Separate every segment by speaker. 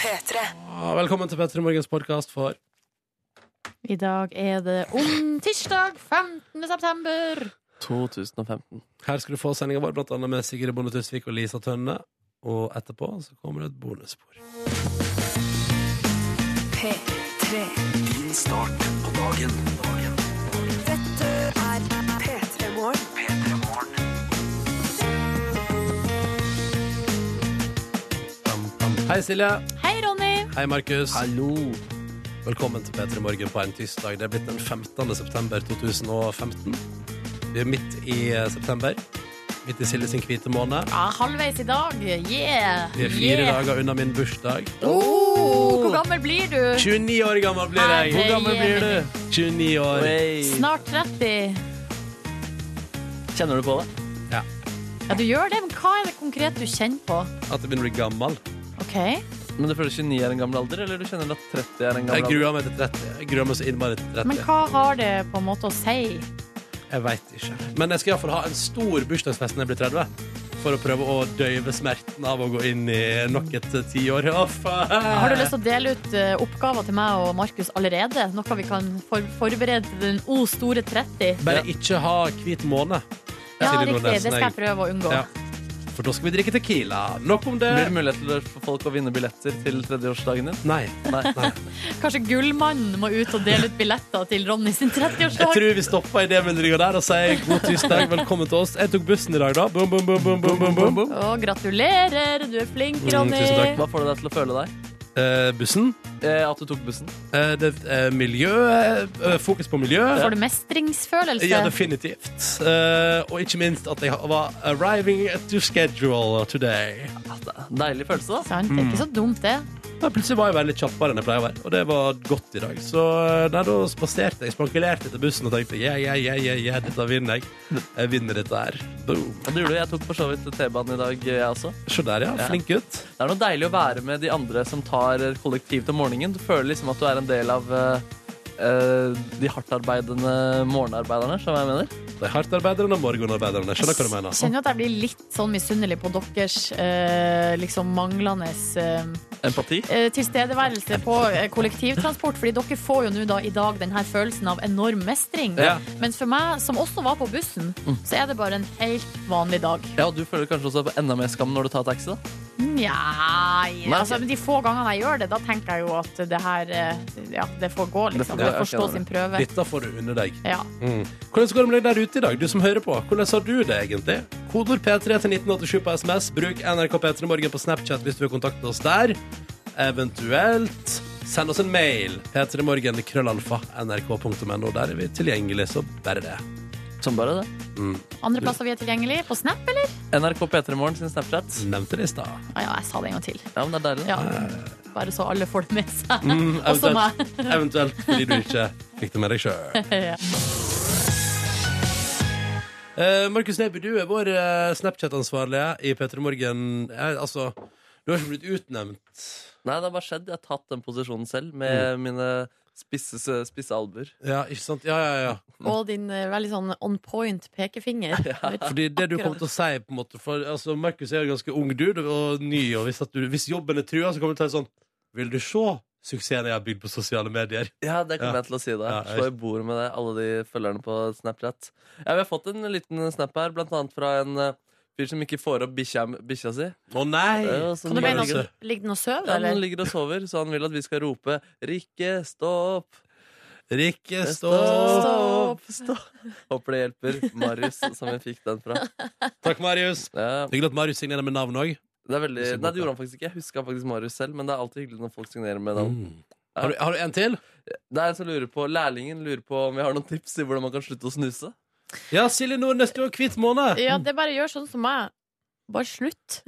Speaker 1: P3.
Speaker 2: Ah, Velkommen til Petter i morgens podkast for
Speaker 3: I dag er det om tirsdag 15. september.
Speaker 4: 2015.
Speaker 2: Her skal du få sendinga vår, blant annet med Sigrid Bonde Tusvik og Lisa Tønne. Og etterpå så kommer det et bonusspor.
Speaker 1: P3.
Speaker 5: Din start på dagen.
Speaker 1: Dette er P3 Morgen.
Speaker 2: Hei, Silje.
Speaker 3: Hei, Ronny.
Speaker 2: Hei, Markus.
Speaker 4: Hallo!
Speaker 2: Velkommen til P3 Morgen på en tirsdag. Det er blitt den 15. september 2015. Vi er midt i eh, september. Midt i Silje sin hvite måned.
Speaker 3: Ja, halvveis i dag. Yeah.
Speaker 2: Vi er fire
Speaker 3: yeah.
Speaker 2: dager unna min bursdag.
Speaker 3: Oh, hvor gammel blir du?
Speaker 2: 29 år gammel blir jeg!
Speaker 3: Hvor gammel blir du?
Speaker 2: 29 år.
Speaker 4: Hey.
Speaker 3: Snart 30.
Speaker 4: Kjenner du på det?
Speaker 3: Ja, du gjør det, men hva er det konkret du kjenner på?
Speaker 2: At jeg begynner å bli gammel.
Speaker 3: OK.
Speaker 4: Men du føler 29 er en gammel alder, eller du kjenner at 30 er en
Speaker 2: Jeg
Speaker 4: gammel alder?
Speaker 2: gruer meg til 30. Jeg gruer meg så innmari til 30.
Speaker 3: Men hva har det på en måte å si?
Speaker 2: Jeg veit ikke. Men jeg skal iallfall ha en stor bursdagsfest når jeg blir 30. For å prøve å døyve smerten av å gå inn i nok et tiår. Å, faen!
Speaker 3: Har du lyst til å dele ut eh, oppgaver til meg og Markus allerede? Noe vi kan for forberede til den o store 30?
Speaker 2: Bare ikke ha hvit måne.
Speaker 3: Ja,
Speaker 2: Silje
Speaker 3: riktig. Det
Speaker 2: Nordnes,
Speaker 3: skal jeg prøve å unngå.
Speaker 2: Ja. For da skal vi drikke Tequila. Nok om det.
Speaker 4: Blir det mulighet for folk å vinne billetter til tredjeårsdagen din?
Speaker 2: Nei.
Speaker 4: Nei.
Speaker 3: Kanskje Gullmannen må ut og dele ut billetter til Ronny sin
Speaker 2: Jeg
Speaker 3: 30-årsdag?
Speaker 2: tror vi stopper i det mylderet der og sier god tirsdag, velkommen til oss. Jeg tok bussen i dag, da. Boom, boom, boom, boom, boom, boom, boom.
Speaker 3: Å, gratulerer! Du er flink,
Speaker 2: Mm,
Speaker 3: Ronny.
Speaker 2: tusen takk.
Speaker 4: Hva får det deg til å føle deg?
Speaker 2: Eh, bussen.
Speaker 4: Eh, at du tok bussen?
Speaker 2: Eh, det er miljø. eh, fokus på miljø.
Speaker 3: Får du mestringsfølelse?
Speaker 2: Ja, definitivt. Eh, og ikke minst at jeg var arriving to schedule today.
Speaker 4: Ja, det er en Deilig følelse, da.
Speaker 3: Sant? Det er ikke så dumt, det.
Speaker 2: Da plutselig var jeg veldig kjappere enn jeg pleier å være, og det var godt i dag. Så eh, nei, da spaserte jeg, spankulerte etter bussen og tenkte yeah, yeah, yeah, yeah, yeah, dette vinner jeg. Jeg vinner dette her. Boom.
Speaker 4: Ja, det gjorde du. Jeg tok for så vidt T-banen i dag, eh, jeg også.
Speaker 2: Se der, ja.
Speaker 4: Ja.
Speaker 2: Flink gutt.
Speaker 4: Det er noe deilig å være med de andre som tar eh, kollektivt om morgenen. Du føler liksom at du er en del av eh, eh, de hardtarbeidende morgenarbeiderne, skjønner du hva jeg mener?
Speaker 2: De hardtarbeiderne og morgenarbeiderne. Skjønner hva du mener.
Speaker 3: Kjenner at jeg blir litt sånn misunnelig på deres eh, liksom manglende eh,
Speaker 4: Empati.
Speaker 3: eh, tilstedeværelse på eh, kollektivtransport. Fordi dere får jo nå da i dag den her følelsen av enorm mestring.
Speaker 2: Ja. Mm.
Speaker 3: Mens for meg, som også var på bussen, så er det bare en helt vanlig dag.
Speaker 4: Ja, og du føler kanskje også på enda mer skam når du tar taxi, da.
Speaker 3: Nja
Speaker 4: Nei.
Speaker 3: altså, men De få gangene jeg gjør det, da tenker jeg jo at det her eh, Ja, det får gå,
Speaker 4: Det
Speaker 3: liksom.
Speaker 4: får gå,
Speaker 3: Det
Speaker 4: jeg
Speaker 3: får stå
Speaker 4: skjønner
Speaker 3: sin prøve.
Speaker 2: Dette får du under deg.
Speaker 3: Ja.
Speaker 2: Mm. Hvordan går det med deg der ute i dag, du som hører på? Hvordan har du det egentlig? Kodord P3 til 1987 på SMS. Bruk NRK P3 Morgen på Snapchat hvis du vil kontakte oss der. Eventuelt send oss en mail. P3morgen krøllalfa nrk.no. Der er vi tilgjengelig, så bare det.
Speaker 4: Som bare det.
Speaker 3: Andre plasser vi er tilgjengelig. På Snap, eller?
Speaker 4: NRK P3 Morgen sin Snapchat.
Speaker 2: Nevnte det i stad.
Speaker 3: Ja, ja, jeg sa det en gang til.
Speaker 4: Ja, men det er deilig. da.
Speaker 3: Ja. Bare så alle får det med seg.
Speaker 2: Mm,
Speaker 3: Også meg.
Speaker 2: eventuelt, eventuelt fordi du ikke fikk det med deg sjøl.
Speaker 3: Ja.
Speaker 2: Eh, Markus Neby, du er vår eh, Snapchat-ansvarlige i P3 Morgen. Eh, altså, du har ikke blitt utnevnt.
Speaker 4: Nei, det har bare skjedd. Jeg har tatt den posisjonen selv med mine spisse, spisse albuer.
Speaker 2: Ja, ikke sant? Ja, ja, ja.
Speaker 3: Og din eh, veldig sånn on point pekefinger.
Speaker 2: Fordi det du kommer til å si på en måte for, altså, Markus er jo en ganske ung dude og ny, og hvis, at du, hvis jobben er trua, så kommer du til å si sånn Vil du se suksessen jeg har bygd på sosiale medier?
Speaker 4: Ja, det kommer
Speaker 2: Ja.
Speaker 4: jeg til å si. det
Speaker 2: Ja, jeg-
Speaker 4: Slå i bordet med det, alle de følgerne på Snapchat. Ja, vi har fått en liten snap her, blant annet fra en eh, fyr som ikke får opp bikkja, bikkja si.
Speaker 2: Å nei!
Speaker 4: Det er jo sånn-
Speaker 3: Kan du
Speaker 2: Bare
Speaker 3: mene
Speaker 2: se.
Speaker 3: at ligger den og sover,
Speaker 4: Ja, Han
Speaker 3: eller?
Speaker 4: ligger og sover, så han vil at vi skal rope 'Rikke, stå opp'.
Speaker 2: Rikke, stå
Speaker 4: Stå
Speaker 3: Stå
Speaker 4: opp, stå Håper det hjelper Marius, som vi fikk den fra.
Speaker 2: Takk, Marius.
Speaker 4: Ja,
Speaker 2: Hyggelig at Marius signerer med navn òg.
Speaker 4: det er veldig...
Speaker 2: Det er så godt,
Speaker 4: Nei, det
Speaker 2: da.
Speaker 4: gjorde han faktisk ikke. Jeg husker faktisk Marius selv, men det er alltid hyggelig når folk signerer med navn.
Speaker 2: Mm. Har, du- har du en til?
Speaker 4: Det er en som lurer på, Lærlingen lurer på om vi har noen tips til hvordan man kan slutte å snuse.
Speaker 2: Ja, Silje Nordnes, du har hvit måned.
Speaker 3: Ja, det bare gjør sånn som meg. Bare slutt.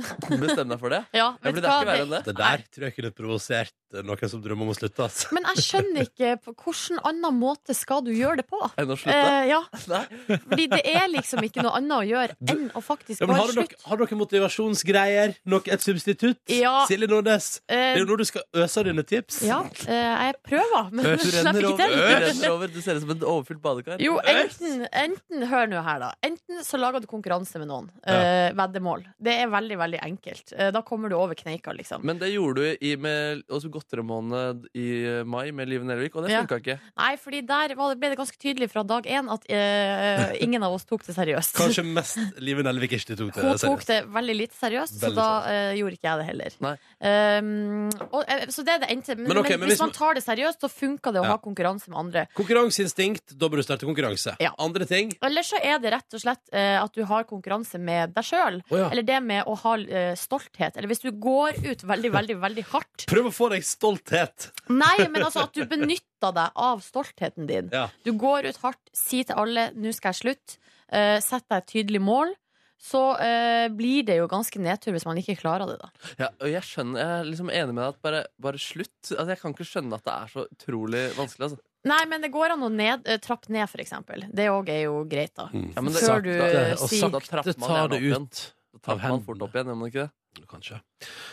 Speaker 4: Bestem deg for det.
Speaker 3: Ja,
Speaker 4: Ja,
Speaker 3: vet du
Speaker 4: for det er
Speaker 3: hva?
Speaker 4: ikke verre enn det.
Speaker 2: Det der tror jeg kunne provosert eh, noen som drømmer om å slutte. altså. ass.
Speaker 3: Men jeg skjønner ikke på hvilken annen måte skal du gjøre det på?
Speaker 4: Enn å slutte.
Speaker 3: Eh, ja,
Speaker 4: Nei.
Speaker 3: fordi det er liksom ikke noe annet å gjøre enn å faktisk
Speaker 2: Ja, men
Speaker 3: bare
Speaker 2: har,
Speaker 3: slutte.
Speaker 2: dere, har dere motivasjonsgreier? Nok et substitutt?
Speaker 3: Ja.
Speaker 2: Silje Nordnes, det er
Speaker 3: Eh,
Speaker 2: jo nå du skal øse av dine tips.
Speaker 3: ja, eh, jeg prøver, men
Speaker 2: Øs
Speaker 3: jeg slipper ikke
Speaker 4: Du
Speaker 3: til.
Speaker 4: renner over. Du ser ut som et overfylt badekar.
Speaker 3: Jo, enten, enten Hør nå her, da. Enten så lager du konkurranse med noen.
Speaker 2: Ja.
Speaker 3: eh, veddemål. Det er veldig, veldig enkelt. Eh, Da kommer du over kneika, liksom.
Speaker 4: Men det gjorde du i, med også godterimåned i eh, mai med Liv Nelvik, og det
Speaker 3: Ja.
Speaker 4: funka ikke.
Speaker 3: Nei, fordi der var, ble det ganske tydelig fra dag én at eh, ingen av oss tok det seriøst.
Speaker 2: Kanskje mest Live Nelvik ikke tok det
Speaker 3: Hun tok
Speaker 2: seriøst.
Speaker 3: det veldig litt seriøst, så
Speaker 2: Veldig
Speaker 3: da eh, gjorde ikke jeg det heller.
Speaker 4: Nei.
Speaker 3: Um, og, eh, så det er det endte. Men,
Speaker 2: Men
Speaker 3: men,
Speaker 2: ok, men
Speaker 3: hvis,
Speaker 2: hvis man-
Speaker 3: man tar det seriøst, så funker det å
Speaker 2: Ja.
Speaker 3: ha konkurranse med andre.
Speaker 2: Konkurranseinstinkt, da bør du starte konkurranse.
Speaker 3: Ja.
Speaker 2: Andre ting
Speaker 3: Eller så er det rett og slett eh, at du har konkurranse med deg sjøl.
Speaker 2: Å ja.
Speaker 3: Eller det med å ha eh, stolthet. Eller hvis du går ut veldig, veldig, veldig hardt.
Speaker 2: Prøv å få deg stolthet.
Speaker 3: Nei, men altså at du benytter deg av stoltheten din.
Speaker 2: Ja.
Speaker 3: Du går ut hardt, sier til alle 'nå skal jeg slutte', eh, sett deg et tydelig mål. Så eh, blir det jo ganske nedtur hvis man ikke klarer det, da.
Speaker 4: Ja, og jeg, skjønner, jeg er liksom enig med deg at bare, bare slutt. Altså, jeg kan ikke skjønne at det er så utrolig vanskelig. Altså.
Speaker 3: Nei, men det går an å ned, eh, trappe ned, for eksempel. Det òg er jo greit, da.
Speaker 4: Ja, men det-
Speaker 3: Før du
Speaker 4: sakte,
Speaker 3: eh,
Speaker 2: og
Speaker 3: sier
Speaker 4: Da trapper man
Speaker 2: ta
Speaker 4: gjerne
Speaker 2: det
Speaker 4: opp igjen.
Speaker 2: ut.
Speaker 4: Da trapper man fort opp igjen, gjør man ikke det?
Speaker 2: Kanskje.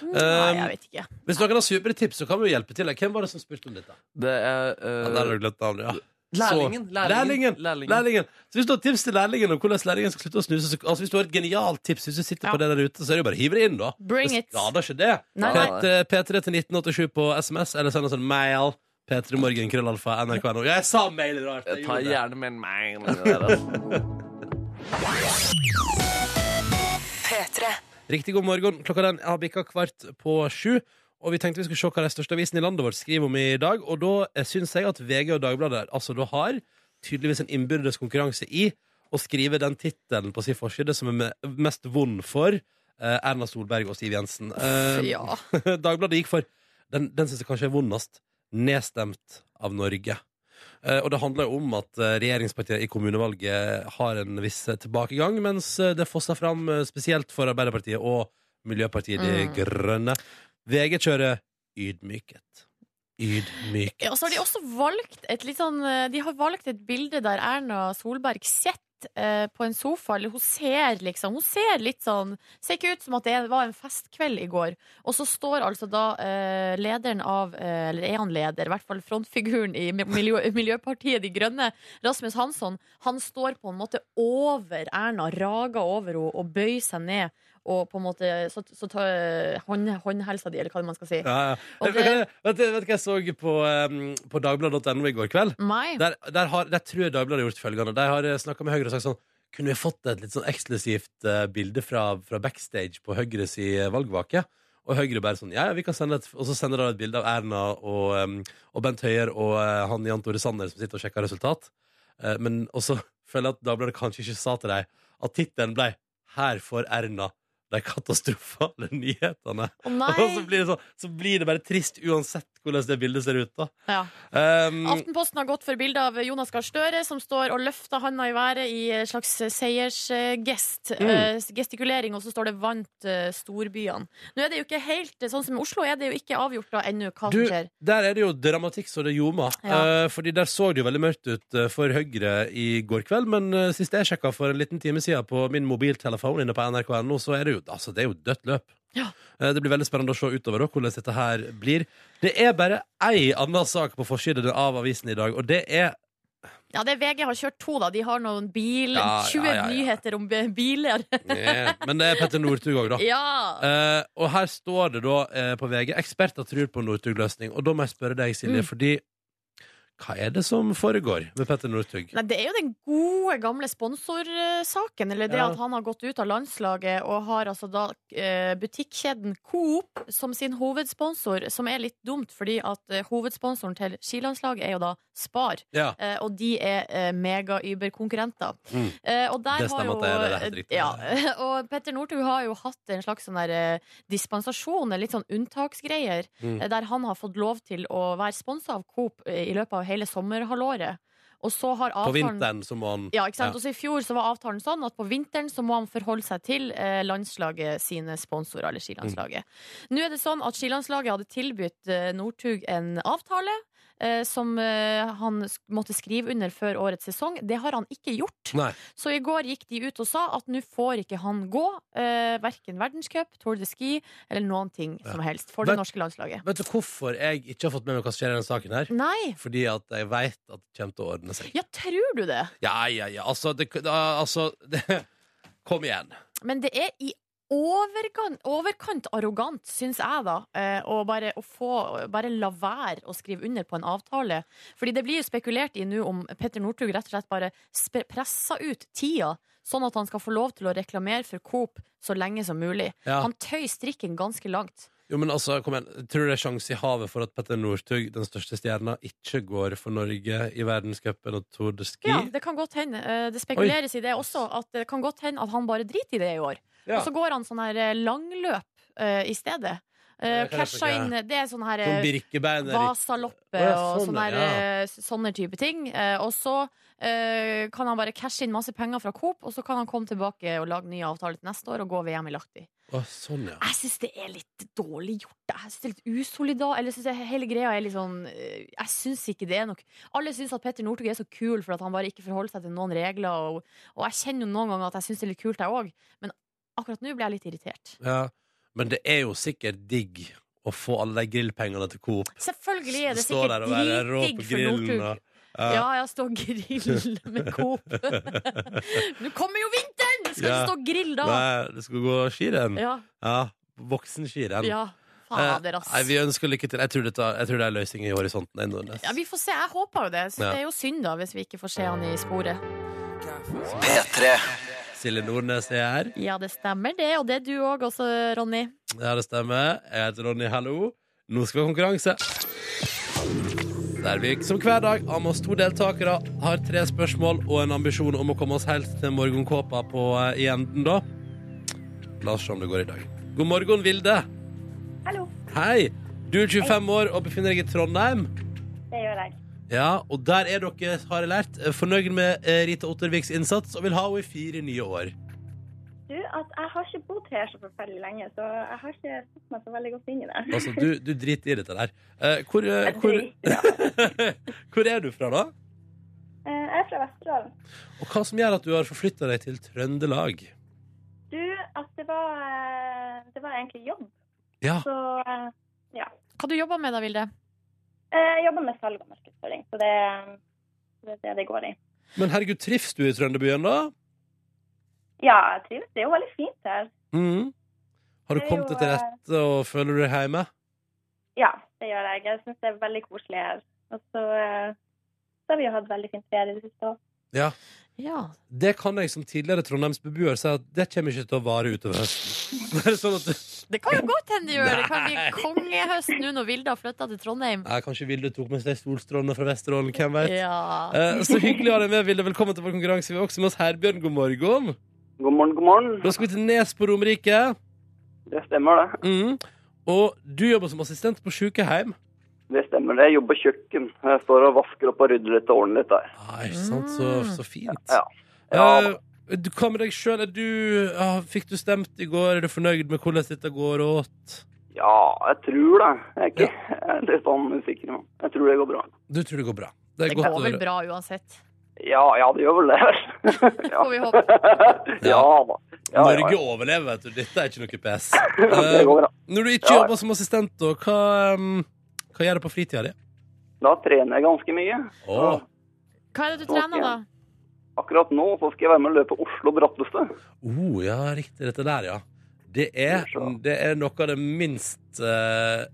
Speaker 3: Nei, jeg vet ikke.
Speaker 2: Hvis noen har supre tips, så kan vi jo hjelpe til. Hvem var det som spurte om dette?
Speaker 4: det er, eh,
Speaker 2: Ja, der har du glemt navnet, ja. Så-
Speaker 4: lærlingen, lærlingen,
Speaker 2: Lærlingen.
Speaker 4: lærlingen.
Speaker 2: lærlingen. Så hvis du har tips til lærlingen om hvordan lærlingen skal slutte å snuse, så, altså hvis du har et genialt tips, hvis du sitter
Speaker 3: Ja.
Speaker 2: på det der ute, så er det jo bare å hive det inn, da.
Speaker 3: Bring
Speaker 2: det
Speaker 3: it.
Speaker 2: skader ikke det.
Speaker 3: Nei,
Speaker 4: nei.
Speaker 2: Helt, eh, P3 til 1987 på SMS, eller send oss en mail. P3morgenkrøllalfa nrk.no. Jeg sa mail i dag! jeg
Speaker 4: Jeg tar
Speaker 2: gjorde det.
Speaker 4: gjerne med en meg. men det der, altså.
Speaker 1: P3
Speaker 2: Riktig god morgen. Klokka den har bikka kvart på sju. Og vi tenkte vi skulle se hva de største avisene i landet vårt skriver om i dag. Og da syns jeg at VG og Dagbladet altså da har tydeligvis en innbyrdes konkurranse i å skrive den tittelen på sin forside som er me- mest vond for eh, Erna Solberg og Siv Jensen. Eh,
Speaker 3: Ja.
Speaker 2: Dagbladet gikk for Den, den syns jeg kanskje er vondest. Nedstemt av Norge. Eh, og det handler jo om at eh, regjeringspartiene i kommunevalget har en viss eh, tilbakegang, mens eh, det fosser fram eh, spesielt for Arbeiderpartiet og Miljøpartiet De
Speaker 3: Mm.
Speaker 2: Grønne. VG kjører ydmyket. Ydmyket.
Speaker 3: Ja, Og så har de også valgt et litt sånn eh, De har valgt et bilde der Erna Solberg sitter eh, på en sofa, eller hun ser liksom Hun ser litt sånn Ser ikke ut som at det var en festkveld i går. Og så står altså da eh, lederen av eh, Eller er han leder? I hvert fall frontfiguren i Mi- Miljø, Miljøpartiet De Grønne, Rasmus Hansson, han står på en måte over Erna, rager over henne og bøyer seg ned. Og på en måte Så, så tar hånd, håndhelsa di, eller hva man skal si.
Speaker 2: Ja, ja.
Speaker 3: Og
Speaker 2: Vet du hva- vet du vet du hva jeg så på, eh, på dagbladet.no i går kveld?
Speaker 3: Nei.
Speaker 2: Der, der, har, der tror jeg Dagbladet har gjort følgende. De har snakka med Høyre og sagt sånn Kunne vi fått et litt sånn eksklusivt eh, bilde fra, fra backstage på Høyres i valgvake? Og Høyre bare sånn Ja, ja, vi kan sende et Og så sender de et bilde av Erna og, em, og Bent Høier og eh, han Jan Tore Sanner som sitter og sjekker resultat. Eh, men også føler jeg at Dagbladet kanskje ikke sa til dem at tittelen ble Her får Erna de katastrofale nyhetene.
Speaker 3: Å
Speaker 2: Og så
Speaker 3: nei!
Speaker 2: blir, det sånn, så blir det bare trist uansett hvordan det bildet ser ut, da.
Speaker 3: Ja.
Speaker 2: Um,
Speaker 3: Aftenposten har gått for bilde av Jonas Gahr Støre, som står og løfter handa i været i en slags seiersgest.
Speaker 2: Mm.
Speaker 3: eh, Gestikulering, og så står det 'vant eh, storbyene'. Nå er det jo ikke helt Sånn som i Oslo er det jo ikke avgjort da ennå hva
Speaker 2: Du,
Speaker 3: som skjer.
Speaker 2: der er det jo dramatikk så det ljomer.
Speaker 3: Ja.
Speaker 2: Eh, fordi der så det jo veldig mørkt ut eh, for Høyre i går kveld, men eh, sist jeg sjekka for en liten time siden på min mobiltelefon inne på nrk.no, så er det jo, altså, det er jo dødt løp.
Speaker 3: Ja.
Speaker 2: Eh, det blir veldig spennende å se utover da, hvordan dette her blir. Det er bare ei anna sak på forsiden av avisen i dag, og det er
Speaker 3: Ja, det er VG har kjørt to, da. De har noen bil
Speaker 2: Ja,
Speaker 3: 20
Speaker 2: ja, ja, ja.
Speaker 3: nyheter om b- biler.
Speaker 2: Nei, eh, Men det er Petter Northug òg, da.
Speaker 3: ja!
Speaker 2: Eh, og her står det da eh, på VG eksperter tror på Northug-løsning. Og da må jeg spørre deg, Silje,
Speaker 3: Mm.
Speaker 2: fordi hva er det som foregår med Petter Northug?
Speaker 3: Nei, det er jo den gode, gamle sponsorsaken. Eller det
Speaker 2: Ja.
Speaker 3: at han har gått ut av landslaget og har altså da eh, butikkjeden Coop som sin hovedsponsor, som er litt dumt, fordi at eh, hovedsponsoren til skilandslaget er jo da Spar.
Speaker 2: Ja.
Speaker 3: Eh, og de er eh, mega-Uber-konkurrenter.
Speaker 2: Mm.
Speaker 3: Eh, og der
Speaker 2: Det stemmer
Speaker 3: har jo,
Speaker 2: at det er- det er eh. helt riktig.
Speaker 3: Ja, og Petter Northug har jo hatt en slags sånn der, eh, dispensasjon, en litt sånn unntaksgreier,
Speaker 2: Mm.
Speaker 3: eh, der han har fått lov til å være sponsa av Coop eh, i løpet av hele sommerhalvåret. Og så har
Speaker 2: På
Speaker 3: avtalen
Speaker 2: vinteren så må han
Speaker 3: ja, ikke sant?
Speaker 2: Ja.
Speaker 3: Og så I fjor så var avtalen sånn at på vinteren så må han forholde seg til eh, landslaget sine sponsorer. eller skilandslaget. Nå er det sånn at skilandslaget hadde tilbudt eh, Northug en avtale eh, som eh, han sk måtte skrive under før årets sesong. Det har han ikke gjort.
Speaker 2: Nei.
Speaker 3: Så i går gikk de ut og sa at nå får ikke han gå eh, verken verdenscup, Tour de Ski eller noen ting som helst for
Speaker 2: Vet-
Speaker 3: det norske landslaget.
Speaker 2: Vet du hvorfor jeg ikke har fått med meg hva som skjer i denne saken her?
Speaker 3: Nei!
Speaker 2: Fordi at jeg veit at det kommer til å ordne seg.
Speaker 3: Ja, tror du det?
Speaker 2: Ja, ja, ja. Altså, det, da- altså det, Kom igjen.
Speaker 3: Men det er i overgan- overkant arrogant, syns jeg, da, eh, å bare, å få, bare la være å skrive under på en avtale. Fordi det blir jo spekulert i nå om Petter Northug rett og slett bare sp- presser ut tida, sånn at han skal få lov til å reklamere for Coop så lenge som mulig.
Speaker 2: Ja.
Speaker 3: Han tøy strikken ganske langt.
Speaker 2: Jo, men altså, kom igjen. Tror du det er sjanse i havet for at Petter Northug, den største stjerna, ikke går for Norge i verdenscupen og Tour de Ski?
Speaker 3: Ja, det kan godt hende. eh, Det spekuleres i det også, at det kan godt hende at han bare driter i det i år.
Speaker 2: Ja.
Speaker 3: Og så går han sånn her eh, langløp eh, i stedet. Uh,
Speaker 2: Det kan jeg
Speaker 3: Casha
Speaker 2: forstå.
Speaker 3: inn Det er sånn her eh,
Speaker 2: Som Birkebein er riktig.
Speaker 3: Vasaloppet
Speaker 2: Å, ja,
Speaker 3: og
Speaker 2: sånn,
Speaker 3: sånne,
Speaker 2: ja.
Speaker 3: der, eh, s- sånne type ting. Eh, Og så eh, kan han bare cashe inn masse penger fra Coop, og så kan han komme tilbake og lage nye avtaler til neste år og gå VM i Lahti.
Speaker 2: Å, sånn, ja.
Speaker 3: Jeg syns det er litt dårlig gjort. jeg. Jeg syns det er litt usolidar. Eller jeg synes jeg hele greia er litt sånn eh, Jeg syns ikke det er nok Alle syns at Petter Northug er så kul for at han bare ikke forholder seg til noen regler, og, og jeg kjenner jo noen ganger at jeg syns det er litt kult, jeg òg, men akkurat nå blir jeg litt irritert.
Speaker 2: ja. Men det er jo sikkert digg å få alle de grillpengene til Coop.
Speaker 3: Selvfølgelig er det
Speaker 2: Stå
Speaker 3: sikkert
Speaker 2: der og være rå på
Speaker 3: dritdigg for
Speaker 2: grillen,
Speaker 3: Northug.
Speaker 2: og-
Speaker 3: Ja, ja, stå og grill med Coop. Nå kommer jo vinteren! Du skal
Speaker 2: Ja.
Speaker 3: ikke stå og grill da!
Speaker 2: Nei, det skal gå skirenn.
Speaker 3: Ja,
Speaker 2: Ja. Voksenskirenn.
Speaker 3: ja. Fader, ass.
Speaker 2: Eh, nei, vi ønsker lykke til. Jeg tror, dette, jeg tror det er løsningen i horisonten. Nordnes.
Speaker 3: Ja, vi får se. Jeg håper jo det. Så
Speaker 2: Ja.
Speaker 3: Det er jo synd da hvis vi ikke får se han i sporet.
Speaker 5: P3
Speaker 2: Silje Nordnes er her.
Speaker 3: Ja, det stemmer det. Og det er du òg også, Ronny.
Speaker 2: Ja, det stemmer. Jeg heter Ronny, hallo. Nå skal vi ha konkurranse. Der vi som hver dag av oss to deltakere har tre spørsmål og en ambisjon om å komme oss helt til morgenkåpa på, eh, i enden, da. La oss se om det går i dag. God morgen, Vilde.
Speaker 6: Hallo.
Speaker 2: Hei. Du er 25 år og befinner deg i Trondheim.
Speaker 6: Det gjør jeg.
Speaker 2: Ja, og der er dere, har jeg lært, eh, fornøyd med eh, Rita Otterviks innsats og vil ha henne i fire nye år.
Speaker 6: Du, at jeg har ikke bodd her så forferdelig lenge, så jeg har ikke satt meg så veldig godt inn i det.
Speaker 2: Altså, du, du driter i dette der. Eh, Hvor, eh,
Speaker 6: Jeg
Speaker 2: hvor,
Speaker 6: driter, ja.
Speaker 2: hvor er du fra, da?
Speaker 6: Eh, Jeg er fra Vesterålen.
Speaker 2: Og hva som gjør at du har forflytta deg til Trøndelag?
Speaker 6: Du, at det var, eh, det var egentlig jobb,
Speaker 2: Ja,
Speaker 6: så eh, ja.
Speaker 3: Hva du jobber med da, Vilde?
Speaker 6: Eh, Jeg jobber med salg og markedsføring, så det, det er det det går i.
Speaker 2: Men herregud, trives du i Trønderbyen, da?
Speaker 6: Ja, jeg trives. Det er jo veldig fint her.
Speaker 2: Mhm. Har du
Speaker 6: Det er
Speaker 2: kommet
Speaker 6: jo,
Speaker 2: deg til
Speaker 6: eh,
Speaker 2: rette og føler du deg hjemme?
Speaker 6: Ja, det gjør jeg. Jeg syns det er veldig koselig her. Og så, eh, så har vi jo hatt veldig fint vær i det siste òg.
Speaker 3: Ja.
Speaker 2: Det kan jeg som tidligere trondheimsbeboer si at det kommer ikke til å vare utover høsten. Det er sånn at
Speaker 3: Det kan jo godt hende du gjør. Det kan bli kongehøst nå når Vilde har flytta til Trondheim.
Speaker 2: Nei, Kanskje Vilde tok med seg solstrålene fra Vesterålen, hvem vet?
Speaker 3: Ja.
Speaker 2: Eh, Så hyggelig å ha deg med, Vilde. Velkommen til vår konkurranse. Vi har også med oss Herbjørn. God morgen.
Speaker 7: God morgen, god morgen.
Speaker 2: Da skal vi til Nes på Romerike.
Speaker 7: Det stemmer, det.
Speaker 2: Mhm. Og du jobber som assistent på sykehjem.
Speaker 7: Det stemmer, det. Jeg jobber på kjøkken. Jeg står og vasker opp og rydder litt og ordner litt der.
Speaker 2: Ah, ikke sant? Så, så fint.
Speaker 7: Ja.
Speaker 2: Eh, du, hva med deg sjøl? Uh, fikk du stemt i går? Er du fornøyd med hvordan dette går åt?
Speaker 7: Ja, jeg tror det. Jeg er, ikke, jeg er litt sånn usikker, men jeg tror det går bra.
Speaker 2: Du tror det går bra. Det er
Speaker 3: Det
Speaker 2: godt
Speaker 3: går
Speaker 2: å
Speaker 3: vel
Speaker 2: høre.
Speaker 3: bra uansett.
Speaker 7: Ja, ja, det gjør vel det. ja.
Speaker 3: Får vi håpe.
Speaker 7: ja da. Ja,
Speaker 2: Norge eh,
Speaker 7: ja,
Speaker 2: overlever, vet du. Dette er ikke noe PS.
Speaker 7: ja. Det går bra.
Speaker 2: Når du ikke
Speaker 7: Ja, ja.
Speaker 2: jobber som assistent, da, hva, um, hva gjør du på fritida di?
Speaker 7: Da trener jeg ganske mye.
Speaker 2: Å.
Speaker 3: Hva er det du trener, da?
Speaker 7: Akkurat nå så skal jeg være med og løpe Oslo-Brattestø.
Speaker 2: Oh, ja, riktig. Dette der, ja. Det er, det er noe av det minst eh,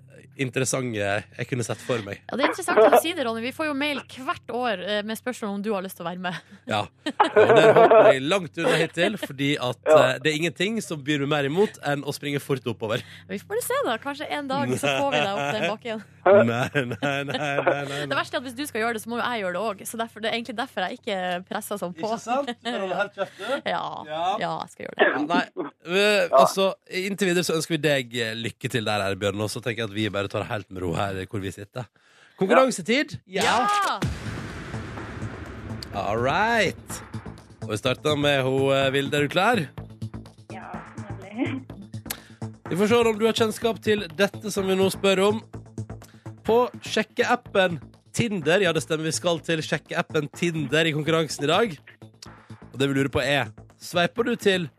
Speaker 2: interessante jeg kunne sett for meg.
Speaker 3: Ja, det er interessant at du sier det, Ronny. Vi får jo mail hvert år eh, med spørsmål om du har lyst til å være med.
Speaker 2: Ja. Og der holdt jeg langt unna hittil, fordi at
Speaker 7: Ja.
Speaker 2: eh, det er ingenting som byr meg mer imot enn å springe fort oppover.
Speaker 3: Vi får bare se, da. Kanskje en dag så får vi deg opp den bakken.
Speaker 2: Nei, nei, nei, nei, nei,
Speaker 3: Det
Speaker 2: nei.
Speaker 3: verste er at hvis du skal gjøre det, så må jo jeg gjøre det òg. Så derfor, det er egentlig derfor jeg ikke presser sånn på.
Speaker 2: Ikke sant? Du kan holde helt kjeft, du.
Speaker 3: Ja, ja,
Speaker 2: Ja.
Speaker 3: jeg skal gjøre det.
Speaker 2: Nei, eh, altså Inntil videre så ønsker vi deg eh, lykke til der, her, Bjørn. Og så tenker jeg at vi bare tar det helt med ro her hvor vi sitter. Konkurransetid?
Speaker 3: Ja!
Speaker 2: All right. Og vi starter med hun eh, Vilde. Er du klar?
Speaker 6: Ja, nemlig.
Speaker 2: Vi får se om du har kjennskap til dette som vi nå spør om. På sjekkeappen Tinder Ja, det stemmer, vi skal til sjekkeappen Tinder i konkurransen i dag. Og det vi lurer på, er sveiper du til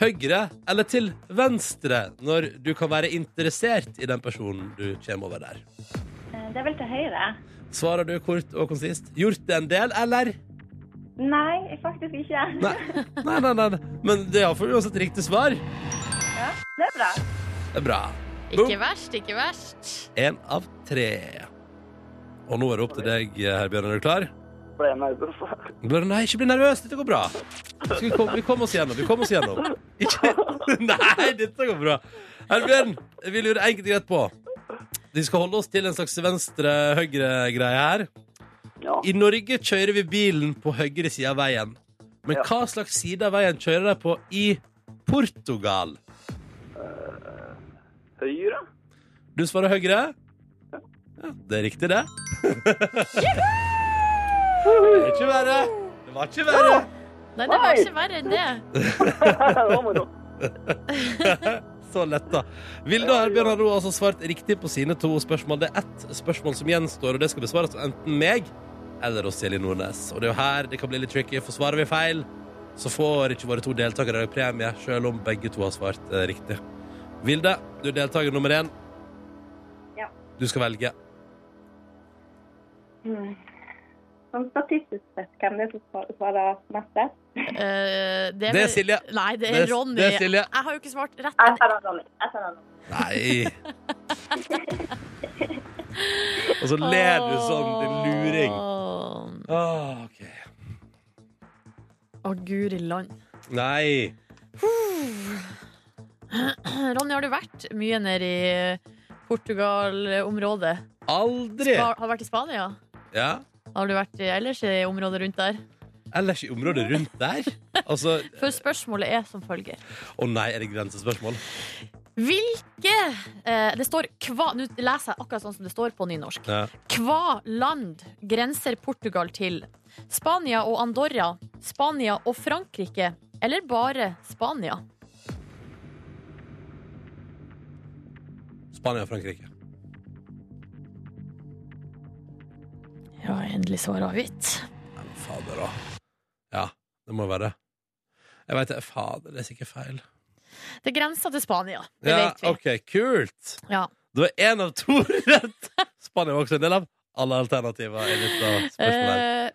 Speaker 2: høyre eller til venstre når du kan være interessert i den personen du kommer over der?
Speaker 6: Eh, Det er vel til høyre.
Speaker 2: Svarer du kort og konsist? Gjort det en del, eller?
Speaker 6: Nei, faktisk ikke.
Speaker 2: Nei, nei, nei. nei. Men det er iallfall uansett riktig svar.
Speaker 6: Det er bra.
Speaker 2: Det er bra. Boom.
Speaker 3: Ikke verst, ikke verst.
Speaker 2: Én av tre. Og nå er det opp til deg, eh, herr Bjørn. Er du klar?
Speaker 7: Ble nervøs. Nei,
Speaker 2: Blir du- Nei, ikke bli nervøs. Dette går bra. Skal vi, komme, vi kommer oss gjennom. Vi kommer oss gjennom. Ikke Nei, dette går bra. Herr Bjørn, vi lurer enkelt og greit på. Vi skal holde oss til en slags venstre-høyre-greie her.
Speaker 7: Ja.
Speaker 2: I Norge kjører vi bilen på høyre side av veien. Men
Speaker 7: Ja.
Speaker 2: hva slags side av veien kjører de på i Portugal?
Speaker 7: Høyre?
Speaker 2: Du svarer høyre? Ja, det er riktig, det. det er ikke verre. Det var ikke verre.
Speaker 3: Nei, det var
Speaker 7: Oi.
Speaker 3: ikke verre enn det.
Speaker 7: det var moro.
Speaker 2: Så lett, da. Vilde og Herbjørn har nå altså svart riktig på sine to spørsmål. Det er ett spørsmål som gjenstår, og det skal besvares av enten meg eller oss Silje Nordnes. Og det er jo her det kan bli litt tricky, for svarer vi feil, så får ikke våre to deltakere premie, selv om begge to har svart eh, riktig. Vilde, du er deltaker nummer én.
Speaker 6: Ja.
Speaker 2: Du skal velge.
Speaker 6: Mm. Sånn statistisk sett, hvem er det som svarer mest rett?
Speaker 3: Eh,
Speaker 2: Det er Silje.
Speaker 3: Nei, det
Speaker 2: Det
Speaker 3: er
Speaker 2: er-
Speaker 3: Ronny.
Speaker 2: det er Silje.
Speaker 3: Jeg har jo ikke svart rett.
Speaker 6: Jeg tar Ronny. Jeg tar Ronny.
Speaker 2: Nei. Og så ler du sånn, din luring.
Speaker 3: Åh.
Speaker 2: Ah, ok.
Speaker 3: Å, guri land.
Speaker 2: Nei.
Speaker 3: Ronny, har du vært mye nede i Portugal-området?
Speaker 2: Aldri.
Speaker 3: Har har du vært i Spania?
Speaker 2: Ja.
Speaker 3: Har du vært i- ellers i området rundt der?
Speaker 2: Ellers i området rundt der. Altså
Speaker 3: For spørsmålet er som følger.
Speaker 2: Å nei, er det grensespørsmål?
Speaker 3: Hvilke eh, Det står hva Nå leser jeg akkurat sånn som det står på nynorsk.
Speaker 2: Ja.
Speaker 3: Hva land grenser Portugal til? Spania og Andorra, Spania og Frankrike, eller bare Spania?
Speaker 2: Spania og Frankrike.
Speaker 3: Ja, endelig svar avgitt.
Speaker 2: Nei, men fader, da. Ja, det må være det. Jeg veit det. Fader, det er sikkert feil.
Speaker 3: Det grenser til Spania, det
Speaker 2: Ja,
Speaker 3: vet vi.
Speaker 2: OK, kult.
Speaker 3: Ja.
Speaker 2: Det var én av to rett. Spania var også en del av alle alternativer. i dette spørsmålet her.
Speaker 3: Eh,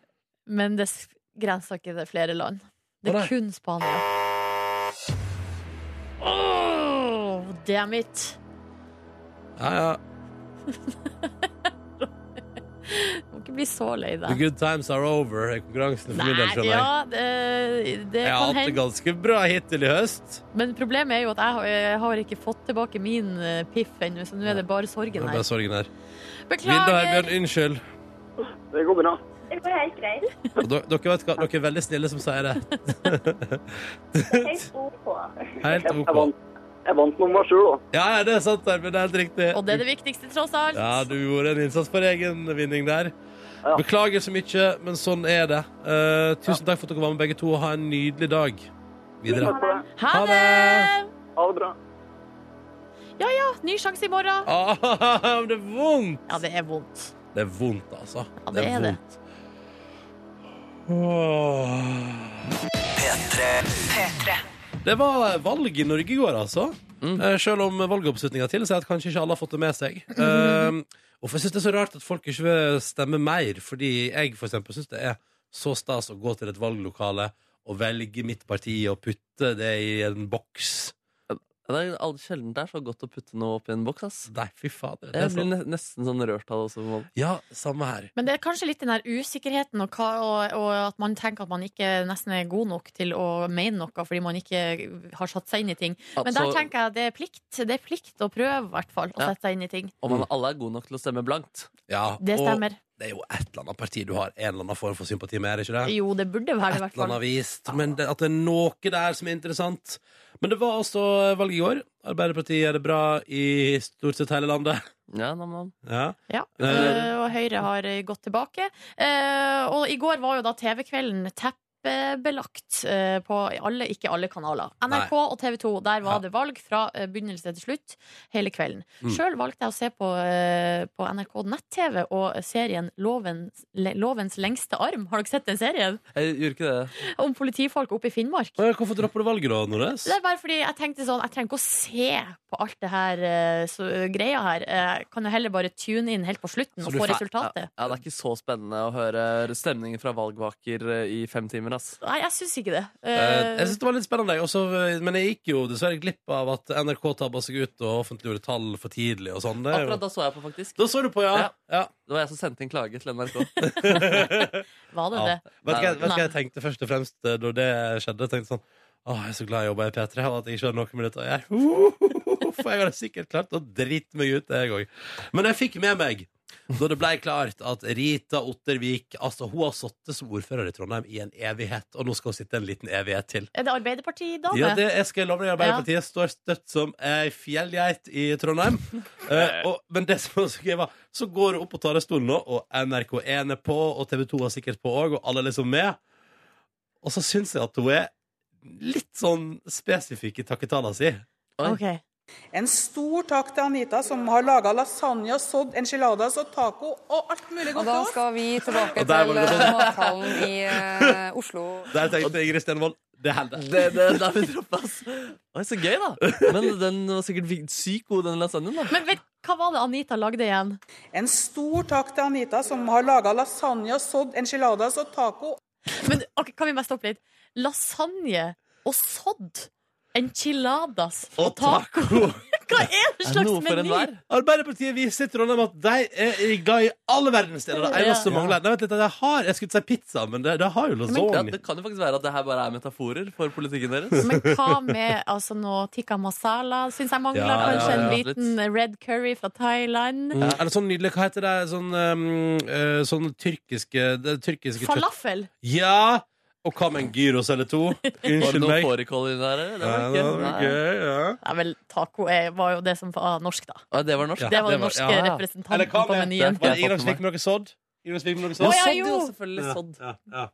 Speaker 3: men det s- grenser ikke til flere land. Det
Speaker 2: Å,
Speaker 3: er
Speaker 2: nei.
Speaker 3: kun Spania. Oh, damn it!
Speaker 2: Ja, ja.
Speaker 3: Må ikke bli så lei
Speaker 2: The
Speaker 3: deg.
Speaker 2: good times are over. er Konkurransen for min del,
Speaker 3: Nei,
Speaker 2: skjønner jeg.
Speaker 3: ja, det, det
Speaker 2: Jeg har
Speaker 3: kan
Speaker 2: hatt det
Speaker 3: hende.
Speaker 2: ganske bra hittil i høst.
Speaker 3: Men problemet er jo at jeg har, jeg har ikke fått tilbake min eh, piff ennå, så nå er det bare
Speaker 2: Det
Speaker 3: sorgen
Speaker 2: er
Speaker 3: her.
Speaker 2: bare sorgen her. Vilde og
Speaker 3: Beklager!
Speaker 2: Herbjørn, unnskyld.
Speaker 7: Det går bra.
Speaker 6: Det går helt greit.
Speaker 2: Og dere, dere, vet hva, dere er veldig snille som sier det.
Speaker 6: Helt OK.
Speaker 2: Helt
Speaker 7: Jeg, jeg,
Speaker 2: OK.
Speaker 7: vant, jeg vant noe med meg sjøl, da.
Speaker 2: Ja, ja, det er sant, Herbjørn. Det er helt riktig.
Speaker 3: Og det er det viktigste, tross alt.
Speaker 2: Ja, du gjorde en innsats for egen vinning der.
Speaker 7: Ja.
Speaker 2: Beklager så mye, men sånn er det. Eh, tusen takk for at dere var med, begge to. og Ha en nydelig dag videre.
Speaker 7: Takk for det.
Speaker 3: Ha
Speaker 2: Ha det!
Speaker 3: det!
Speaker 7: Ha det bra.
Speaker 3: Ny sjanse i morgen.
Speaker 2: Ah, men det er vondt!
Speaker 3: Ja, det er vondt.
Speaker 2: Det er vondt, altså.
Speaker 3: Ja, det er det.
Speaker 2: vondt. Åh.
Speaker 1: P3.
Speaker 2: Det var valg i Norge i går, altså. Eh, Selv om valgoppslutninga til sier at kanskje ikke alle har fått det med seg. Eh, og for jeg synes det er så rart at folk ikke vil stemme mer, fordi jeg for eksempel syns det er så stas å gå til et valglokale og velge mitt parti og putte det i en boks.
Speaker 4: Det er all- sjelden det er så godt å putte noe opp i en boks. ass
Speaker 2: Nei, fy fader. Det er
Speaker 4: Jeg blir
Speaker 2: sånn.
Speaker 4: ne nesten sånn rørt av det også. på en måte.
Speaker 2: Ja, samme her.
Speaker 3: Men det er kanskje litt den der usikkerheten og, hva, og, og at man tenker at man ikke nesten er god nok til å mene noe fordi man ikke har satt seg inn i ting. Men der
Speaker 4: Altså,
Speaker 3: tenker jeg det er plikt. Det er plikt å prøve, i hvert fall. Å
Speaker 4: Ja.
Speaker 3: sette seg inn i ting.
Speaker 4: Om man alle er gode nok til å stemme blankt.
Speaker 2: Ja,
Speaker 3: Det stemmer.
Speaker 2: Og det er jo et eller annet parti du har en eller annen form for sympati med, er det ikke det?
Speaker 3: Jo, det burde være det,
Speaker 2: et
Speaker 3: i hvert
Speaker 2: eller
Speaker 3: fall.
Speaker 2: annet vis. Men det, at det er noe der som er interessant. Men det var altså valg i går. Arbeiderpartiet gjør det bra i stort sett hele landet.
Speaker 4: Ja, nam, nam.
Speaker 2: Ja.
Speaker 3: Ja,
Speaker 2: Eh,
Speaker 3: og Høyre har eh, gått tilbake. Eh, Og i går var jo da TV-kvelden teppebelagt eh, på alle, ikke alle kanaler. NRK og TV 2. Der var
Speaker 2: Ja.
Speaker 3: det valg fra eh, begynnelse til slutt hele kvelden.
Speaker 2: Mm.
Speaker 3: Sjøl valgte jeg å se på, eh, på NRK nett-TV og serien Lovens, Le- Lovens lengste arm. Har dere sett den serien?
Speaker 4: Jeg gjorde ikke det.
Speaker 3: Om politifolk oppe i Finnmark.
Speaker 2: Men Eh, Hvorfor dropper du valget, da, Nordnes?
Speaker 3: Det er bare fordi jeg tenkte sånn Jeg trenger ikke å se på alt det her eh, så, greia her. Jeg kan jo heller bare tune inn helt på slutten
Speaker 2: Så
Speaker 3: og
Speaker 2: du
Speaker 3: få
Speaker 2: fe-
Speaker 3: resultatet.
Speaker 4: Ja, det er ikke så spennende å høre stemningen fra valgvaker eh, i fem timer. filmen, ass.
Speaker 3: Nei, jeg syns ikke det.
Speaker 2: Eh,
Speaker 3: Eh,
Speaker 2: jeg synes det var litt spennende, jeg også, eh, men jeg gikk jo dessverre glipp av at NRK tabba seg ut og offentliggjorde tall for tidlig og sånn. Det er jo-
Speaker 4: Akkurat da så jeg på, faktisk.
Speaker 2: Da så du på, ja.
Speaker 4: Ja.
Speaker 2: ja.
Speaker 4: Det var jeg som sendte inn klage til NRK.
Speaker 3: var det
Speaker 2: Ja.
Speaker 3: det?
Speaker 2: Vet du hva, jeg- vet du hva
Speaker 3: Nei.
Speaker 2: jeg tenkte først og fremst eh, da det skjedde? Jeg tenkte sånn Åh, jeg er så glad jeg jobba i P3, og at jeg ikke hadde noe med dette å gjøre. For jeg hadde sikkert klart å drite meg ut, jeg òg. Men jeg fikk med meg, da det ble klart at Rita Ottervik Altså, hun har sittet som ordfører i Trondheim i en evighet, og nå skal hun sitte en liten evighet til.
Speaker 3: Er det Arbeiderpartiet-dame?
Speaker 2: Ja, det jeg skal jeg love deg. Arbeiderpartiet står støtt som ei fjellgeit i Trondheim. Eh, og, men det som var så gøy, var så går hun opp på talerstolen nå, og NRK1 er på, og TV2 er sikkert på òg, og alle er liksom med. Og så syns jeg at hun er litt sånn spesifikk i takketala si.
Speaker 3: Ok.
Speaker 8: En stor takk til Anita, som har laga lasagne, sådd enchiladas og taco og alt mulig
Speaker 9: Og
Speaker 8: godt
Speaker 9: da
Speaker 8: til oss.
Speaker 9: skal vi tilbake
Speaker 2: Og der
Speaker 9: til
Speaker 2: var det sånn-
Speaker 9: eh, mathallen i eh, Oslo.
Speaker 2: Der tenkte jeg, Ingrid Stenvold det holder.
Speaker 4: Det, det, det er min tropp, ass. Oi, så gøy, da. Men den var sikkert vi- sykt god, den lasagnen. da
Speaker 3: Men vet, hva var det Anita lagde igjen?
Speaker 8: En stor takk til Anita, som har laga lasagne, sådd enchiladas og taco.
Speaker 3: Men ok, Kan vi bare stoppe litt? Lasagne og sodd. Enchiladas og
Speaker 2: Og
Speaker 3: taco.
Speaker 2: taco!
Speaker 3: Hva er det
Speaker 4: Er det
Speaker 3: slags
Speaker 4: noe for
Speaker 3: meny?
Speaker 4: enhver?
Speaker 2: Arbeiderpartiet viser til Trondheim at de er glad i alle verdensdeler. Det eneste som
Speaker 4: Ja.
Speaker 2: mangler Nei, vent litt, de har, Jeg skulle si pizza, men de de har jo
Speaker 4: Ja,
Speaker 2: lasagne.
Speaker 4: det kan jo faktisk være at det her bare er metaforer for politikken deres.
Speaker 3: Men hva med altså, noe tikka masala? Syns jeg mangler
Speaker 2: Ja, ja,
Speaker 3: kanskje
Speaker 2: ja,
Speaker 3: en
Speaker 4: ja,
Speaker 3: liten red curry fra Thailand.
Speaker 2: Mm. Eller sånn nydelig, hva heter det? Sånn, um, eh, sånn tyrkiske, det tyrkiske kjøtt-
Speaker 3: Falafel!
Speaker 2: Ja! Og hva med en gyros eller to?
Speaker 4: Var det
Speaker 2: Unnskyld
Speaker 4: noe
Speaker 2: meg.
Speaker 4: fårikål i den der? eller? Det
Speaker 2: Ja,
Speaker 4: var
Speaker 2: det
Speaker 4: det
Speaker 2: var
Speaker 4: ikke. Nei.
Speaker 2: gøy, ja.
Speaker 3: Nei, vel, taco er, var jo det som var norsk, da.
Speaker 4: Å, Det var norsk.
Speaker 2: Ja,
Speaker 3: Det var
Speaker 2: det
Speaker 3: den
Speaker 2: var-
Speaker 3: norske
Speaker 4: ja, ja.
Speaker 2: Eller
Speaker 3: representanten
Speaker 2: hva
Speaker 3: på
Speaker 2: med-
Speaker 3: menyen.
Speaker 2: Var
Speaker 4: Ja,
Speaker 2: det Ingrid som
Speaker 4: for meg.
Speaker 2: fikk med noe sodd? Ingrid som fikk med noe
Speaker 4: Og
Speaker 2: sodd?
Speaker 3: Å, ja,
Speaker 4: sådd, jo,
Speaker 3: jo.
Speaker 4: selvfølgelig. Sådd.
Speaker 2: Ja, ja.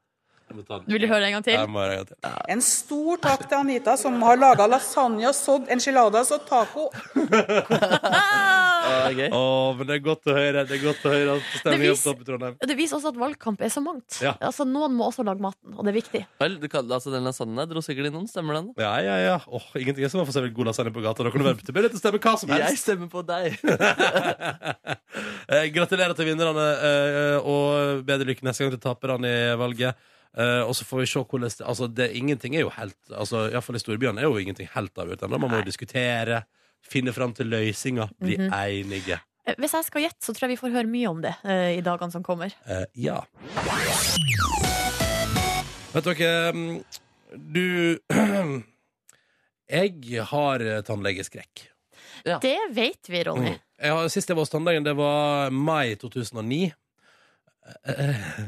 Speaker 2: Jeg må ta den.
Speaker 3: Vil du høre en gang til?
Speaker 2: Jeg må høre en gang til.
Speaker 8: En stor takk til Anita, som har laga lasagne, sådd enchiladas og taco.
Speaker 4: Ja, det er gøy.
Speaker 2: Å, men det er godt å høre Det er godt å høre at
Speaker 3: Det
Speaker 2: stemningen
Speaker 3: vis-
Speaker 2: er opp i Trondheim.
Speaker 3: Det viser også at valgkamp er så mangt.
Speaker 2: Ja.
Speaker 3: Altså, noen må også lage maten, og det er viktig.
Speaker 4: Vel, du kan, altså, den lasagnen der dro sikkert innom, stemmer den?
Speaker 2: Ja, ja, ja. Åh, ingenting er som å få se vel god lasagne på gata. Da kan du være tilbøyelig til å stemme hva som helst.
Speaker 4: Jeg stemmer på deg!
Speaker 2: Eh, gratulerer til vinnerne, eh, og bedre lykke neste gang til taperne i valget. Eh, og så får vi se hvordan det, altså, det, Ingenting er jo helt altså, Iallfall i storbyene er jo ingenting helt avgjort ennå. Man må jo diskutere, finne fram til løsninger, bli enige.
Speaker 3: Eh, Hvis jeg skal gjette, så tror jeg vi får høre mye om det eh, i dagene som kommer.
Speaker 2: Eh, ja. Vet dere mm, Du Jeg har tannlegeskrekk.
Speaker 3: Det vet vi, Ronny.
Speaker 2: Jeg har, sist jeg var hos tannlegen, det var mai 2009.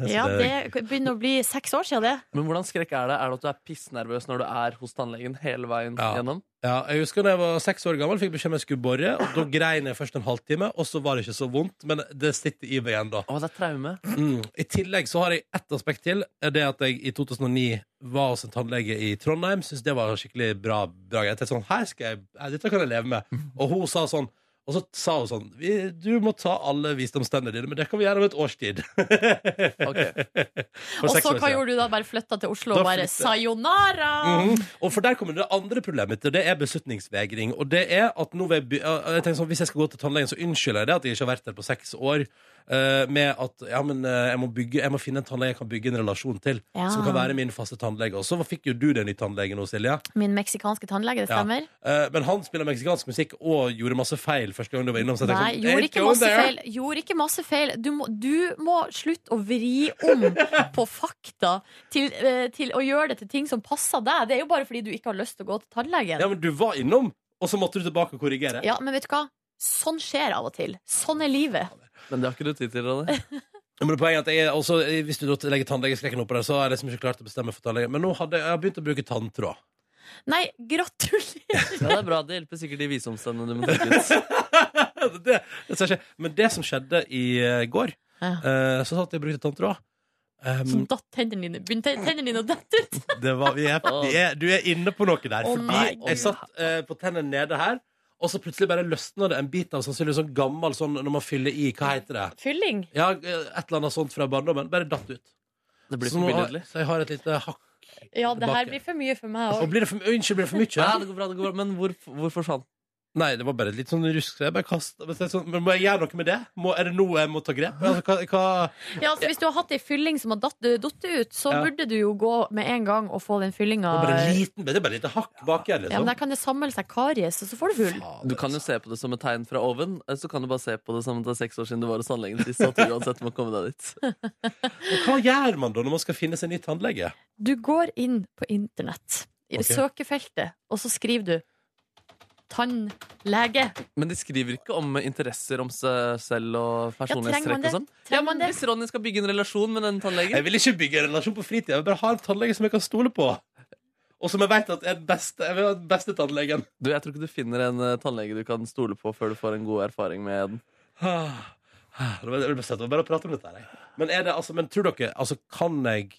Speaker 3: Ja, det begynner å bli seks år siden det.
Speaker 4: Men hvordan skrekk er det? Er det at du er pissnervøs når du er hos tannlegen hele veien
Speaker 2: Ja.
Speaker 4: gjennom?
Speaker 2: Ja, jeg husker da jeg var seks år gammel, fikk beskjed om jeg skulle bore. Og Da grein jeg først en halvtime, og så var det ikke så vondt. Men det sitter i meg igjen da.
Speaker 4: Å, det er traume.
Speaker 2: Mm. I tillegg så har jeg ett aspekt til. er Det at jeg i 2009 var hos en tannlege i Trondheim. Syns det var skikkelig bra. bra. Jeg tenkte sånn, her skal jeg, ja, Dette kan jeg leve
Speaker 3: Mm.
Speaker 2: med. Og hun sa sånn og så sa hun sånn vi, Du må ta alle visdomstennene dine, men det kan vi gjøre om et års tid.
Speaker 4: Ok.
Speaker 2: For
Speaker 3: Og
Speaker 2: seks
Speaker 3: så
Speaker 2: år
Speaker 3: hva
Speaker 2: siden.
Speaker 3: gjorde du da? Bare flytta til Oslo
Speaker 2: Da
Speaker 3: og bare
Speaker 2: flyttet-
Speaker 3: sayonara!
Speaker 2: Mhm. Og for der kommer det andre problemet mitt, og det er beslutningsvegring. Og det er at nå vil jeg, be- øh, jeg tenker sånn, Hvis jeg skal gå til tannlegen, så unnskylder jeg det at jeg ikke har vært der på seks år. øh, med at ja, men, øh, jeg, må bygge, jeg må finne en tannlege jeg kan bygge en relasjon til.
Speaker 3: Ja.
Speaker 2: Som kan være min faste tannlege. Og så fikk jo du deg ny tannlege nå, Silje.
Speaker 3: Min meksikanske tannlege, det
Speaker 2: Ja.
Speaker 3: stemmer?
Speaker 2: Eh, men han spiller meksikansk musikk og gjorde masse feil første gang du var innom. Så jeg tenkte
Speaker 3: Nei,
Speaker 2: sånn,
Speaker 3: gjorde
Speaker 2: "Ain't
Speaker 3: ikke
Speaker 2: going
Speaker 3: masse
Speaker 2: there."
Speaker 3: feil. Gjorde ikke masse feil. Du må, du må slutte å vri om på fakta til, eh, til å gjøre det til ting som passer deg. Det er jo bare fordi du ikke har lyst til å gå til tannlegen.
Speaker 2: Ja, men du var innom, og så måtte du tilbake og korrigere.
Speaker 3: Ja, men vet du hva? Sånn skjer av og til. Sånn er livet.
Speaker 4: Men det har ikke du tid til, Ronny.
Speaker 2: Men poenget er at jeg, er også, Hvis du da legger tannlegeskrekken oppå der, så har jeg liksom ikke klart å bestemme for tannlege. Men nå hadde jeg, jeg har begynt å bruke tanntråd.
Speaker 3: Nei, gratulerer!
Speaker 4: Ja, det er bra. Det hjelper sikkert de visdomstennene du må trekke ut.
Speaker 2: det, det skal skje. Men det som skjedde i eh, går,
Speaker 3: Ja.
Speaker 2: eh, så satt jeg og brukte tanntråd. Um,
Speaker 3: Så datt tendene dine Begynte tennene dine å dette ut.
Speaker 2: det var, vi er, vi er, du er inne på noe der.
Speaker 3: Å,
Speaker 2: Fordi
Speaker 3: nei,
Speaker 2: jeg
Speaker 3: Gud.
Speaker 2: satt eh, på tennene nede her, og så plutselig bare løsna det en bit av sannsynligvis sånn gammel sånn når man fyller i Hva heter det?
Speaker 3: Fylling.
Speaker 2: Ja, eh, et eller annet sånt fra barndommen. Bare datt ut.
Speaker 4: Det blir
Speaker 2: Så, nå,
Speaker 4: for
Speaker 2: har-
Speaker 4: billedlig.
Speaker 2: så jeg har et lite hakk.
Speaker 3: Ja, det her
Speaker 2: Tilbake.
Speaker 3: blir for mye for meg
Speaker 2: Og
Speaker 3: òg.
Speaker 2: blir det for, unnskyld, blir det for mye?
Speaker 4: Ja, det går bra, det går bra. Men hvor, hvor forsvant
Speaker 2: Nei, det var bare litt sånn rusk. så Jeg bare kastet, men så er det sånn, men må jeg gjøre noe med det? Må, er det nå jeg må ta grep? Altså, hva, hva,
Speaker 3: Ja, altså Hvis du har hatt ei fylling som har datt- datt ut, så
Speaker 2: Ja.
Speaker 3: burde du jo gå med en gang og få den fyllinga.
Speaker 2: det er bare en liten, det er bare et lite hakk baki her,
Speaker 3: Ja, men
Speaker 2: liksom.
Speaker 3: Der kan det samle seg karies, og så får du hull.
Speaker 4: Du kan jo se på det som et tegn fra oven, eller så kan du bare se på det som at det er seks år siden du var hos tannlegen sist. At du uansett må komme deg dit.
Speaker 2: Men Hva gjør man da når man skal finne seg ny tannlege?
Speaker 3: Du går inn på internett, i
Speaker 2: Ok.
Speaker 3: søkefeltet, og så skriver du 'tannlege'.
Speaker 4: Men de skriver ikke om interesser om seg selv
Speaker 3: trenger
Speaker 4: og
Speaker 3: man
Speaker 4: personlighetstrekk
Speaker 3: det?
Speaker 4: og sånn.
Speaker 3: Trenger
Speaker 4: Ja,
Speaker 3: man
Speaker 4: men
Speaker 3: det?
Speaker 4: Hvis Ronny skal bygge en relasjon med den
Speaker 2: Jeg
Speaker 4: tannlegen
Speaker 2: vil ikke bygge en relasjon på fritida, jeg vil bare ha en tannlege som jeg kan stole på. Og som jeg vet at er den beste, jeg vil ha den beste tannlegen.
Speaker 4: Du, Jeg tror ikke du finner en eh, tannlege du kan stole på før du får en god erfaring med den.
Speaker 2: Ah, ah, Det var det var best at jeg bare prater om dette her. jeg. Men, er det, altså, men tror dere altså, Kan jeg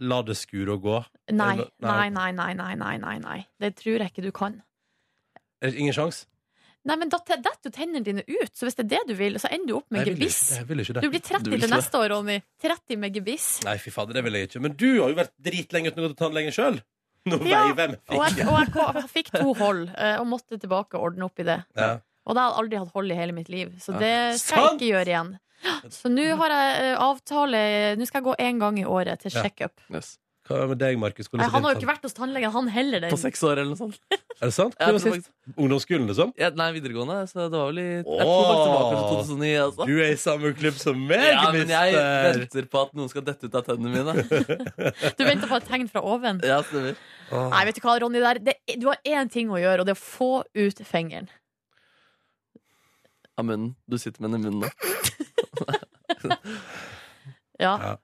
Speaker 2: la det skure og gå?
Speaker 3: Nei,
Speaker 2: Eller-
Speaker 3: nei, nei, nei, nei, nei, nei, nei. Det tror jeg ikke du kan.
Speaker 2: Er det Ingen sjans?
Speaker 3: Nei, men da te- detter jo tennene dine ut, så hvis det er det du vil, så ender du opp med
Speaker 2: Nei, jeg vil
Speaker 3: gebiss.
Speaker 2: ikke, jeg vil ikke det.
Speaker 3: Du blir 30
Speaker 4: Du vil
Speaker 3: til
Speaker 4: ikke
Speaker 3: neste år, Ronny. 30 med gebiss.
Speaker 2: Nei, fy fader, det vil jeg ikke. Men du har jo vært dritlenge uten å gå til tannlegen sjøl. Nå
Speaker 3: Ja,
Speaker 2: veiver jeg meg.
Speaker 3: Og jeg, og jeg, kom- jeg fikk to hold, eh, og måtte tilbake og ordne opp i det.
Speaker 2: Ja.
Speaker 3: Og da har jeg aldri hatt hold i hele mitt liv, så
Speaker 2: Ja.
Speaker 3: det skal
Speaker 2: Sant!
Speaker 3: jeg ikke gjøre igjen. Så nå har jeg eh, avtale Nå skal jeg gå én gang i året til
Speaker 2: Ja.
Speaker 3: sjekkup.
Speaker 4: Yes.
Speaker 2: Hva med deg, Markus? Hvordan
Speaker 3: Nei,
Speaker 2: er
Speaker 3: Han har jo
Speaker 2: din
Speaker 3: ikke vært hos tannlegen, han heller.
Speaker 4: På
Speaker 3: Den.
Speaker 4: seks år eller noe sånt.
Speaker 2: tann- Er det sant?
Speaker 4: Ja,
Speaker 2: Hvor var
Speaker 4: jeg tror
Speaker 2: sist? Ungdomsskolen, liksom?
Speaker 4: Ja, nei, videregående. Så det var vel i Jeg tror faktisk det var
Speaker 2: Åh.
Speaker 4: kanskje 2009. altså
Speaker 2: Du er i samme klubb som meg,
Speaker 4: Ja, men jeg
Speaker 2: mister!
Speaker 4: venter på at noen skal dette ut av tennene mine.
Speaker 3: Du venter på et tegn fra oven.
Speaker 4: Ja, stemmer.
Speaker 3: Nei, vet du hva, Ronny, der, det, du har én ting å gjøre, og det er å få ut fingeren.
Speaker 4: Av munnen. Du sitter med den i munnen nå.
Speaker 3: Ja.
Speaker 2: Ja.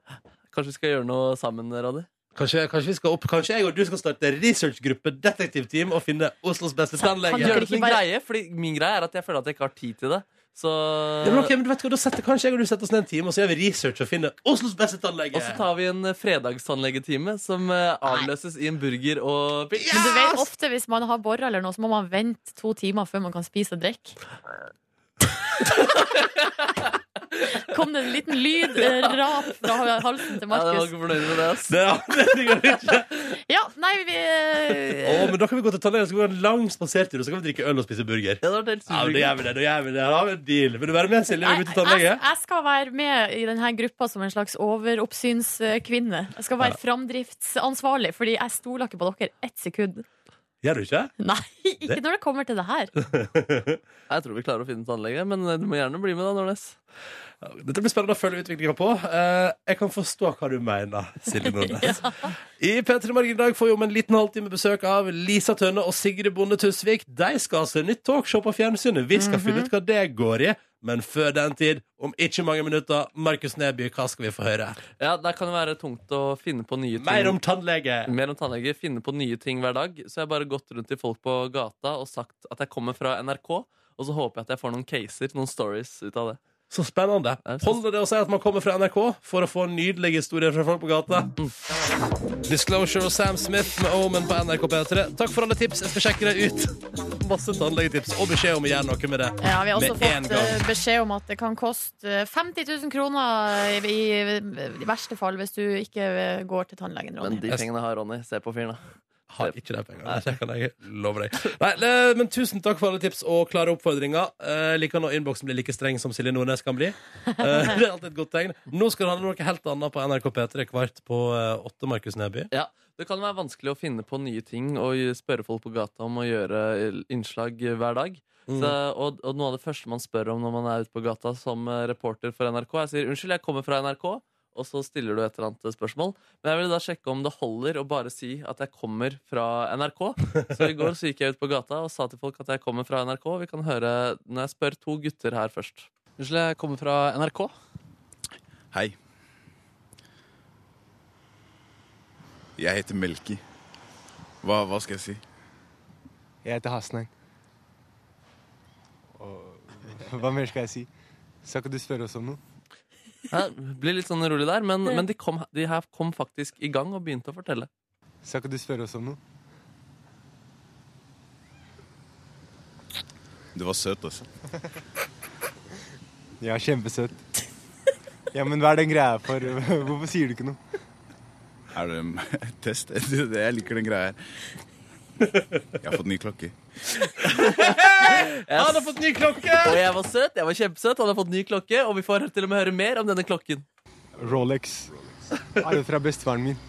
Speaker 4: Kanskje vi skal gjøre noe sammen, Radi?
Speaker 2: Kanskje, kanskje, vi skal opp, kanskje jeg og du skal starte researchgruppe, detektivteam, og finne Oslos beste tannlege?
Speaker 3: kan
Speaker 4: Gjør
Speaker 3: dere
Speaker 4: det
Speaker 3: ikke
Speaker 4: til en
Speaker 3: bare-
Speaker 4: greie, fordi min greie er at jeg føler at jeg ikke har tid til det. Så
Speaker 2: Ja, men ok, men du vet hva, da setter Kanskje jeg og du setter oss ned en time, og så gjør vi research og finner Oslos beste tannlege.
Speaker 4: Og så tar vi en eh, fredagstannlegetime som eh, avløses i en burger og pils.
Speaker 3: Men du vet ofte hvis man har borre eller noe, så må man vente to timer før man kan spise og drikke. Kom det en liten lyd, eh, rap fra halsen til
Speaker 4: Ja, jeg var
Speaker 3: Markus.
Speaker 4: ikke fornøyd med det. ass.
Speaker 2: Det, ja, det går ikke.
Speaker 3: Ja, nei, vi eh,
Speaker 2: Å, men da kan vi gå til tannlegen, så kan vi ha en lang spasertur, og så kan vi drikke øl og spise burger.
Speaker 4: Ja, det var helt
Speaker 2: Ja, men
Speaker 4: superhyggelig.
Speaker 2: da gjør vi det. Da gjør vi det. Da har vi en deal. Vil du være med, Silje?
Speaker 3: Nei,
Speaker 2: Vi går til
Speaker 3: jeg,
Speaker 2: tannlege.
Speaker 3: jeg skal være med i denne gruppa som en slags overoppsynskvinne. Jeg skal være framdriftsansvarlig, fordi jeg stoler ikke på dere ett sekund.
Speaker 2: Gjør du ikke?
Speaker 3: Nei, ikke når det kommer til det her.
Speaker 4: Jeg tror vi klarer å finne tannlege, men eh, du må gjerne bli med, da, Nordnes.
Speaker 2: Dette blir spennende å følge utviklinga på. Eh, jeg kan forstå hva du mener, Silje Nordnes. I P3 Morgen i dag får vi om en liten halvtime besøk av Lisa Tønne og Sigrid Bonde Tusvik. De skal ha seg nytt talkshow på fjernsynet. Vi skal finne ut hva det går i. Men før den tid, om ikke mange minutter, Markus Neby, hva skal vi få høre?
Speaker 4: Ja, Det kan jo være tungt å finne på nye ting.
Speaker 2: Mer om tannlege.
Speaker 4: mer om tannlege, finne på nye ting hver dag. Så jeg har bare gått rundt til folk på gata og sagt at jeg kommer fra NRK. Og så håper jeg at jeg får noen caser, noen stories ut av det.
Speaker 2: Så spennende.
Speaker 4: Ja, det synes-
Speaker 2: Holder det å si at man kommer fra NRK for å få nydelige historier fra folk på gata? Disclosure og Sam Smith med Omen på NRK P3. Takk for alle tips. Jeg skal sjekke det ut. Masse tannlegetips og beskjed om å gjøre noe med det.
Speaker 3: Ja, vi har også
Speaker 2: Med en
Speaker 3: fått
Speaker 2: gang.
Speaker 3: eh, beskjed om at det kan koste eh, 50 000 kroner i, i, i verste fall hvis du ikke eh, går til tannlegen,
Speaker 4: Men
Speaker 3: Ronny.
Speaker 4: de pengene har Ronny. Se på fyren, da.
Speaker 2: Har ikke de pengene. Det kan jeg love deg. Nei, le- men tusen takk for alle tips og klare oppfordringer. Eh, liker når innboksen blir like streng som Silje Nordnes kan bli. Eh, det er alltid et godt tegn. Nå skal det handle om noe helt annet på NRK P3 kvart på eh, åtte, Markus Neby.
Speaker 4: Ja, Det kan være vanskelig å finne på nye ting og spørre folk på gata om å gjøre innslag hver dag. Så, og, og noe av det første man spør om når man er ute på gata som eh, reporter for NRK, jeg sier 'unnskyld, jeg kommer fra NRK', og så stiller du et eller annet spørsmål. Men jeg ville da sjekke om det holder å bare si at jeg kommer fra NRK. Så i går så gikk jeg ut på gata og sa til folk at jeg kommer fra NRK. Vi kan høre når jeg spør to gutter her først. Unnskyld, jeg kommer fra NRK.
Speaker 10: Hei. Jeg heter Melki. Hva, hva skal jeg si?
Speaker 11: Jeg heter Hasnang. Og hva mer skal jeg si? Skal ikke du spørre oss om noe?
Speaker 4: Ja, Blir litt sånn rolig der, men, men de, kom, de her kom faktisk i gang og begynte å fortelle.
Speaker 11: Skal ikke du spørre oss om noe?
Speaker 10: Du var søt, altså.
Speaker 11: Ja, kjempesøt. Ja, men hva er den greia for? Hvorfor sier du ikke noe?
Speaker 10: Er det en test? Jeg liker den greia her. Jeg har fått ny klokke.
Speaker 4: Han
Speaker 2: har fått ny klokke!
Speaker 4: Og jeg var søt. Jeg var kjempesøt. Han har fått ny klokke, og vi får til og med høre mer om denne klokken.
Speaker 11: Rolex. Arvet fra bestefaren min.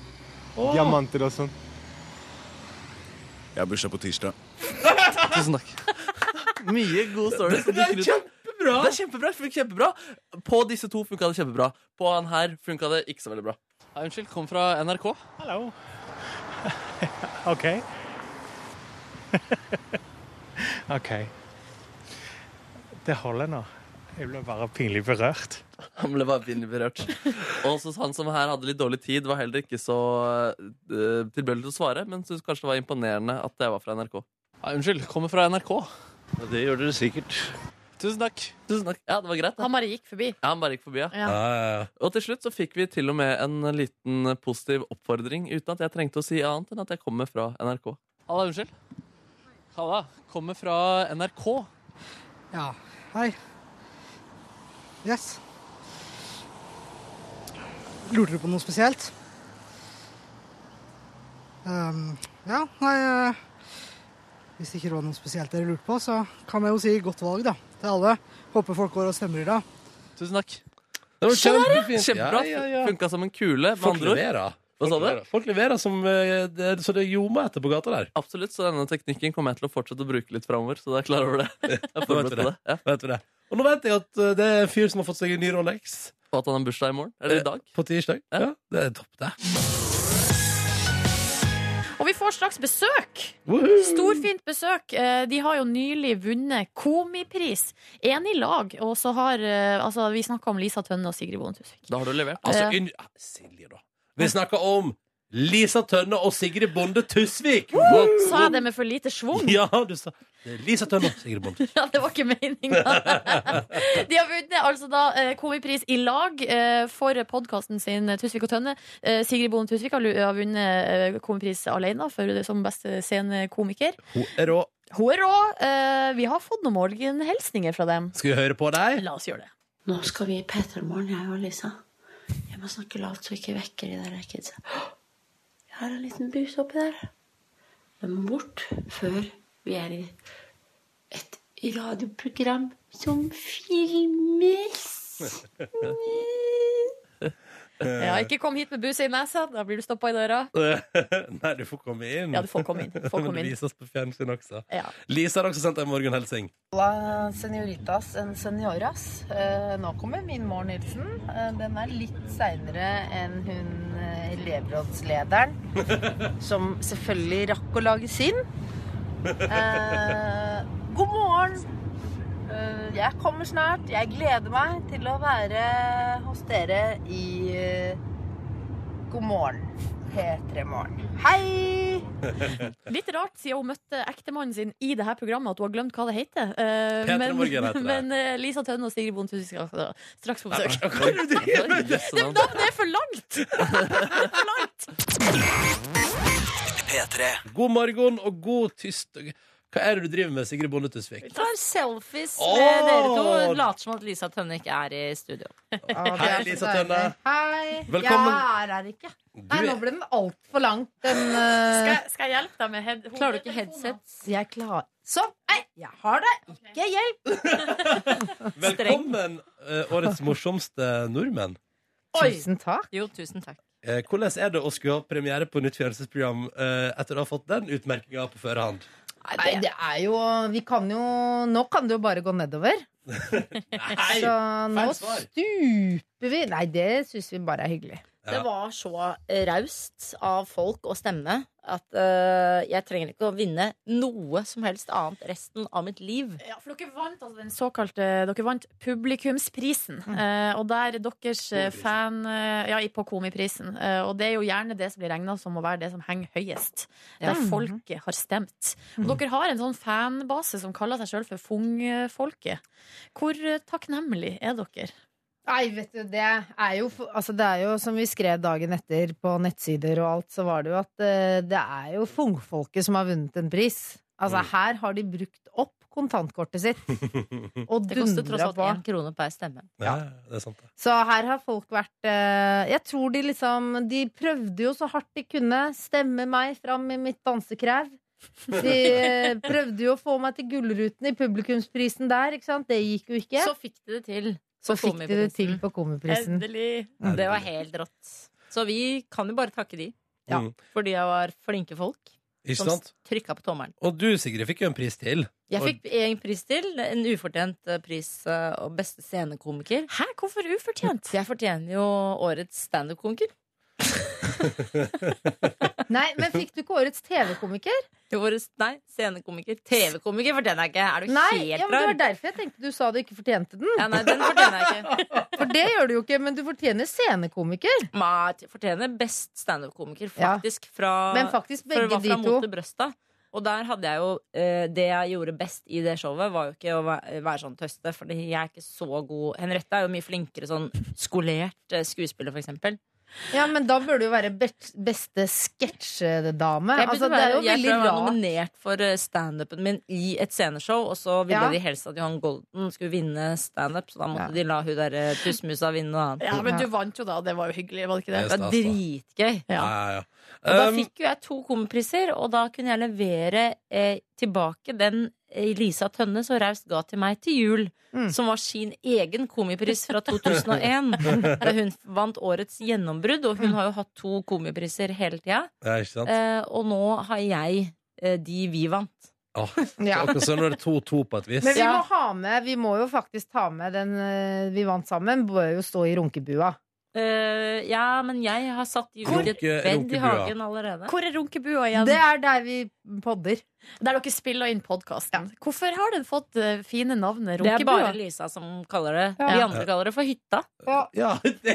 Speaker 4: Åh.
Speaker 11: Diamanter og sånn.
Speaker 10: Jeg har bursdag på tirsdag.
Speaker 4: Tusen takk. Mye gode stories. Det er kjempebra! Det er kjempebra, det funker kjempebra. På disse to funka det kjempebra. På han her funka det ikke så veldig bra. Hei, unnskyld, kom fra NRK.
Speaker 12: Hallo. OK. OK. Det holder nå. Jeg ble bare pinlig berørt.
Speaker 4: Han ble bare pinlig berørt. Og så han som her hadde litt dårlig tid, var heller ikke så eh, tilbøyelig til å svare, men syntes kanskje det var imponerende at jeg var fra NRK. Hei, unnskyld, kommer fra NRK.
Speaker 13: Det gjør dere sikkert.
Speaker 4: Tusen takk. Tusen takk. Ja, det var greit. det.
Speaker 3: Han bare gikk forbi.
Speaker 4: Ja, han bare gikk forbi, ja.
Speaker 3: Ja.
Speaker 4: Og til slutt så fikk vi til og med en liten positiv oppfordring, uten at jeg trengte å si annet enn at jeg kommer fra NRK. Halla, unnskyld. Halla. Kommer fra NRK.
Speaker 14: Ja. Hei. Yes. Lurte du på noe spesielt? Ehm, ja, nei eh, Hvis det ikke var noe spesielt dere lurte på, så kan jeg jo si godt valg, da. Til alle. Håper folk går og stemmer i dag.
Speaker 4: Tusen takk.
Speaker 2: Det var
Speaker 4: Se der, ja.
Speaker 2: kjempefint.
Speaker 4: Sånn Kjempebra.
Speaker 2: Ja, ja, ja.
Speaker 4: Funka som en kule. med
Speaker 2: Folk
Speaker 4: andre ord.
Speaker 2: leverer.
Speaker 4: Hva sa
Speaker 2: Folk
Speaker 4: du?
Speaker 2: leverer. Folk leverer som eh, det, Så det ljomer etter på gata der.
Speaker 4: Absolutt, så denne teknikken kommer jeg til å fortsette å bruke litt framover. Så da er jeg klar over det. Jeg er
Speaker 2: Da vet
Speaker 4: forberedt
Speaker 2: vi
Speaker 4: på
Speaker 2: det.
Speaker 4: det. Ja.
Speaker 2: Da Vet vi det. Og nå vet jeg at eh, det er en fyr som har fått seg en ny Rolex.
Speaker 4: Og at han har bursdag i morgen. Eller i dag.
Speaker 2: På tirsdag. Ja. det er topp, det.
Speaker 3: Og vi får straks besøk!
Speaker 2: Woohoo!
Speaker 3: Storfint besøk. Eh, De har jo nylig vunnet Komipris. Én i lag. Og så har eh, altså, Vi snakka om Lisa Tønne og Sigrid Bonde Tusvik.
Speaker 4: Da har du levert.
Speaker 2: Altså,
Speaker 3: Ja.
Speaker 2: unn- ah, Silje, da. Vi snakker om Lisa Tønne og Sigrid Bonde Tusvik.
Speaker 3: Sa jeg det med for lite schwung?
Speaker 2: Ja, du sa det er Lisa Tønne og Sigrid Bonde.
Speaker 3: Ja, det var ikke meninga. De har vunnet altså da eh, Komipris i lag eh, for podkasten sin eh, Tusvik og Tønne. Eh, Sigrid Bonde Tusvik har lu- har vunnet eh, Komipris alene for, som beste scenekomiker.
Speaker 2: Hun er rå.
Speaker 3: Hun er rå. Eh, Vi har fått noen morgenhilsninger fra dem.
Speaker 2: Skal vi høre på deg?
Speaker 3: La oss gjøre det.
Speaker 15: Nå skal vi i P3morgen, jeg og Lisa. Jeg må snakke lavt så jeg ikke vekker de der kidsa. Jeg har en liten bus oppi der. Den må bort før vi er i et radioprogram som filmes.
Speaker 3: Ja, ikke kom hit med buset i nesa, da blir du stoppa i døra.
Speaker 2: Nei, du får komme inn.
Speaker 3: Ja, du får komme inn. Du får
Speaker 2: Men
Speaker 3: komme
Speaker 2: det
Speaker 3: inn.
Speaker 2: vises på fjernsyn også.
Speaker 3: Ja.
Speaker 2: Lisa har også sendt en morgenhelsing.
Speaker 16: Hola, Eh, senioritas en senioras. Eh, nå kommer min morgenhilsen. Eh, den er litt seinere enn hun eh, elevrådslederen, som selvfølgelig rakk å lage sin. Eh, god morgen! Eh, jeg kommer snart. Jeg gleder meg til å være hos dere i eh, God morgen, P3 Morgen. Hei!
Speaker 3: Litt rart, siden hun møtte ektemannen sin i det her programmet, at hun har glemt hva det heter. Eh,
Speaker 2: Petra
Speaker 3: men
Speaker 2: Morgen heter det.
Speaker 3: men eh, Lisa Tønne og Sigrid Bonde Tusvik skal altså straks på besøk.
Speaker 2: Hva er det du driver med?
Speaker 3: Det, det, det er for langt!
Speaker 2: God morgen og god tirsdag. Hva er det du driver med, Sigrid Bonde Tusvik?
Speaker 17: Vi tar selfies
Speaker 2: Åh!
Speaker 17: med dere to. Later som at Lisa Tønne ikke er i studio.
Speaker 2: Hei, Lisa Tønne.
Speaker 16: Hei.
Speaker 2: Velkommen.
Speaker 16: Jeg er her ikke. Nei,
Speaker 2: er-
Speaker 16: nå ble den altfor lang. Den, eh,
Speaker 3: Skal, skal jeg hjelpe deg med head
Speaker 17: Klarer du ikke
Speaker 3: headsets?
Speaker 16: Jeg klarer Sånn! Nei, jeg har det! Ikke hjelp!
Speaker 2: Velkommen, eh, årets morsomste nordmenn.
Speaker 16: Tusen takk.
Speaker 17: Jo, tusen takk.
Speaker 2: Eh, hvordan er det å skulle ha premiere på nytt fjernsynsprogram eh, etter å ha fått den utmerkinga på førehånd?
Speaker 16: Nei, det er jo Vi kan jo Nå kan det jo bare gå nedover. Nei, Så nå
Speaker 17: feil svar.
Speaker 16: stuper vi. Nei, det syns vi bare er hyggelig.
Speaker 17: Det var så raust av folk å stemme at eh, jeg trenger ikke å vinne noe som helst annet resten av mitt liv.
Speaker 3: Ja, for dere vant altså den såkalte Dere vant publikumsprisen.
Speaker 2: Mm.
Speaker 3: Eh, og der deres eh, fan eh, Ja, i- på Komiprisen. Eh, og det er jo gjerne det som blir regna som å være det som henger høyest.
Speaker 17: Ja.
Speaker 2: Mhm.
Speaker 3: Der folket har stemt. Og dere har en sånn fanbase som kaller seg sjøl for Fung-folket. Hvor eh, takknemlig er dere?
Speaker 16: Nei, vet du, det er jo for- Altså, det er jo som vi skrev dagen etter på nettsider og alt, så var det jo at eh, det er jo fungfolket som har vunnet en pris. Altså, her har de brukt opp kontantkortet sitt. Og
Speaker 17: det koster
Speaker 16: dundra
Speaker 17: tross alt
Speaker 16: på.
Speaker 17: én krone per stemme.
Speaker 2: Ja, det er sant. det.
Speaker 16: Så her har folk vært eh, Jeg tror de liksom De prøvde jo så hardt de kunne stemme meg fram i mitt dansekrev. De eh, prøvde jo å få meg til Gullruten i publikumsprisen der, ikke sant? Det gikk jo ikke.
Speaker 3: Så fikk de det til.
Speaker 16: Så
Speaker 3: på
Speaker 16: fikk de det
Speaker 3: Komiprisen.
Speaker 16: til på Komiprisen.
Speaker 3: Endelig.
Speaker 16: Mm.
Speaker 3: Det var helt rått. Så vi kan jo bare takke de.
Speaker 2: Ja. Mm.
Speaker 3: For de var flinke folk.
Speaker 2: Ikke
Speaker 3: som
Speaker 2: sant?
Speaker 3: trykka på tommelen.
Speaker 2: Og du, Sigrid, fikk jo en pris til.
Speaker 3: Jeg
Speaker 2: Og-
Speaker 3: fikk en pris til. En ufortjent eh, pris eh, og beste scenekomiker.
Speaker 6: Hæ? Hvorfor ufortjent?
Speaker 3: Jeg fortjener jo årets standup-komiker.
Speaker 16: Nei, men fikk du ikke årets TV-komiker?
Speaker 3: Årets, nei, scenekomiker. TV-komiker fortjener jeg ikke. Er du
Speaker 16: Nei,
Speaker 3: helt
Speaker 16: ja, men det
Speaker 3: rar?
Speaker 16: var derfor jeg tenkte du sa du ikke fortjente den.
Speaker 3: Ja, nei, den fortjener jeg ikke.
Speaker 16: For det gjør du jo ikke, men du fortjener scenekomiker.
Speaker 3: Ma- fortjener best standup-komiker,
Speaker 16: Ja.
Speaker 3: faktisk. Fra,
Speaker 16: Men faktisk
Speaker 3: for det
Speaker 16: begge
Speaker 3: var fra
Speaker 16: de
Speaker 3: mot
Speaker 16: to.
Speaker 3: til brøsta. Og der hadde jeg jo eh, Det jeg gjorde best i det showet, var jo ikke å være, være sånn tøste, for jeg er ikke så god Henriette er jo mye flinkere sånn skolert eh, skuespiller, for eksempel.
Speaker 16: Ja, men da burde du jo være bet- beste sketsjedame.
Speaker 3: Jeg,
Speaker 16: Altså,
Speaker 3: burde
Speaker 16: det er
Speaker 3: være-
Speaker 16: jo
Speaker 3: jeg tror
Speaker 16: veldig
Speaker 3: jeg var
Speaker 16: rart.
Speaker 3: nominert for eh, standupen min i et sceneshow, og så ville
Speaker 16: Ja.
Speaker 3: de helst at Johan Golden skulle vinne standup, så da måtte de la hun derre tussmusa vinne noe annet.
Speaker 6: Ja, men du vant jo da, det var jo hyggelig, var det ikke det?
Speaker 3: Det var dritgøy.
Speaker 2: Ja, ja,
Speaker 3: Og da
Speaker 2: Um,
Speaker 3: fikk jo jeg to komipriser, og da kunne jeg levere eh, tilbake den eh, Lisa Tønne så raust ga til meg til jul. Som var sin egen komipris fra 2001. da hun vant årets gjennombrudd, og hun har jo hatt to komipriser hele tida.
Speaker 2: Ja, ikke sant?
Speaker 3: Eh, og nå har jeg eh, de vi vant.
Speaker 2: Åh,
Speaker 16: Ja.
Speaker 2: Akkurat som når det er 2-2 på et vis.
Speaker 16: Men vi må, ha med, vi må jo faktisk ta med den eh, vi vant sammen, bør jo stå i runkebua.
Speaker 3: Eh, ja, men jeg har satt de ut i et
Speaker 16: Runke-
Speaker 3: bed i
Speaker 16: runkebua.
Speaker 3: hagen allerede.
Speaker 6: Hvor er runkebua igjen?
Speaker 16: Det er der vi podder.
Speaker 6: Der dere spiller inn podkasten. Hvorfor har den fått eh, fine navn?
Speaker 3: Det er
Speaker 6: Runkebua?
Speaker 3: bare Lisa som kaller det.
Speaker 6: Ja.
Speaker 3: Vi andre kaller det for hytta.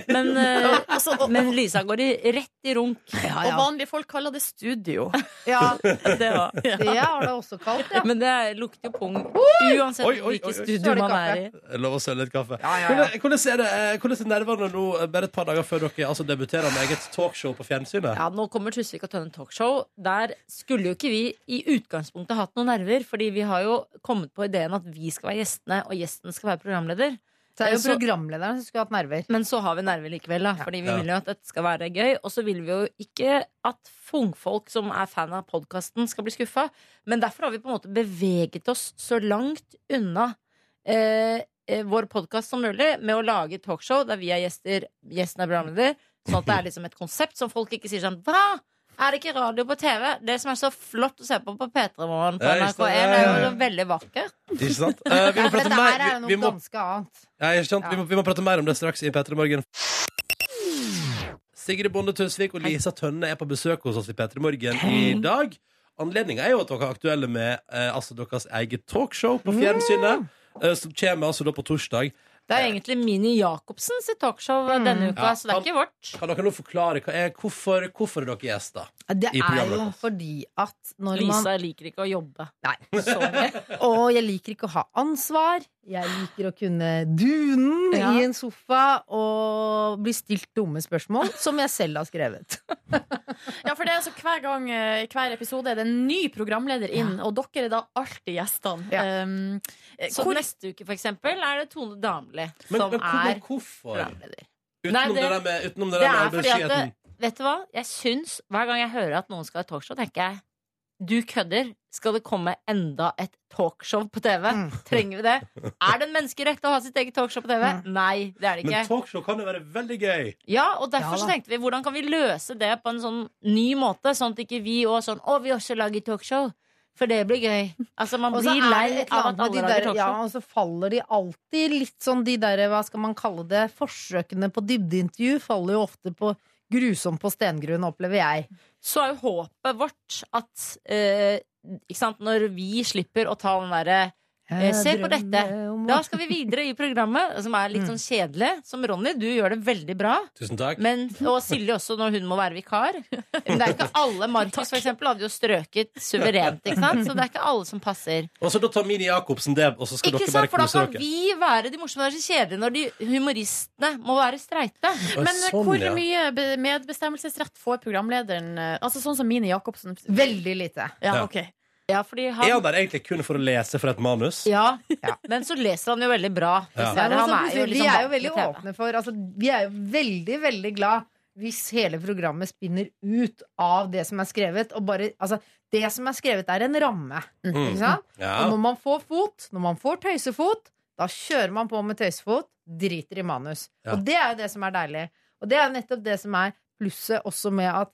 Speaker 3: Men, eh, men Lisa går i, rett i runk.
Speaker 6: Og vanlige folk kaller det studio.
Speaker 16: Ja,
Speaker 3: det var
Speaker 16: Det har det også kalt, ja.
Speaker 3: Men det lukter jo pung uansett
Speaker 2: Oi, oi, oi, oi.
Speaker 3: hvilket studio man er i.
Speaker 2: Lov å søle litt kaffe.
Speaker 3: ja, ja.
Speaker 2: Hvordan- Hvordan er det, eh, hvordan er nervene nå, eh, bare et par dager før dere altså, debuterer med eget talkshow på fjernsynet?
Speaker 3: Ja, Nå kommer Tusvik og Tønne Talkshow. Der skulle jo ikke vi i utgangspunktet hatt noen nerver, fordi vi har jo kommet på ideen at vi skal være gjestene, og gjesten skal være programleder.
Speaker 16: Det er
Speaker 3: Eh,
Speaker 16: jo programlederen som skulle hatt nerver.
Speaker 3: Men så har vi nerver likevel, da. Fordi vi
Speaker 16: Ja.
Speaker 3: vil jo at dette skal være gøy. Og så vil vi jo ikke at fungfolk som er fan av podkasten, skal bli skuffa. Men derfor har vi på en måte beveget oss så langt unna eh, eh, vår podkast som mulig med å lage et talkshow der vi er gjester, gjesten er programleder. Sånn at det er liksom et konsept som folk ikke sier sånn Hva? Er det ikke radio på TV? Det som er så flott å se på på P3 Morgen på
Speaker 2: Ja, just det.
Speaker 3: NRK1, er jo veldig vakkert.
Speaker 2: Ikke sant? Eh, vi må prate
Speaker 16: dette her er jo
Speaker 2: mer vi,
Speaker 16: noe
Speaker 2: vi, må,
Speaker 16: ganske annet.
Speaker 2: ja, ikke sant? Vi, må, vi må prate mer om det straks i P3 Morgen. Sigrid Bonde Tusvik og Lisa Tønne er på besøk hos oss i P3 Morgen i dag. Anledninga er jo at dere er aktuelle med eh, altså deres eget talkshow på fjernsynet, eh, som kommer altså da på torsdag.
Speaker 3: Det er egentlig Mini Jacobsen sitt talkshow denne uka,
Speaker 2: Ja,
Speaker 3: så det er ikke vårt.
Speaker 2: Kan dere nå forklare hva er, hvorfor, hvorfor er dere gjester
Speaker 16: Det
Speaker 2: i
Speaker 16: er
Speaker 2: programmet?
Speaker 16: jo fordi at når man
Speaker 3: Lisa liker ikke å jobbe.
Speaker 16: Og jeg liker ikke å ha ansvar. Jeg liker å kunne dunen
Speaker 3: Ja.
Speaker 16: i en sofa og bli stilt dumme spørsmål som jeg selv har skrevet.
Speaker 6: Ja, for det er altså hver gang eh, i hver episode er det en ny programleder inn, og dere er da alltid gjestene. Um, eh,
Speaker 3: Så
Speaker 6: hvor-
Speaker 3: neste uke, for eksempel, er det Tone Damli
Speaker 2: Men-
Speaker 3: som
Speaker 2: men hvor-
Speaker 3: er
Speaker 2: hvorfor?
Speaker 3: programleder.
Speaker 2: Utenom
Speaker 3: Nei,
Speaker 2: det der med- utenom det der
Speaker 3: det
Speaker 2: med
Speaker 3: er fordi at
Speaker 2: arbeidsfriheten.
Speaker 3: det- Vet du hva? Jeg syns, Hver gang jeg hører at noen skal ha talkshow, tenker jeg du kødder. Skal det komme enda et talkshow på TV?
Speaker 2: Mm.
Speaker 3: Trenger vi det? Er det en menneskerett å ha sitt eget talkshow på TV? Nei, det er det ikke.
Speaker 2: Mm. Men talkshow kan jo være veldig gøy.
Speaker 3: Ja, og
Speaker 2: Ja da.
Speaker 3: derfor så tenkte vi hvordan kan vi løse det på en sånn ny måte, sånn at ikke vi òg sånn Å, vi også lager talkshow. For det blir gøy. Altså, man
Speaker 16: Og så
Speaker 3: blir
Speaker 16: er det
Speaker 3: lei
Speaker 16: et eller
Speaker 3: av
Speaker 16: annet
Speaker 3: at
Speaker 16: med
Speaker 3: alle
Speaker 16: de
Speaker 3: lager
Speaker 16: der-
Speaker 3: talkshow.
Speaker 16: Ja, og så faller de alltid litt sånn de derre, hva skal man kalle det, forsøkene på dybdeintervju faller jo ofte på grusomt på stengrunn, opplever jeg.
Speaker 3: Så er jo håpet vårt at eh, ikke sant, når vi slipper å ta den derre eh,
Speaker 16: Jeg
Speaker 3: Se på
Speaker 16: drømmer
Speaker 3: dette!
Speaker 16: om-
Speaker 3: Da skal vi videre i programmet, som er litt
Speaker 16: Mm.
Speaker 3: sånn kjedelig. Som Ronny, du gjør det veldig bra.
Speaker 2: Tusen takk.
Speaker 3: Men, og Silje også, når hun må være vikar. Men det er ikke alle. Markus for eksempel, hadde jo strøket suverent. Ikke sant? Så det er ikke alle som passer.
Speaker 2: Og så da tar Mini Jacobsen det, og så skal
Speaker 3: Ikke
Speaker 2: dere
Speaker 3: sant,
Speaker 2: bare
Speaker 3: for da
Speaker 2: kose
Speaker 3: kan
Speaker 2: dere.
Speaker 3: vi være de morsomme. Det er så kjedelig når de humoristene må være streite.
Speaker 2: Oi,
Speaker 6: Men eh,
Speaker 2: sånn,
Speaker 6: hvor
Speaker 2: ja.
Speaker 6: mye be- medbestemmelsesrett får programlederen? eh, Altså Sånn som Mini Jacobsen.
Speaker 16: Veldig lite.
Speaker 6: Ja,
Speaker 2: Ja.
Speaker 6: ok
Speaker 3: Ja, fordi
Speaker 2: Er han
Speaker 3: han
Speaker 2: der egentlig kun for å lese fra et manus?
Speaker 3: ja, men så leser han jo veldig bra.
Speaker 2: Ja.
Speaker 3: Dessverre.
Speaker 16: Ja, men
Speaker 3: Han
Speaker 16: så
Speaker 3: er jo
Speaker 16: plutselig-
Speaker 3: liksom
Speaker 16: vi er jo
Speaker 3: vant til
Speaker 16: veldig
Speaker 3: TV.
Speaker 16: åpne for altså, Vi er jo veldig, veldig glad hvis hele programmet spinner ut av det som er skrevet. Og bare, altså, det som er skrevet, er en ramme.
Speaker 18: Mm.
Speaker 16: Ikke sant?
Speaker 18: Ja.
Speaker 16: Og når man får fot, når man får tøysefot, da kjører man på med tøysefot, driter i manus.
Speaker 18: Ja.
Speaker 16: Og det er jo det som er deilig. Og det er jo nettopp det som er plusset også med at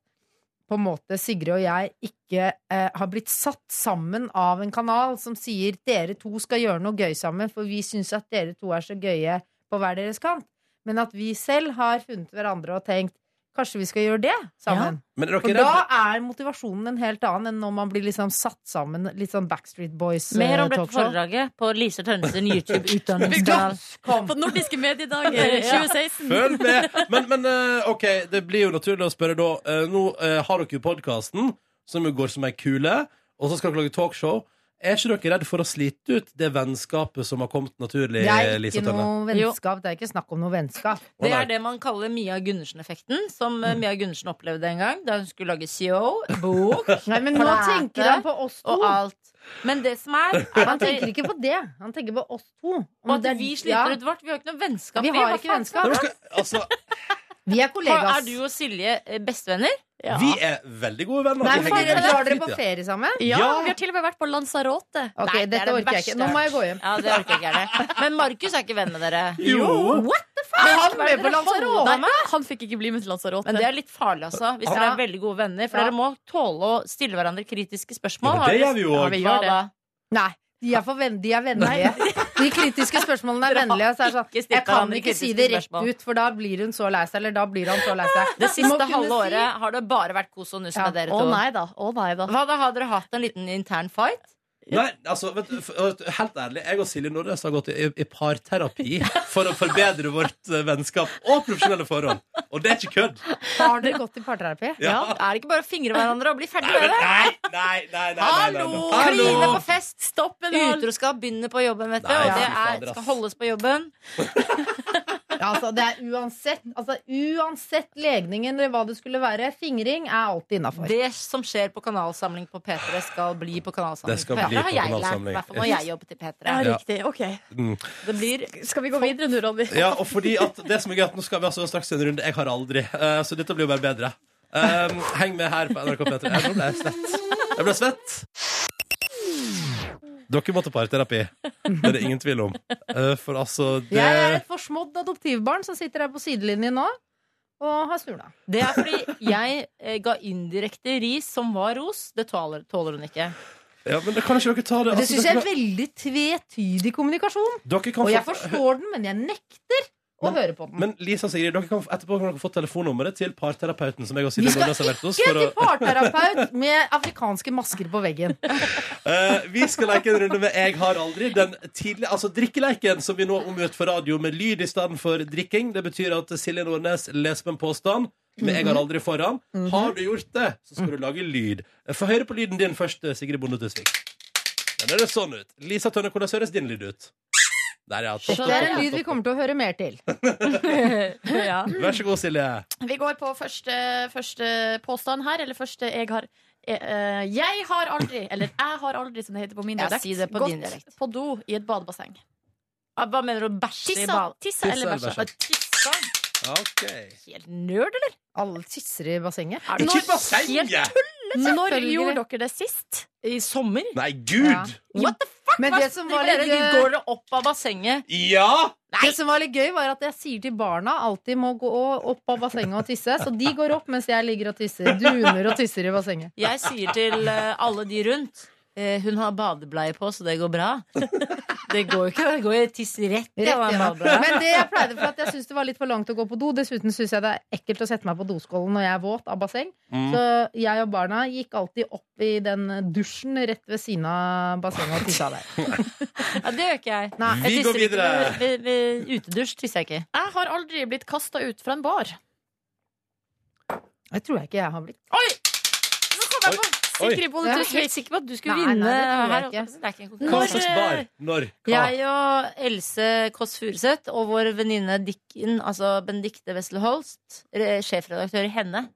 Speaker 16: på en måte Sigrid og jeg ikke eh, har blitt satt sammen av en kanal som sier dere to skal gjøre noe gøy sammen, for vi syns at dere to er så gøye på hver deres kant. Men at vi selv har funnet hverandre og tenkt kanskje vi skal gjøre det sammen.
Speaker 2: Men er
Speaker 16: For
Speaker 2: dere
Speaker 16: da
Speaker 2: redd?
Speaker 16: er motivasjonen en helt annen enn når man blir liksom satt sammen. Litt sånn Backstreet Boys. eh,
Speaker 3: Mer om dette
Speaker 16: talkshow.
Speaker 3: foredraget på Lise Tønnesen YouTube-utdanningskanal.
Speaker 19: På nordiske mediedager
Speaker 3: Ja.
Speaker 19: 2016.
Speaker 2: Følg med! Men, men eh, OK, det blir jo naturlig å spørre da. eh, Nå eh, har dere jo podkasten, som jo går som ei kule, og så skal dere lage talkshow. Er ikke dere redd for å slite ut det vennskapet som har kommet naturlig?
Speaker 16: Det er
Speaker 2: Lisa
Speaker 16: ikke
Speaker 2: Tønne?
Speaker 16: noe vennskap. Det er ikke snakk om noe vennskap.
Speaker 3: Det er det man kaller Mia Gundersen-effekten, som eh, Mia Gundersen opplevde en gang da hun skulle lage show, bok,
Speaker 16: Nei, men nå tenker han på oss to.
Speaker 3: og alt. Men det som er, er
Speaker 16: Han tenker ikke på det. Han tenker på oss to.
Speaker 3: Og at
Speaker 16: det er-
Speaker 3: vi
Speaker 16: ja.
Speaker 3: sliter ut vårt. Vi har ikke noe vennskap.
Speaker 16: Vi har
Speaker 3: hva
Speaker 16: ikke
Speaker 3: faen
Speaker 16: vennskap.
Speaker 3: skal-
Speaker 2: altså,
Speaker 16: Vi er kollegas.
Speaker 3: Er du og Silje eh, bestevenner?
Speaker 2: Vi er veldig gode venner.
Speaker 16: Nei,
Speaker 2: Vi
Speaker 16: men
Speaker 2: henger
Speaker 16: dere
Speaker 2: veldig
Speaker 16: drar dere
Speaker 2: fint,
Speaker 16: på
Speaker 2: ja.
Speaker 16: ferie sammen?
Speaker 2: Ja, Ja. vi har
Speaker 3: til og med vært på Lanzarote.
Speaker 16: Ok, dette orker jeg ikke. Nå må jeg gå hjem.
Speaker 3: Ja, det orker jeg ikke heller. Men Markus er ikke venn med dere.
Speaker 2: Jo.
Speaker 3: What the fuck?
Speaker 19: Men han
Speaker 3: Hva
Speaker 19: ble
Speaker 3: er det
Speaker 19: på
Speaker 3: dere holder
Speaker 19: Lanzarote.
Speaker 3: med?
Speaker 19: Han fikk ikke bli med til Lanzarote.
Speaker 3: Men det er litt farlig, altså. Hvis
Speaker 19: Ja.
Speaker 3: dere er veldig gode venner. For
Speaker 19: Ja.
Speaker 3: dere må tåle å stille hverandre kritiske spørsmål.
Speaker 2: Ja, men det
Speaker 3: Har
Speaker 2: gjør vi
Speaker 3: dere-
Speaker 2: jo også.
Speaker 3: Ja,
Speaker 2: Ja, vi gjør
Speaker 3: Hva da?
Speaker 16: Nei. De er, for venn, de er vennlige. De kritiske spørsmålene er vennlige. Så er det sånn, jeg kan
Speaker 3: hverandre
Speaker 16: ikke si
Speaker 3: kritiske
Speaker 16: det rett
Speaker 3: spørsmål.
Speaker 16: ut, for da blir hun så lei seg. Eller da blir han så lei seg.
Speaker 3: Det
Speaker 16: Du må
Speaker 3: siste
Speaker 16: kunne
Speaker 3: halve
Speaker 16: si-
Speaker 3: året har det bare vært kos og nuss
Speaker 16: Ja.
Speaker 3: med dere
Speaker 16: Å,
Speaker 3: to.
Speaker 16: nei
Speaker 19: da.
Speaker 3: Hva da, Har dere hatt en liten intern fight?
Speaker 2: Nei, altså, vet, du, for- helt ærlig, jeg og Silje Nordnes har gått i, i parterapi for å forbedre vårt eh, vennskap og profesjonelle forhold. Og det er ikke kødd.
Speaker 16: Har dere gått i parterapi?
Speaker 2: Ja.
Speaker 3: Er det ikke bare å fingre hverandre og bli ferdig med det?
Speaker 2: Nei, nei, nei, nei, nei, nei,
Speaker 3: Hallo!
Speaker 2: nei.
Speaker 3: Kline på fest. Stopp
Speaker 19: en hal.
Speaker 3: Utroskap begynner på jobben, vet du.
Speaker 2: Nei,
Speaker 3: og det
Speaker 2: fy fader,
Speaker 3: er,
Speaker 2: ass.
Speaker 3: skal holdes på jobben.
Speaker 16: Ja, altså, det er uansett, altså, uansett legningen eller hva det skulle være, fingring er alltid innafor.
Speaker 3: Det som skjer på kanalsamling på P3, skal bli på kanalsamling
Speaker 2: Det skal
Speaker 3: på P3.
Speaker 2: bli på
Speaker 3: har jeg lært,
Speaker 2: kanalsamling.
Speaker 3: i hvert fall når jeg jobbet i P3.
Speaker 2: Ja, Ja. riktig.
Speaker 19: Ok.
Speaker 2: Mm.
Speaker 3: Det blir
Speaker 19: Skal vi gå videre nå, Ronny?
Speaker 2: Ja, og fordi at det som er gøy at Nå skal vi altså straks en runde. Jeg har aldri. eh, så dette blir jo bare bedre. Um, heng med her på NRK P3. Jeg nå ble jeg svett. Jeg ble svett. Dere må til parterapi. Det er det ingen tvil om. Eh, for altså det...
Speaker 16: Jeg er et forsmådd adoptivbarn som sitter her på sidelinjen nå og har snurna.
Speaker 3: Det er fordi jeg eh, ga indirekte ris som var ros. Det tåler, tåler hun ikke.
Speaker 2: Ja, men da kan ikke dere ta det
Speaker 16: Det
Speaker 2: altså,
Speaker 16: syns jeg
Speaker 2: dere,
Speaker 16: er veldig tvetydig kommunikasjon.
Speaker 2: dere kan
Speaker 16: Og
Speaker 2: få-
Speaker 16: jeg forstår den, men jeg nekter å høre på den.
Speaker 2: Men Lisa og Sigrid, dere kan, etterpå kan dere få telefonnummeret til parterapeuten. Som jeg og
Speaker 16: Vi
Speaker 2: Silje
Speaker 16: skal
Speaker 2: Nordnes har vært
Speaker 16: ikke
Speaker 2: hos for
Speaker 16: til
Speaker 2: å-
Speaker 16: parterapeut med afrikanske masker på veggen.
Speaker 2: Eh, vi skal leke en runde med Jeg har aldri. Den tidlig, altså Drikkeleken som vi nå omgjør for radio med lyd i stedet for drikking. Det betyr at Silje Nordnes leser på en påstand med Jeg har aldri foran.
Speaker 18: Mhm. Mm.
Speaker 2: Har du gjort det, så skal du lage lyd. Eh, Få høre på lyden din først, eh, Sigrid Bonde Tusvik. Den høres sånn ut. Lisa Tønne, hvordan høres din lyd ut? Der, ja. Topp,
Speaker 16: Det er en
Speaker 2: topp,
Speaker 16: lyd vi
Speaker 2: topp,
Speaker 16: kommer til å høre mer til.
Speaker 19: ja.
Speaker 2: topp. Vær så god, Silje.
Speaker 19: Vi går på første, første påstand her, eller første jeg har eh, eh, Jeg har aldri, eller jeg har aldri, som det heter på min
Speaker 3: Ja,
Speaker 19: dialekt,
Speaker 3: si det på
Speaker 19: gått
Speaker 3: din dialekt.
Speaker 19: på do i et badebasseng.
Speaker 3: Hva mener du? Bæsje i
Speaker 19: Tissa,
Speaker 3: bad-
Speaker 19: tissa eller bæsja? Tissa.
Speaker 3: Helt nerd, eller?
Speaker 16: Alle tisser i bassenget.
Speaker 3: Er det
Speaker 19: Når-
Speaker 3: ikke bassenget?
Speaker 19: Helt tullete! Når gjorde dere det sist?
Speaker 3: I sommer?
Speaker 2: Nei, gud!
Speaker 16: Ja.
Speaker 3: What the fuck?
Speaker 16: Men
Speaker 3: Hva
Speaker 16: det som var
Speaker 3: driver
Speaker 16: litt
Speaker 3: dere-
Speaker 16: gøy-
Speaker 3: Går dere opp av bassenget?
Speaker 2: Ja!
Speaker 16: Det som var litt gøy, var at jeg sier til barna alltid må gå opp av bassenget og tisse. Så de går opp mens jeg ligger og tisser. Duner og tisser i bassenget.
Speaker 3: Jeg sier til eh, alle de rundt eh, Hun har badebleie på, så det går bra. Det går jo ikke. Det går jo tiss rett i
Speaker 16: Rett
Speaker 3: den
Speaker 16: igjen.
Speaker 3: badebleia.
Speaker 16: Men det jeg pleide for at jeg syns det var litt for langt å gå på do. Dessuten syns jeg det er ekkelt å sette meg på doskålen når jeg er våt av basseng.
Speaker 3: Mm.
Speaker 16: Så jeg og barna gikk alltid opp i den dusjen rett ved siden av bassenget og tissa der.
Speaker 3: Ja, det gjør ikke jeg.
Speaker 16: Vi
Speaker 3: jeg
Speaker 16: går
Speaker 3: tisser ikke
Speaker 16: videre.
Speaker 3: ved- ved- ved Utedusj tisser jeg ikke.
Speaker 19: Jeg har aldri blitt kasta ut fra en bar.
Speaker 16: Jeg tror jeg ikke jeg har blitt.
Speaker 2: Oi.
Speaker 19: Sikri Bonde
Speaker 3: Jeg er
Speaker 19: Tusvik.
Speaker 3: helt sikker på at du skulle
Speaker 19: Nei, nei,
Speaker 3: vinne.
Speaker 19: det tror jeg
Speaker 3: her,
Speaker 19: ikke.
Speaker 3: altså. Det er ikke en
Speaker 2: Hva
Speaker 3: konkurranse.
Speaker 2: slags bar? Når?
Speaker 16: eh,
Speaker 2: Hva?
Speaker 3: Jeg og Else Kåss Furuseth og vår venninne Dikken, altså Benedicte Wessel Holst, re- sjefredaktør i Henne,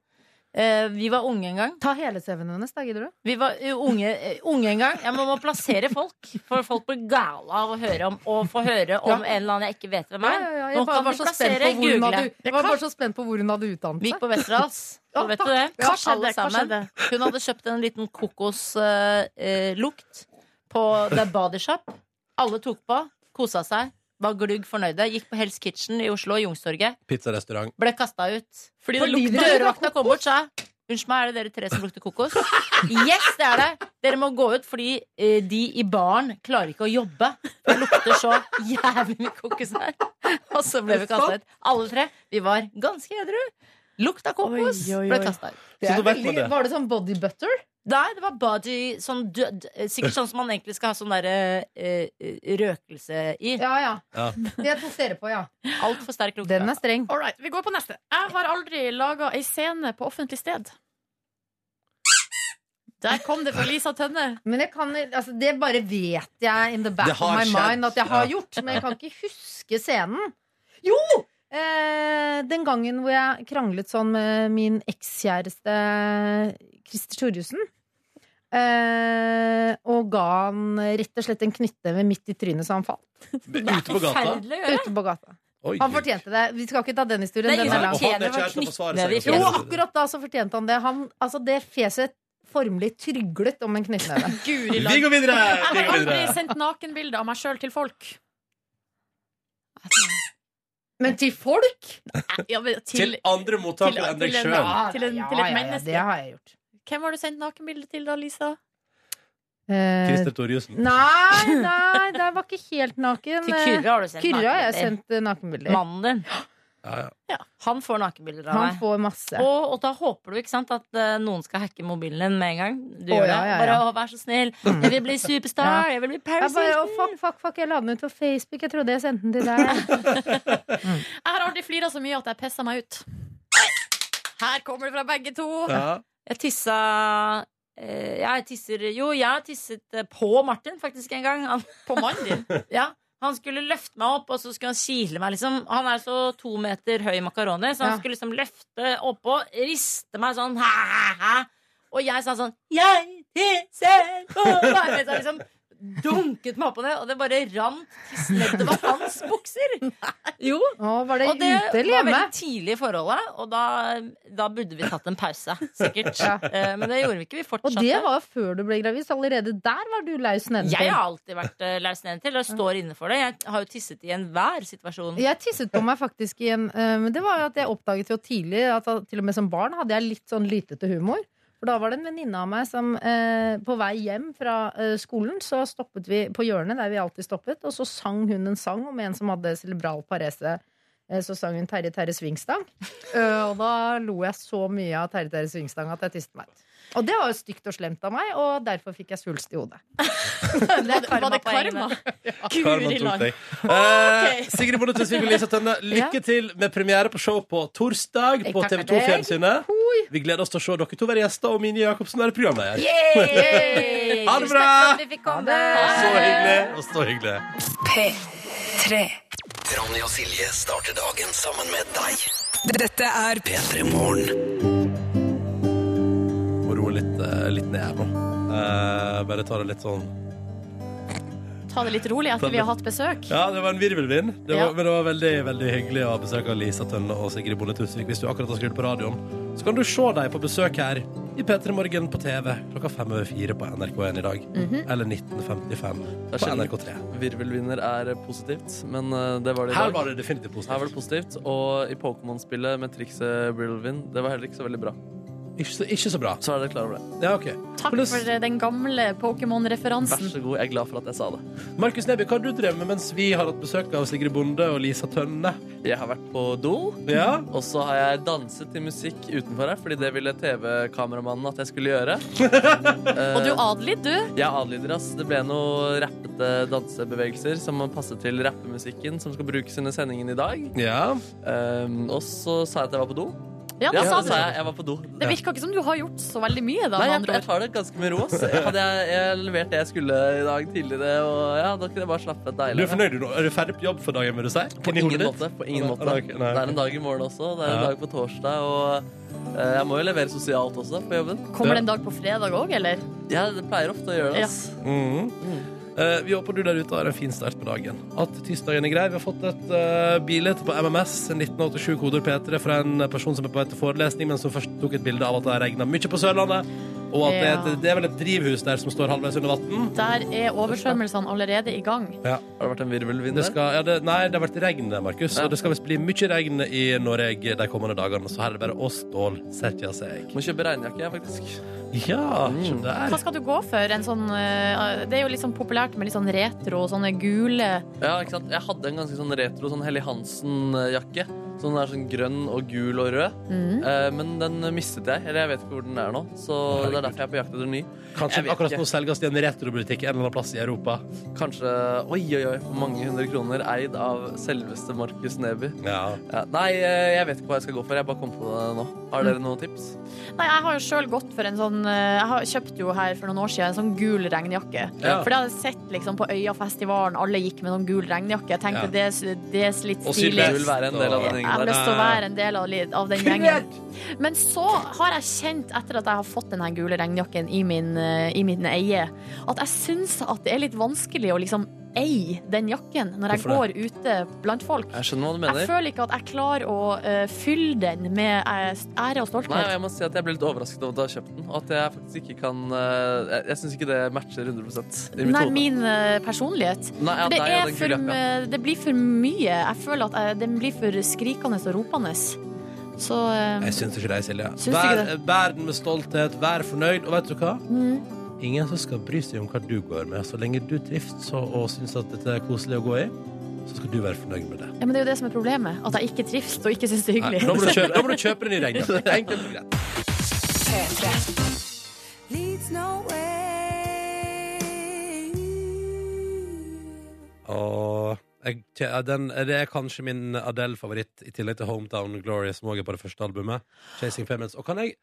Speaker 3: Eh, vi var unge en gang.
Speaker 16: Ta hele CV-en hennes, da, gidder du?
Speaker 3: Vi var eh, unge, eh, unge en gang. Jeg må, må plassere folk, for folk blir gale av å høre om Og få høre om en eller annen jeg ikke vet hvem
Speaker 16: Ja,
Speaker 3: er.
Speaker 16: ja, ja,
Speaker 3: Nå
Speaker 16: jeg bare
Speaker 3: kan
Speaker 16: var
Speaker 3: vi
Speaker 16: så spent på
Speaker 3: plassere,
Speaker 16: hvor hun
Speaker 3: google.
Speaker 16: hadde, jeg var bare så spent på hvor hun hadde utdannet seg.
Speaker 3: Vi gikk på Westerdals.
Speaker 16: Ja,
Speaker 3: Så vet du det?
Speaker 16: hva skjedde?
Speaker 3: Alle
Speaker 16: Hva
Speaker 3: sammen.
Speaker 16: skjedde?
Speaker 3: Hun hadde kjøpt en liten kokoslukt eh, lukt på The Body Shop. Alle tok på, kosa seg, var glugg fornøyde. Gikk på Hell's Kitchen i Oslo, Youngstorget.
Speaker 2: Pizzarestaurant.
Speaker 3: Ble kasta ut. Fordi
Speaker 2: det lukta-
Speaker 3: Dørvakta kom bort og sa Unnskyld meg, er det dere tre som lukter kokos? Yes, det er det! Dere må gå ut, fordi eh, de i baren klarer ikke å jobbe. Det lukter så jævlig mye kokos her. Og så ble vi kasta ut. Alle tre. Vi var ganske edru. Lukta kokos.
Speaker 16: Oi, oi, oi.
Speaker 3: Ble kasta ut.
Speaker 16: Det er veldig, var det sånn body butter?
Speaker 3: Nei, det var body sånn død, Sikkert sånn som man egentlig skal ha sånn derre eh, eh, røkelse i.
Speaker 16: Ja, ja.
Speaker 2: Ja.
Speaker 16: Jeg plasserer på, ja.
Speaker 3: Altfor sterk lukt.
Speaker 16: Den er streng.
Speaker 20: All right, vi går på neste. Jeg har aldri laga ei scene på offentlig sted. Der kom det fra Lisa Tønne.
Speaker 16: Men jeg kan, altså, det bare vet jeg in the back
Speaker 20: Det
Speaker 16: of
Speaker 20: har
Speaker 16: my
Speaker 20: skjedd.
Speaker 16: mind at jeg har
Speaker 20: Ja.
Speaker 16: gjort. Men jeg kan ikke huske scenen. Jo! Eh, den gangen hvor jeg kranglet sånn med min ekskjæreste Christer Thorjussen. Eh, og ga han rett og slett en knyttneve midt i trynet så han falt.
Speaker 2: Ute på gata.
Speaker 16: Ute på gata.
Speaker 2: Oi.
Speaker 16: Han fortjente det. Vi skal ikke ta den historien.
Speaker 2: Nei,
Speaker 16: Den
Speaker 2: Nei,
Speaker 16: er lang.
Speaker 2: og han er ikke her til å forsvare seg.
Speaker 16: Jo, akkurat da så fortjente han det. Han, altså, det fjeset formelig tryglet om en knyttneve.
Speaker 20: Guri land.
Speaker 2: Vi går videre! Vi
Speaker 20: Jeg
Speaker 2: går
Speaker 20: har aldri
Speaker 2: videre.
Speaker 20: sendt nakenbilde av meg sjøl til folk.
Speaker 16: Men til folk?
Speaker 20: Ja, men
Speaker 2: Til
Speaker 20: til,
Speaker 2: andre mottakere enn deg
Speaker 20: til, en-
Speaker 2: sjøl.
Speaker 3: Ah,
Speaker 20: til, en,
Speaker 16: Ja,
Speaker 20: til
Speaker 16: ja,
Speaker 20: et
Speaker 16: ja, det
Speaker 20: menneske.
Speaker 16: har jeg gjort.
Speaker 20: Hvem har du sendt nakenbilde til, da, Lisa?
Speaker 2: Christer Torjussen.
Speaker 16: Eh, Nei, nei, der var ikke helt naken.
Speaker 3: Til Kyrre har du sendt
Speaker 16: eh, Kyrre har jeg
Speaker 3: nakenbilder.
Speaker 16: sendt eh, nakenbilder.
Speaker 3: Mannen din. Han får nakenbilder av
Speaker 16: Han
Speaker 3: deg.
Speaker 16: får masse.
Speaker 3: Og, og da håper du ikke sant, at eh, noen skal hacke mobilen din med en gang. Du
Speaker 16: Å,
Speaker 3: gjør
Speaker 16: ja,
Speaker 3: det.
Speaker 16: ja,
Speaker 3: Bare
Speaker 16: ja.
Speaker 3: å, vær så snill. Jeg vil bli superstar.
Speaker 16: Ja.
Speaker 3: Jeg vil bli
Speaker 16: Jeg
Speaker 3: Paris
Speaker 16: bare,
Speaker 3: Hilton.
Speaker 16: å, fuck, fuck, fuck, jeg la den ut på Facebook. Jeg trodde jeg sendte den til deg.
Speaker 20: Jeg har aldri flira så mye at jeg pissa meg ut. Her kommer det fra begge to.
Speaker 2: Ja.
Speaker 3: Jeg tissa eh, Jeg tisser Jo, jeg har tisset eh, på Martin faktisk en gang. Han,
Speaker 20: på mannen din?
Speaker 3: ja. Han skulle løfte meg opp, og så skulle han kile meg. liksom Han er så to meter høy makaroni, så han
Speaker 16: Ja.
Speaker 3: skulle liksom løfte oppå, riste meg sånn hæ, hæ, hæ. Og jeg sa sånn Jeg tisser på meg! Mens han liksom dunket meg opp og ned, og det bare rant tiss nedover hans bukser. Jo.
Speaker 16: Å, var det
Speaker 3: og det
Speaker 16: ute eller
Speaker 3: var
Speaker 16: hjemme?
Speaker 3: veldig tidlig i forholdet, og da, da burde vi tatt en pause, sikkert.
Speaker 16: Ja.
Speaker 3: Eh, Men det gjorde vi ikke. Vi
Speaker 16: Og
Speaker 3: fortsatte.
Speaker 16: det var jo før du ble gravid, så allerede der var du laus nedentil.
Speaker 3: Jeg har alltid vært eh, laus nedentil og står inne for det. Jeg har jo tisset i enhver situasjon.
Speaker 16: Jeg tisset på meg faktisk i en eh, Men det var jo at jeg oppdaget jo tidlig at da- til og med som barn hadde jeg litt sånn lytete humor. For da var det en venninne av meg som eh, på vei hjem fra eh, skolen så stoppet vi på hjørnet der vi alltid stoppet, og så sang hun en sang om en som hadde cerebral parese. Eh, Så sang hun Terje Terje Svingstang. Eh, Og da lo jeg så mye av Terje Terje Svingstang at jeg tisset meg ut. Og det var jo stygt og slemt av meg, og derfor fikk jeg svulst i hodet.
Speaker 20: Var det karma? Guri
Speaker 2: Karman tok
Speaker 20: land.
Speaker 2: deg. Eh, Sigrid Bonde Tusvik og Lisa Tønne, lykke til med premiere på show på torsdag
Speaker 16: Jeg
Speaker 2: på
Speaker 16: takker
Speaker 2: TV2
Speaker 16: deg.
Speaker 2: Fjernsynet. Vi gleder oss til å se dere to være gjester og Mini Jacobsen være programleder.
Speaker 3: Yay!
Speaker 2: Ha det bra!
Speaker 3: Tusen takk for at vi fikk komme.
Speaker 2: Så hyggelig. Og så hyggelig.
Speaker 17: P3.
Speaker 21: Ronny og Silje starter dagen sammen med deg.
Speaker 17: Dette er
Speaker 21: P3 Morgen.
Speaker 2: Må roe litt, eh, litt ned her nå. Eh, bare ta det litt sånn
Speaker 20: Ta det litt rolig etter vi har hatt besøk.
Speaker 2: Ja, det var en virvelvind. Det var,
Speaker 20: Ja.
Speaker 2: Men det var veldig veldig hyggelig å ha besøk av Lisa Tønne og Sigrid Bonde Tusvik. Hvis du akkurat har skrudd på radioen, så kan du se dem på besøk her i P3 Morgen på TV klokka fem over fire på NRK1 i dag.
Speaker 4: Mhm.
Speaker 2: Eller 1955
Speaker 4: Det er
Speaker 2: på
Speaker 4: sjelden
Speaker 2: NRK3.
Speaker 4: Virvelvinder er positivt, men eh, det var det i
Speaker 2: Her
Speaker 4: dag.
Speaker 2: var det definitivt positivt.
Speaker 4: Her var det positivt, Og i Pokémon-spillet med trikset Virvelvind, det var heller ikke så veldig bra.
Speaker 2: Ikke så, ikke så bra.
Speaker 4: Så er dere klar over det.
Speaker 2: Ja, ok.
Speaker 20: Takk for
Speaker 3: eh,
Speaker 20: den gamle
Speaker 4: Vær
Speaker 20: Pokémon-referansen.
Speaker 4: så god, jeg er glad for at jeg sa det.
Speaker 2: Markus Neby, hva har du drevet med mens vi har hatt besøk av Sigrid Bonde og Lisa Tønne?
Speaker 4: Jeg har vært på do,
Speaker 2: Ja.
Speaker 4: og så har jeg danset til musikk utenfor her, fordi det ville TV-kameramannen at jeg skulle gjøre. Eh,
Speaker 20: Og du adlyd, du.
Speaker 4: Jeg adlyder, ass. Det ble noen rappete dansebevegelser som må passe til rappemusikken som skal brukes under sendingen i dag.
Speaker 2: Ja.
Speaker 4: Ehm, og så sa jeg at jeg var på do.
Speaker 3: Ja, det sa du.
Speaker 4: sa jeg. Jeg var på do.
Speaker 3: Det virka ikke som du har gjort så veldig mye, da.
Speaker 4: Nei,
Speaker 3: med
Speaker 4: jeg,
Speaker 3: andre
Speaker 4: jeg
Speaker 3: ord.
Speaker 4: tar det ganske med ro. ass. Hadde jeg, jeg levert det jeg skulle i dag tidligere, og ja, da kunne jeg bare slappe
Speaker 2: Du
Speaker 4: deilig
Speaker 2: er fornøyd nå? Er du ferdig på jobb for dagen, vil du si?
Speaker 4: På
Speaker 2: Inni
Speaker 4: ingen
Speaker 2: hodet ditt?
Speaker 4: måte. På ingen
Speaker 2: Nei,
Speaker 4: måte.
Speaker 2: nei, ok, nei,
Speaker 4: Det er
Speaker 2: ok.
Speaker 4: en dag i morgen også. Det er en
Speaker 2: Ja.
Speaker 4: dag på torsdag. Og eh, jeg må jo levere sosialt også på jobben.
Speaker 3: Kommer det en dag på fredag òg, eller?
Speaker 4: Ja, det pleier ofte å gjøre det. ass.
Speaker 2: Mhm. Eh, vi håper du der ute har en fin start på dagen. At tirsdagen er grei. Vi har fått et uh, bilde på MMS, en 1987 koder P3, fra en person som er på vei til forelesning, men som først tok et bilde av at det har regna mye på Sørlandet. Og at det, er
Speaker 3: Ja.
Speaker 2: et- det er vel et drivhus der som står halvveis under vann.
Speaker 3: Der er oversvømmelsene allerede i gang.
Speaker 4: Har det vært en virvelvind
Speaker 2: der? Skal, ja, det, nei, det har vært regn, Markus. Og det skal visst bli mye regn i Norge de kommende dagene, så her er det bare å stålsette seg.
Speaker 4: Må kjøpe regnjakke, jeg, faktisk.
Speaker 2: Ja, se
Speaker 3: Hva
Speaker 2: der.
Speaker 3: skal du gå for? En sånn, eh, det er jo litt sånn populært med litt sånn retro og sånne gule
Speaker 4: Ja, ikke sant? Jeg hadde en ganske sånn retro sånn Helly Hansen-jakke. Sånn er sånn grønn og gul og rød.
Speaker 3: Mhm.
Speaker 4: Eh, men den mistet jeg. Eller jeg vet ikke hvor den er nå. Så det er derfor jeg er på jakt etter en ny.
Speaker 2: Kanskje akkurat nå selges det i en retrobutikk en eller annen plass i Europa.
Speaker 4: Kanskje oi, oi, oi, for mange hundre kroner eid av selveste Markus Neby.
Speaker 2: Ja.
Speaker 4: nei, eh, jeg vet ikke hva jeg skal gå for. Jeg bare kom på det nå. Har dere noen tips?
Speaker 3: Nei, jeg har jo sjøl gått for en sånn eh, Jeg har kjøpt jo her for noen år siden en sånn gul regnjakke.
Speaker 4: Ja.
Speaker 3: For det hadde jeg sett liksom på Øyafestivalen, alle gikk med noen gul regnjakke. Jeg tenkte
Speaker 4: Ja.
Speaker 3: det, er- det er litt
Speaker 4: Og
Speaker 3: stilig.
Speaker 4: Sylvester vil være en del av den gjengen
Speaker 3: Jeg har
Speaker 4: der.
Speaker 3: lyst til å være en del av, li- av den gjengen. Men så har jeg kjent, etter at jeg har fått denne gule regnjakken i min, eh, i min eie, at jeg syns at det er litt vanskelig å liksom eie den jakken når jeg
Speaker 4: Hvorfor
Speaker 3: går ute blant folk.
Speaker 4: Jeg skjønner hva du mener.
Speaker 3: Jeg føler ikke at jeg klarer å eh, fylle den med eh, ære og stolthet.
Speaker 4: Nei, og jeg må si at jeg ble litt overrasket over at du har kjøpt den. Og at jeg faktisk ikke kan eh, Jeg, jeg syns ikke det matcher 100 i mitt
Speaker 3: Nei,
Speaker 4: hode.
Speaker 3: min eh, personlighet.
Speaker 4: Nei, ja,
Speaker 3: For det,
Speaker 4: nei, ja,
Speaker 3: er
Speaker 4: den
Speaker 3: for,
Speaker 4: gule jakka.
Speaker 3: m- det blir for mye. Jeg føler at jeg, den blir for skrikende og ropende. Så eh,
Speaker 2: Jeg syns ikke det, Silje.
Speaker 3: Syns
Speaker 2: Vær,
Speaker 3: ikke
Speaker 2: vær den med stolthet, vær fornøyd, og vet du hva?
Speaker 3: mm.
Speaker 2: Ingen som skal bry seg om hva du går med. Så lenge du trives og, og syns at dette er koselig å gå i, så skal du være fornøyd med det.
Speaker 3: ja, Men det er jo det som er problemet. At jeg ikke trives og ikke syns det er
Speaker 2: Nei,
Speaker 3: hyggelig.
Speaker 2: da, må du kjøpe, da må du kjøpe den i regnet. Enkelt og greit. Og jeg, ja, den, det er kanskje min Adele-favoritt, i tillegg til Hometown Glory, som også er på det første albumet. Chasing Females. Og kan jeg,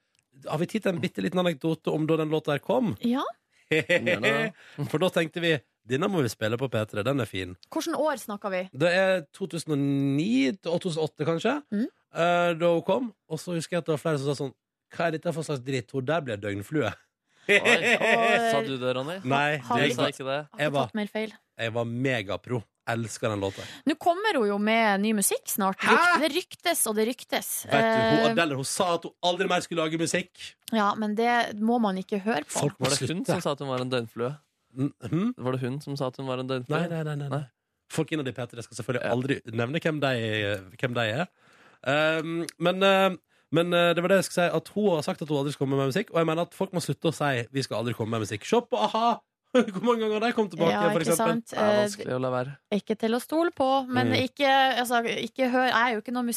Speaker 2: har vi tid til en bitte liten anekdote om da den låta her kom?
Speaker 3: Ja.
Speaker 2: For da tenkte vi denne må vi spille på P3, den er fin.
Speaker 3: Hvilket år snakker vi?
Speaker 2: Det er 2009 til 2008, kanskje, eh, da hun kom. Og så husker jeg at det var flere som sa sånn Hva er dette for slags dritt? Hun der blir døgnflue.
Speaker 4: Oi, sa du det, Ronny?
Speaker 2: Nei,
Speaker 4: Har
Speaker 2: det
Speaker 4: vi
Speaker 2: sa
Speaker 4: tatt-
Speaker 2: ikke det.
Speaker 4: har
Speaker 3: vi
Speaker 2: Jeg var,
Speaker 3: tatt mer feil?
Speaker 2: jeg var megapro. Elsker den låta.
Speaker 3: Nå kommer hun jo med ny musikk snart. Rykt- Det ryktes og det ryktes.
Speaker 2: Vet du, hun,
Speaker 3: Eh,
Speaker 2: Adele, hun sa at hun aldri mer skulle lage musikk.
Speaker 3: ja, men det må man ikke høre på.
Speaker 4: Var det hun som sa at hun var en døgnflue?
Speaker 2: hm?
Speaker 4: Var det hun som sa at hun var en døgnflue?
Speaker 2: Nei, nei, nei, nei, nei. Folk innad i P3 skal selvfølgelig aldri nevne hvem de, hvem de er. Um, men, uh, men uh, det var det jeg skulle si, at hun har sagt at hun aldri skal komme med musikk. Og jeg mener at folk må slutte å si 'vi skal aldri komme med musikk'. Se på a-ha! Hvor mange ganger har de kommet tilbake?
Speaker 3: Ja,
Speaker 2: for
Speaker 3: ikke
Speaker 2: eksempel?
Speaker 3: sant? Det er vanskelig
Speaker 4: å la være.
Speaker 3: Ikke til å stole på, men
Speaker 2: Mm.
Speaker 3: ikke, altså, ikke hør Jeg er jo ikke noen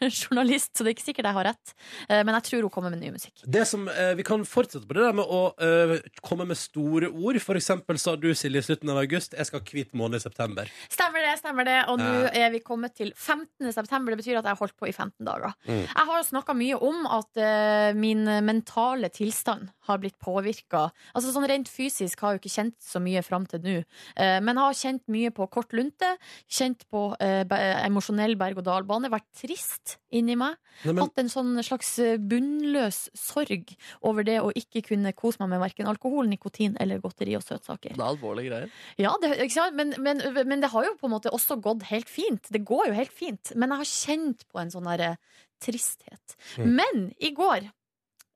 Speaker 3: musikkjournalist, så det er ikke sikkert jeg har rett. Eh, men jeg tror hun kommer med ny musikk.
Speaker 2: Det som, eh, vi kan fortsette på det der med å eh, komme med store ord. For eksempel sa du, Silje, i slutten av august 'jeg skal ha hvit måned i september'.
Speaker 3: Stemmer det, stemmer det. Og nå
Speaker 2: Ja.
Speaker 3: er vi kommet til 15. september. Det betyr at jeg har holdt på i 15 dager.
Speaker 2: Mm.
Speaker 3: Jeg har snakka mye om at eh, min mentale tilstand har blitt påvirka. Altså, sånn rent fysisk har jeg jo ikke kjent så mye fram til nå. Eh, men jeg har kjent mye på kort lunte, kjent på eh, be- emosjonell berg-og-dal-bane, vært trist inni meg.
Speaker 2: Nei, men-
Speaker 3: Hatt en sånn slags eh, bunnløs sorg over det å ikke kunne kose meg med verken alkohol, nikotin eller godteri og søtsaker.
Speaker 4: Det er alvorlige greier.
Speaker 3: Ja, det, ikke sant? Men, men, men det har jo på en måte også gått helt fint. Det går jo helt fint. Men jeg har kjent på en sånn derre tristhet.
Speaker 22: Mm.
Speaker 3: Men i går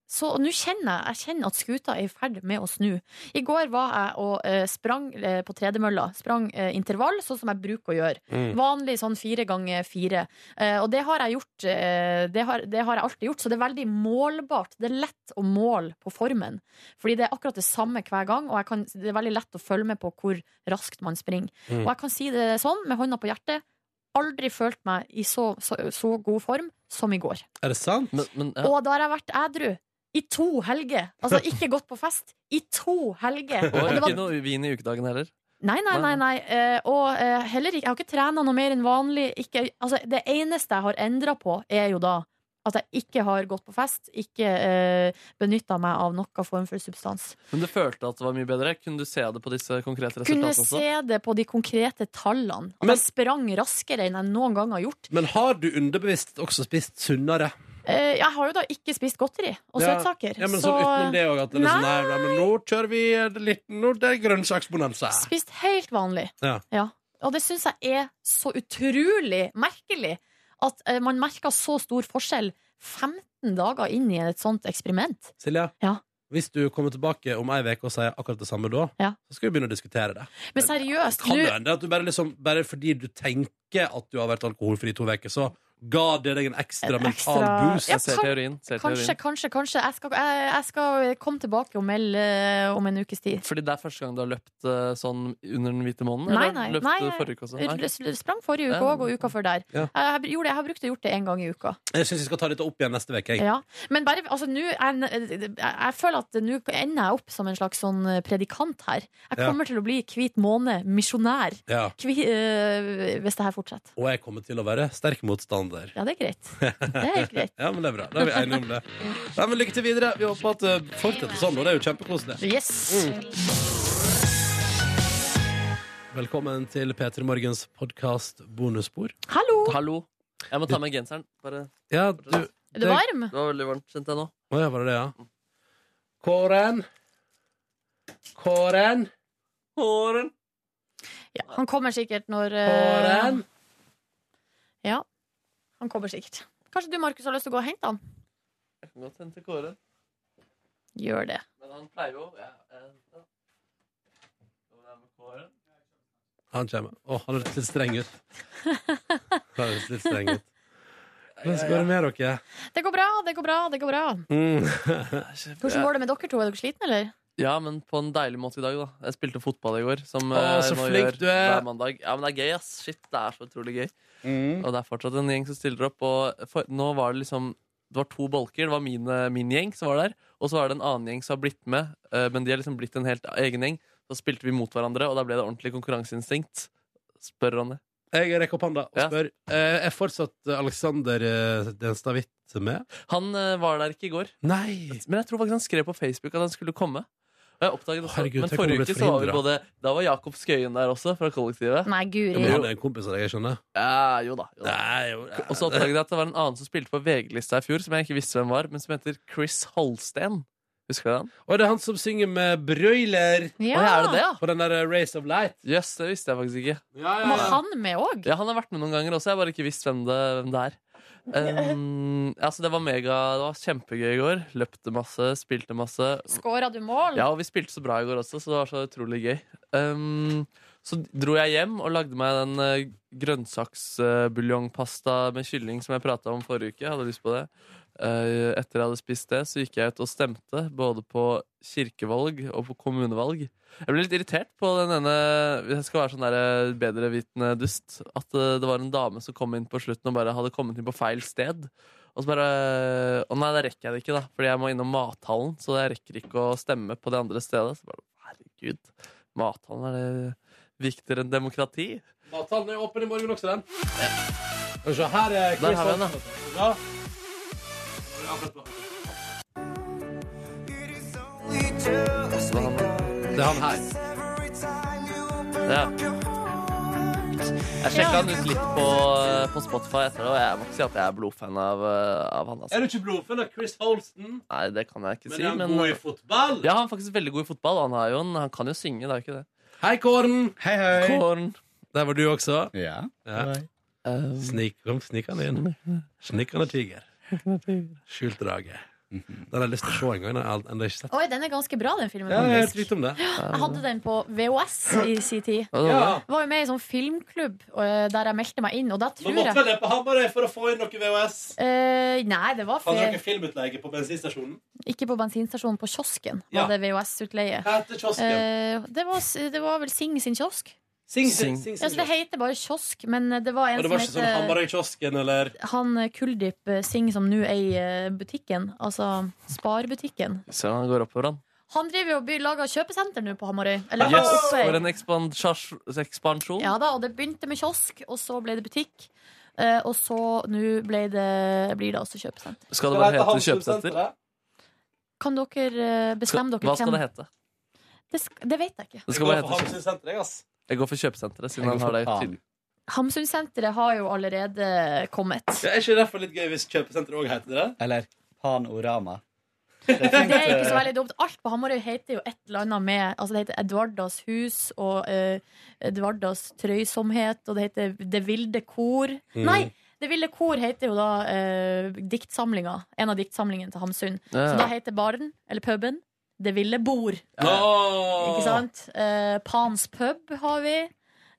Speaker 3: så nå kjenner jeg, jeg kjenner at skuta er i ferd med å snu. I går var jeg og eh, sprang eh, på tredemølla. Sprang eh, intervall, sånn som jeg bruker å gjøre.
Speaker 22: Mm.
Speaker 3: Vanlig sånn fire ganger fire. Eh, og det har jeg gjort. Eh, det, har, det har jeg alltid gjort, så det er veldig målbart. Det er lett å måle på formen. Fordi det er akkurat det samme hver gang, og jeg kan, det er veldig lett å følge med på hvor raskt man springer.
Speaker 22: Mm.
Speaker 3: Og jeg kan si det sånn, med hånda på hjertet, aldri følt meg i så, så, så god form som i går.
Speaker 2: Er det sant?
Speaker 3: Og da har jeg vært ædru i to helger. Altså ikke gått på fest i to helger.
Speaker 4: Og
Speaker 3: Og det
Speaker 4: ikke
Speaker 3: var
Speaker 4: noe vin i ukedagen heller.
Speaker 3: Nei, nei, nei. nei. Eh, og eh, heller ikke Jeg har ikke trena noe mer enn vanlig. Ikke, altså, det eneste jeg har endra på, er jo da At jeg ikke har gått på fest, ikke uh, benytta meg av noen form for substans.
Speaker 4: Men du følte at det var mye bedre? Kunne du se det på disse konkrete resultatene
Speaker 3: Kunne
Speaker 4: også?
Speaker 3: se det på de konkrete tallene. At jeg sprang raskere enn jeg noen gang har gjort.
Speaker 2: Men har du underbevisst også spist sunnere?
Speaker 3: Eh, jeg har jo da ikke spist godteri og
Speaker 2: Ja.
Speaker 3: søtsaker.
Speaker 2: Ja, men
Speaker 3: så
Speaker 2: sånn utenom det også, at det er sånn, nei, nei, men nå kjører vi litt, nå det er grønnsaksbonanza.
Speaker 3: spist helt vanlig.
Speaker 2: Ja.
Speaker 3: Ja. Og det syns jeg er så utrolig merkelig. At eh, man merker så stor forskjell 15 dager inn i et sånt eksperiment.
Speaker 2: Silja,
Speaker 3: Ja.
Speaker 2: hvis du kommer tilbake om ei uke og sier akkurat det samme da,
Speaker 3: Ja.
Speaker 2: så skal vi begynne å diskutere det.
Speaker 3: Men seriøst,
Speaker 2: Kan det
Speaker 3: nå-
Speaker 2: hende at du bare, liksom, bare fordi du tenker at du har vært alkoholfri i to uker, så ga det deg en ekstra
Speaker 3: En ekstra-
Speaker 2: mental boost?
Speaker 3: Ja, Jeg ser kan- teorien, kanskje, kanskje, kanskje. Jeg skal, jeg, jeg skal komme tilbake og melde eh, om en ukes tid.
Speaker 4: Fordi det er første gang du har løpt eh, sånn under den hvite måneden?
Speaker 3: Nei,
Speaker 4: eller
Speaker 3: nei.
Speaker 4: løpte
Speaker 3: nei
Speaker 4: du
Speaker 3: jeg-
Speaker 4: forrige uke også?
Speaker 3: r- s- Sprang forrige uke
Speaker 2: Ja.
Speaker 3: òg, og uka før der.
Speaker 2: Ja.
Speaker 3: Jeg, jeg, gjorde, det- jeg har brukt å gjort det én gang i uka.
Speaker 2: Jeg syns vi skal ta dette opp igjen neste uke. jeg.
Speaker 3: Ja. Men bare, altså, nå er jeg, jeg føler at nå ender jeg opp som en slags sånn predikant her. Jeg
Speaker 2: Ja.
Speaker 3: kommer til å bli hvit måne, misjonær,
Speaker 2: Ja.
Speaker 3: Kvi, eh, hvis det her fortsetter.
Speaker 2: Og jeg kommer til å være sterk motstander.
Speaker 3: Ja, det er greit.
Speaker 2: helt greit. ja, men det er bra. Da er vi enige om det. Nei, men lykke til videre. Vi håper at det fortsetter sånn, og det er jo kjempekoselig.
Speaker 3: Yes!
Speaker 2: Velkommen til P3 Morgens podkast bonusspor.
Speaker 3: Hallo!
Speaker 4: Jeg må ta med genseren. Bare.
Speaker 2: Ja, du
Speaker 4: Er
Speaker 2: du varm?
Speaker 4: Det var veldig varmt, kjente jeg nå.
Speaker 2: Å ja, var det det, ja? Kåren? Kåren?
Speaker 4: Kåren?
Speaker 3: Ja, han kommer sikkert når eh,
Speaker 2: Kåren?
Speaker 3: Ja. Han kommer sikkert. Kanskje du, Markus, har lyst til å gå og hente han?
Speaker 4: Jeg kan godt hente Kåren.
Speaker 3: Gjør det.
Speaker 4: Men han pleier jo ja, eh, ja. Skal vi ha med Kåren?
Speaker 2: Han kommer. Å, han høres litt streng ut. Han høres litt streng ut. Hvordan
Speaker 3: ja,
Speaker 2: går det med dere? Mm.
Speaker 3: Det går bra, det går bra, det går bra. Hvordan går det med dere to? Er dere slitne, eller?
Speaker 4: Ja, men på en deilig måte i dag, da. Jeg spilte fotball i går. Som
Speaker 2: Å,
Speaker 4: eh,
Speaker 2: så
Speaker 4: jeg nå
Speaker 2: flink
Speaker 4: gjør
Speaker 2: du er.
Speaker 4: Hver mandag. Ja, men det er gøy, ass. Shit, det er så utrolig gøy.
Speaker 2: Mm.
Speaker 4: Og det er fortsatt en gjeng som stiller opp. Og for, nå var det liksom Det var to bolker. Det var min, eh, min gjeng som var der, og så var det en annen gjeng som har blitt med. eh, men de har liksom blitt en helt egen gjeng. Så spilte vi mot hverandre, og da ble det ordentlig konkurranseinstinkt. Spør Ronny.
Speaker 2: Jeg rekker opp hånda og spør. eh, Er fortsatt Alexander eh, Denstad Hvitt med?
Speaker 4: Han eh, var der ikke i går.
Speaker 2: Nei.
Speaker 4: Men jeg tror faktisk han skrev på Facebook at han skulle komme. Og jeg oppdaget også,
Speaker 2: Herregud,
Speaker 4: Men
Speaker 2: tenk om han
Speaker 4: forrige
Speaker 2: ble
Speaker 4: uke så var vi
Speaker 2: forhindret.
Speaker 4: både Da var Jakob Skøyen der også, fra kollektivet.
Speaker 3: Nei,
Speaker 2: Ja, men han er en kompis av deg, jeg skjønner.
Speaker 4: Ja, jo da. Jo da. Og så oppdaget jeg at det var en annen som spilte på VG-lista i fjor, som jeg ikke visste hvem var, men som heter Chris Holsten. Husker du han?
Speaker 2: Og det er han som synger med Broiler.
Speaker 3: Ja. Å, ja, er det det, ja?
Speaker 2: På den der eh, Race of Light.
Speaker 4: Jøss, det visste jeg faktisk ikke.
Speaker 3: Var han med òg?
Speaker 4: Ja, han har vært med noen ganger også, jeg har bare ikke visst hvem det, hvem det er. Um, altså, det var mega Det var kjempegøy i går. Løpte masse, spilte masse.
Speaker 3: Skåra du mål?
Speaker 4: Ja, og vi spilte så bra i går også, så det var så utrolig gøy. Um, så dro jeg hjem og lagde meg den uh, grønnsaksbuljongpasta med kylling som jeg prata om forrige uke. Jeg hadde lyst på det. Uh, etter jeg hadde spist det, så gikk jeg ut og stemte både på kirkevalg og på kommunevalg. Jeg ble litt irritert på den ene Jeg skal være sånn der bedrevitende dust. At uh, det var en dame som kom inn på slutten og bare hadde kommet inn på feil sted. Og så bare Å nei, da rekker jeg det ikke, da. Fordi jeg må innom mathallen, så jeg rekker ikke å stemme på det andre stedet. Så bare, herregud, mathallen er det viktigere enn demokrati?
Speaker 2: Avtalen er åpen i morgen også, den. Skal vi se, her er
Speaker 4: Der har vi den,
Speaker 2: Ja. Det er han her.
Speaker 4: Ja. Jeg sjekka han ut litt på, på Spotify etter det, og jeg må ikke si at jeg er blodfan av, uh, av han.
Speaker 2: Er
Speaker 4: Altså.
Speaker 2: du ikke blodfull av Chris Holsten?
Speaker 4: Nei, det kan jeg ikke
Speaker 2: Men
Speaker 4: si.
Speaker 2: er han god i fotball?
Speaker 4: Ja, han er faktisk veldig god i fotball. Han, er jo en, han kan jo synge, det er jo ikke det.
Speaker 2: Hei, Kåren.
Speaker 4: Hei, hei. Kåren.
Speaker 2: Der var du også.
Speaker 10: Ja.
Speaker 4: Eh,
Speaker 2: Snik, kom snikende inn. Snikende tiger. Skjult drage. Den har jeg lyst til å se en gang. Den har jeg ald- ennå ikke sett.
Speaker 3: Oi, den er ganske bra, den filmen.
Speaker 2: Ja, jeg har
Speaker 3: faktisk.
Speaker 2: helt vidt om det.
Speaker 3: Jeg hadde den på VHS i sin tid.
Speaker 2: Ja, det var det.
Speaker 3: Var jo med i sånn filmklubb eh, der jeg meldte meg inn, og da
Speaker 2: Da
Speaker 3: tror
Speaker 2: måtte vel det
Speaker 3: jeg
Speaker 2: på Hamarøy for å få inn noe VHS.
Speaker 3: Eh, nei, det var
Speaker 2: Hadde
Speaker 3: fe-
Speaker 2: dere filmutleie på bensinstasjonen?
Speaker 3: ikke på bensinstasjonen, på kiosken
Speaker 2: Ja.
Speaker 3: var det VHS-utleie.
Speaker 2: heter kiosken?
Speaker 3: Eh, det, var, s- det var vel Sing sin kiosk.
Speaker 2: Sing sin- Sing. Sing sin
Speaker 3: ja, så det heter bare kiosk, men eh, det var en
Speaker 2: Og det var ikke
Speaker 3: som
Speaker 2: sånn
Speaker 3: heter
Speaker 2: Hamarøy-kiosken eller
Speaker 3: han eh, Kuldyp eh, Singh som nå eier eh, butikken, altså Sparbutikken.
Speaker 4: Se, han går oppover, han.
Speaker 3: Han driver jo og by- lager kjøpesenter nå på Hamarøy. Eller
Speaker 4: Yes,
Speaker 3: oppe-
Speaker 4: for en ekspansjas- ekspansjon.
Speaker 3: Ja da, og det begynte med kiosk, og så ble det butikk. Eh, og så nå ble det, blir det altså kjøpesenter.
Speaker 4: Skal det bare hete kjøpesenter?
Speaker 3: Kan dere eh, bestemme
Speaker 4: Skal-
Speaker 3: dere
Speaker 4: Hva skal det hete?
Speaker 3: Det, sk det vet jeg ikke.
Speaker 4: Det skal bare hete kjøpesenter. Jeg går for kjøpesenteret, siden
Speaker 2: Jeg
Speaker 4: han
Speaker 2: går
Speaker 4: har det
Speaker 2: for Pan.
Speaker 4: tydelig.
Speaker 3: Hamsunsenteret har jo allerede kommet.
Speaker 2: Ja, er ikke det derfor litt gøy hvis kjøpesenteret òg heter det?
Speaker 22: Eller Panorama.
Speaker 3: Det er ikke så veldig dumt. Alt på Hamarøy heter jo et eller annet med Altså Det heter Edvardas hus og eh, Edvardas trøysomhet, og det heter Det ville kor.
Speaker 4: Mm.
Speaker 3: Nei! Det ville kor heter jo da eh, diktsamlinga. En av diktsamlingene til Hamsun.
Speaker 4: Ja.
Speaker 3: Så da heter baren, eller puben, Det ville bord.
Speaker 2: Åh!
Speaker 3: Ikke sant? Eh, Pans pub har vi.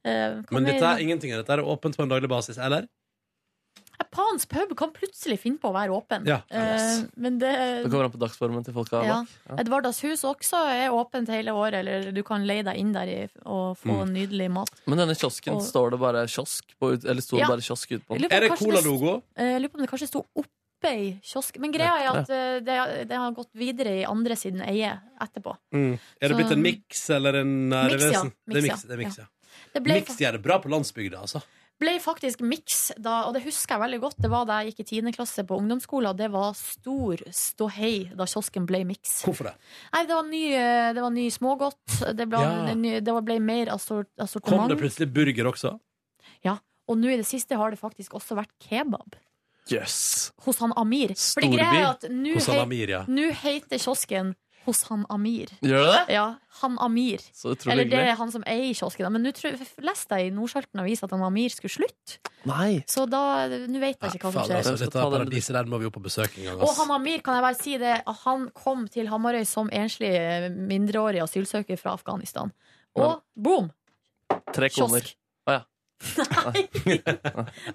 Speaker 3: Eh, hva
Speaker 2: Men
Speaker 3: mer?
Speaker 2: dette er ingenting av dette er åpent på en daglig basis, eller?
Speaker 3: Eh, Pans pub kan plutselig finne på å være åpen.
Speaker 2: Ja.
Speaker 3: Eh, men det
Speaker 4: Det kommer an på dagsformen til folka
Speaker 3: Ja.
Speaker 4: bak. Ja.
Speaker 3: Edvardas hus også er åpent hele året, eller du kan leie deg inn der i, og få
Speaker 4: Mm.
Speaker 3: nydelig mat.
Speaker 4: Men denne kiosken,
Speaker 3: Og-
Speaker 4: står det bare kiosk på, ut- eller står
Speaker 3: Ja.
Speaker 4: det bare kiosk ute på
Speaker 3: Jeg lurer
Speaker 4: den?
Speaker 3: på om kanskje eh, Jeg lurer på om det kanskje sto oppe i kiosk. Men greia er at eh, det, det har gått videre i andre siden eie etterpå.
Speaker 2: Mm. Er det
Speaker 3: Så-
Speaker 2: blitt en miks eller en
Speaker 3: Mix, ja.
Speaker 2: nærvesen? Det er
Speaker 3: Mix,
Speaker 2: miks,
Speaker 3: ja.
Speaker 2: det er miks,
Speaker 3: Ja.
Speaker 2: ja.
Speaker 3: Det ble,
Speaker 2: Miks gjør det bra på landsbygda, altså.
Speaker 3: ble faktisk miks da, og det husker jeg veldig godt. Det var da jeg gikk i tiende klasse på ungdomsskolen, og det var stor ståhei da kiosken ble miks.
Speaker 2: Hvorfor det?
Speaker 3: Nei, det var ny, eh, det var ny smågodt, det ble,
Speaker 2: Ja.
Speaker 3: ny, det var- ble mer assort-
Speaker 2: Kom
Speaker 3: assortiment.
Speaker 2: det plutselig burger også?
Speaker 3: Ja, og nå i det siste har det faktisk også vært kebab
Speaker 2: Yes.
Speaker 3: hos han Amir. For det
Speaker 2: Storby
Speaker 3: greia er at nå
Speaker 2: hos han
Speaker 3: hei-
Speaker 2: Amir, ja.
Speaker 3: nå heter kiosken hos han Amir.
Speaker 4: Gjør det det?
Speaker 3: Ja, han Amir.
Speaker 4: Så utrolig
Speaker 3: Eller det
Speaker 4: hyggelig.
Speaker 3: er han som eier kiosken. da. Men nå tror- leste jeg i Nordsalten avis at han Amir skulle slutte.
Speaker 4: Nei.
Speaker 3: Så da, nå vet jeg ikke hva som
Speaker 2: Faen, altså, dette
Speaker 3: skjer.
Speaker 2: paradiset der må vi jo på besøk en gang.
Speaker 3: Og
Speaker 2: ass.
Speaker 3: han Amir, kan jeg bare si det, han kom til Hamarøy som enslig eh, mindreårig asylsøker fra Afghanistan. Og boom!
Speaker 4: Tre kroner. Å ja.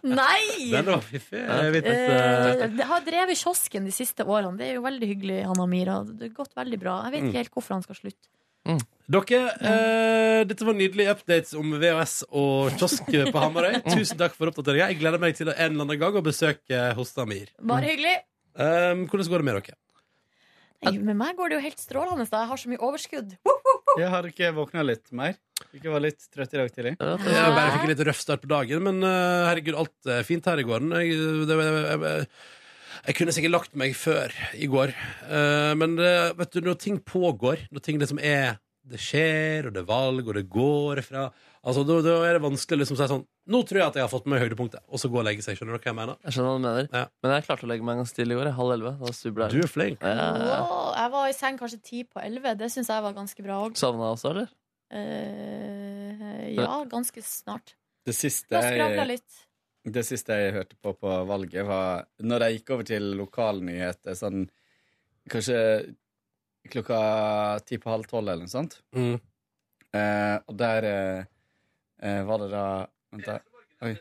Speaker 3: Nei!
Speaker 4: Den var fiffig.
Speaker 2: Ja, vi
Speaker 3: Eh, det har drevet kiosken de siste årene. Det er jo veldig hyggelig, han Amira. Det har gått veldig bra. Jeg vet
Speaker 2: Mm.
Speaker 3: ikke helt hvorfor han skal slutte.
Speaker 2: Dere, eh, dette var nydelige updates om VHS og kiosk på Hamarøy. Tusen takk for oppdateringa. Jeg gleder meg til å en eller annen gang å besøke eh, hos Amir.
Speaker 4: Mm.
Speaker 3: Bare hyggelig.
Speaker 2: Um, hvordan går det med dere?
Speaker 3: Nei, Med meg går det jo helt strålende. Da. Jeg har så mye overskudd.
Speaker 22: Jeg har ikke våkna litt mer. Ikke var litt trøtt i dag tidlig.
Speaker 2: Jeg bare fikk en litt røff start på dagen, men eh, herregud, alt er fint her i gården. Jeg, det, jeg, jeg, jeg kunne sikkert lagt meg før i går, Eh, men det- vet du, når ting pågår, når ting liksom er Det skjer, og det er valg, og det går fra Altså, Da, da er det vanskelig å liksom, si sånn Nå tror jeg at jeg har fått med meg høydepunktet, og så gå og legge seg. Skjønner dere hva jeg mener?
Speaker 4: Jeg skjønner hva du mener. Men jeg klarte å legge meg en gang stille i går. jeg. Halv elleve. Da var subla jeg.
Speaker 2: Du er flink.
Speaker 4: Ja, ja, ja.
Speaker 3: Åh, jeg var i seng kanskje ti på elleve. Det syns jeg var ganske bra òg.
Speaker 4: Savna jeg også, eller?
Speaker 3: Eh, ja, ganske snart.
Speaker 22: Det siste
Speaker 3: Da skravla
Speaker 22: jeg,
Speaker 3: litt.
Speaker 22: det siste jeg hørte på på valget, var når jeg gikk over til lokalnyheter sånn kanskje klokka ti på halv tolv eller noe sånt.
Speaker 2: Mm.
Speaker 22: Eh, og der eh, eh, var det da Vent, da. Oi. Jeg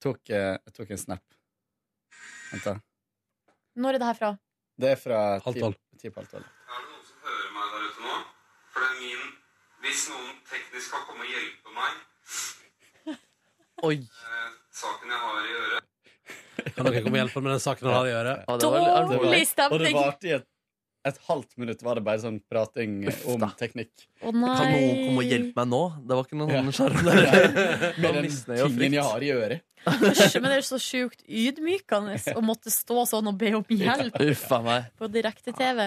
Speaker 22: tok, eh, jeg tok en snap. Vent, da.
Speaker 3: Når er det her fra?
Speaker 22: Det er fra
Speaker 2: Halv
Speaker 22: ti-
Speaker 2: tolv.
Speaker 22: ti på halv tolv.
Speaker 23: hører meg der ute nå. For det er min Hvis noen teknisk kan komme og hjelpe meg
Speaker 4: Oi.
Speaker 23: eh, Saken jeg har i øret
Speaker 2: Kan dere komme og hjelpe meg med den saken han har i øret?
Speaker 22: Ja, det var litt artig.
Speaker 3: Dårlig stemning.
Speaker 22: Og det varte i et, et halvt minutt, var det bare sånn prating om teknikk.
Speaker 3: Å, nei.
Speaker 4: Kan noen komme og hjelpe meg nå? Det var ikke noen sånn sjarm der. Det var
Speaker 22: Med den
Speaker 4: misnøye og
Speaker 22: tingen
Speaker 4: frykt.
Speaker 22: jeg har i øret.
Speaker 3: Men det er så sjukt ydmykende å måtte stå sånn og be om hjelp
Speaker 4: Uff a meg.
Speaker 3: på direkte-TV.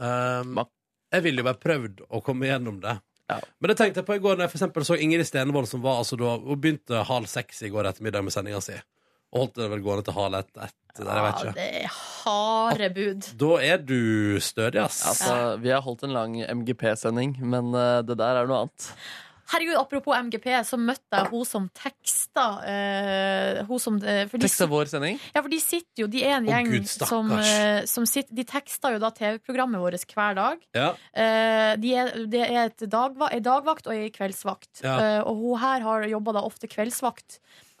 Speaker 2: Um, jeg ville jo bare prøvd å komme gjennom det. Men det tenkte jeg på i går Når jeg for eksempel så Ingrid Stenevold, som var altså da Hun begynte halv seks i går ettermiddag med sendinga si. Og holdt det vel gående til halv ett. ett der, jeg vet
Speaker 3: Ja,
Speaker 2: ikke.
Speaker 3: det er harde bud.
Speaker 2: Da er du stødig, ass.
Speaker 4: Altså, vi har holdt en lang MGP-sending, men eh, det der er noe annet.
Speaker 3: Herregud, apropos MGP, så møtte jeg hun som teksta. eh, hun som, eh, for de-
Speaker 4: Tekst av vår sending.
Speaker 3: Ja, for de sitter jo, de er en
Speaker 4: Å,
Speaker 3: gjeng
Speaker 4: Gud, stakkars.
Speaker 3: som, eh, som sitter De tekster jo da TV-programmet vårt hver dag.
Speaker 2: Ja.
Speaker 3: Eh, de er, det er et dagva, en dagvakt og en kveldsvakt.
Speaker 24: Ja.
Speaker 3: Eh, og hun her har jobba da ofte kveldsvakt.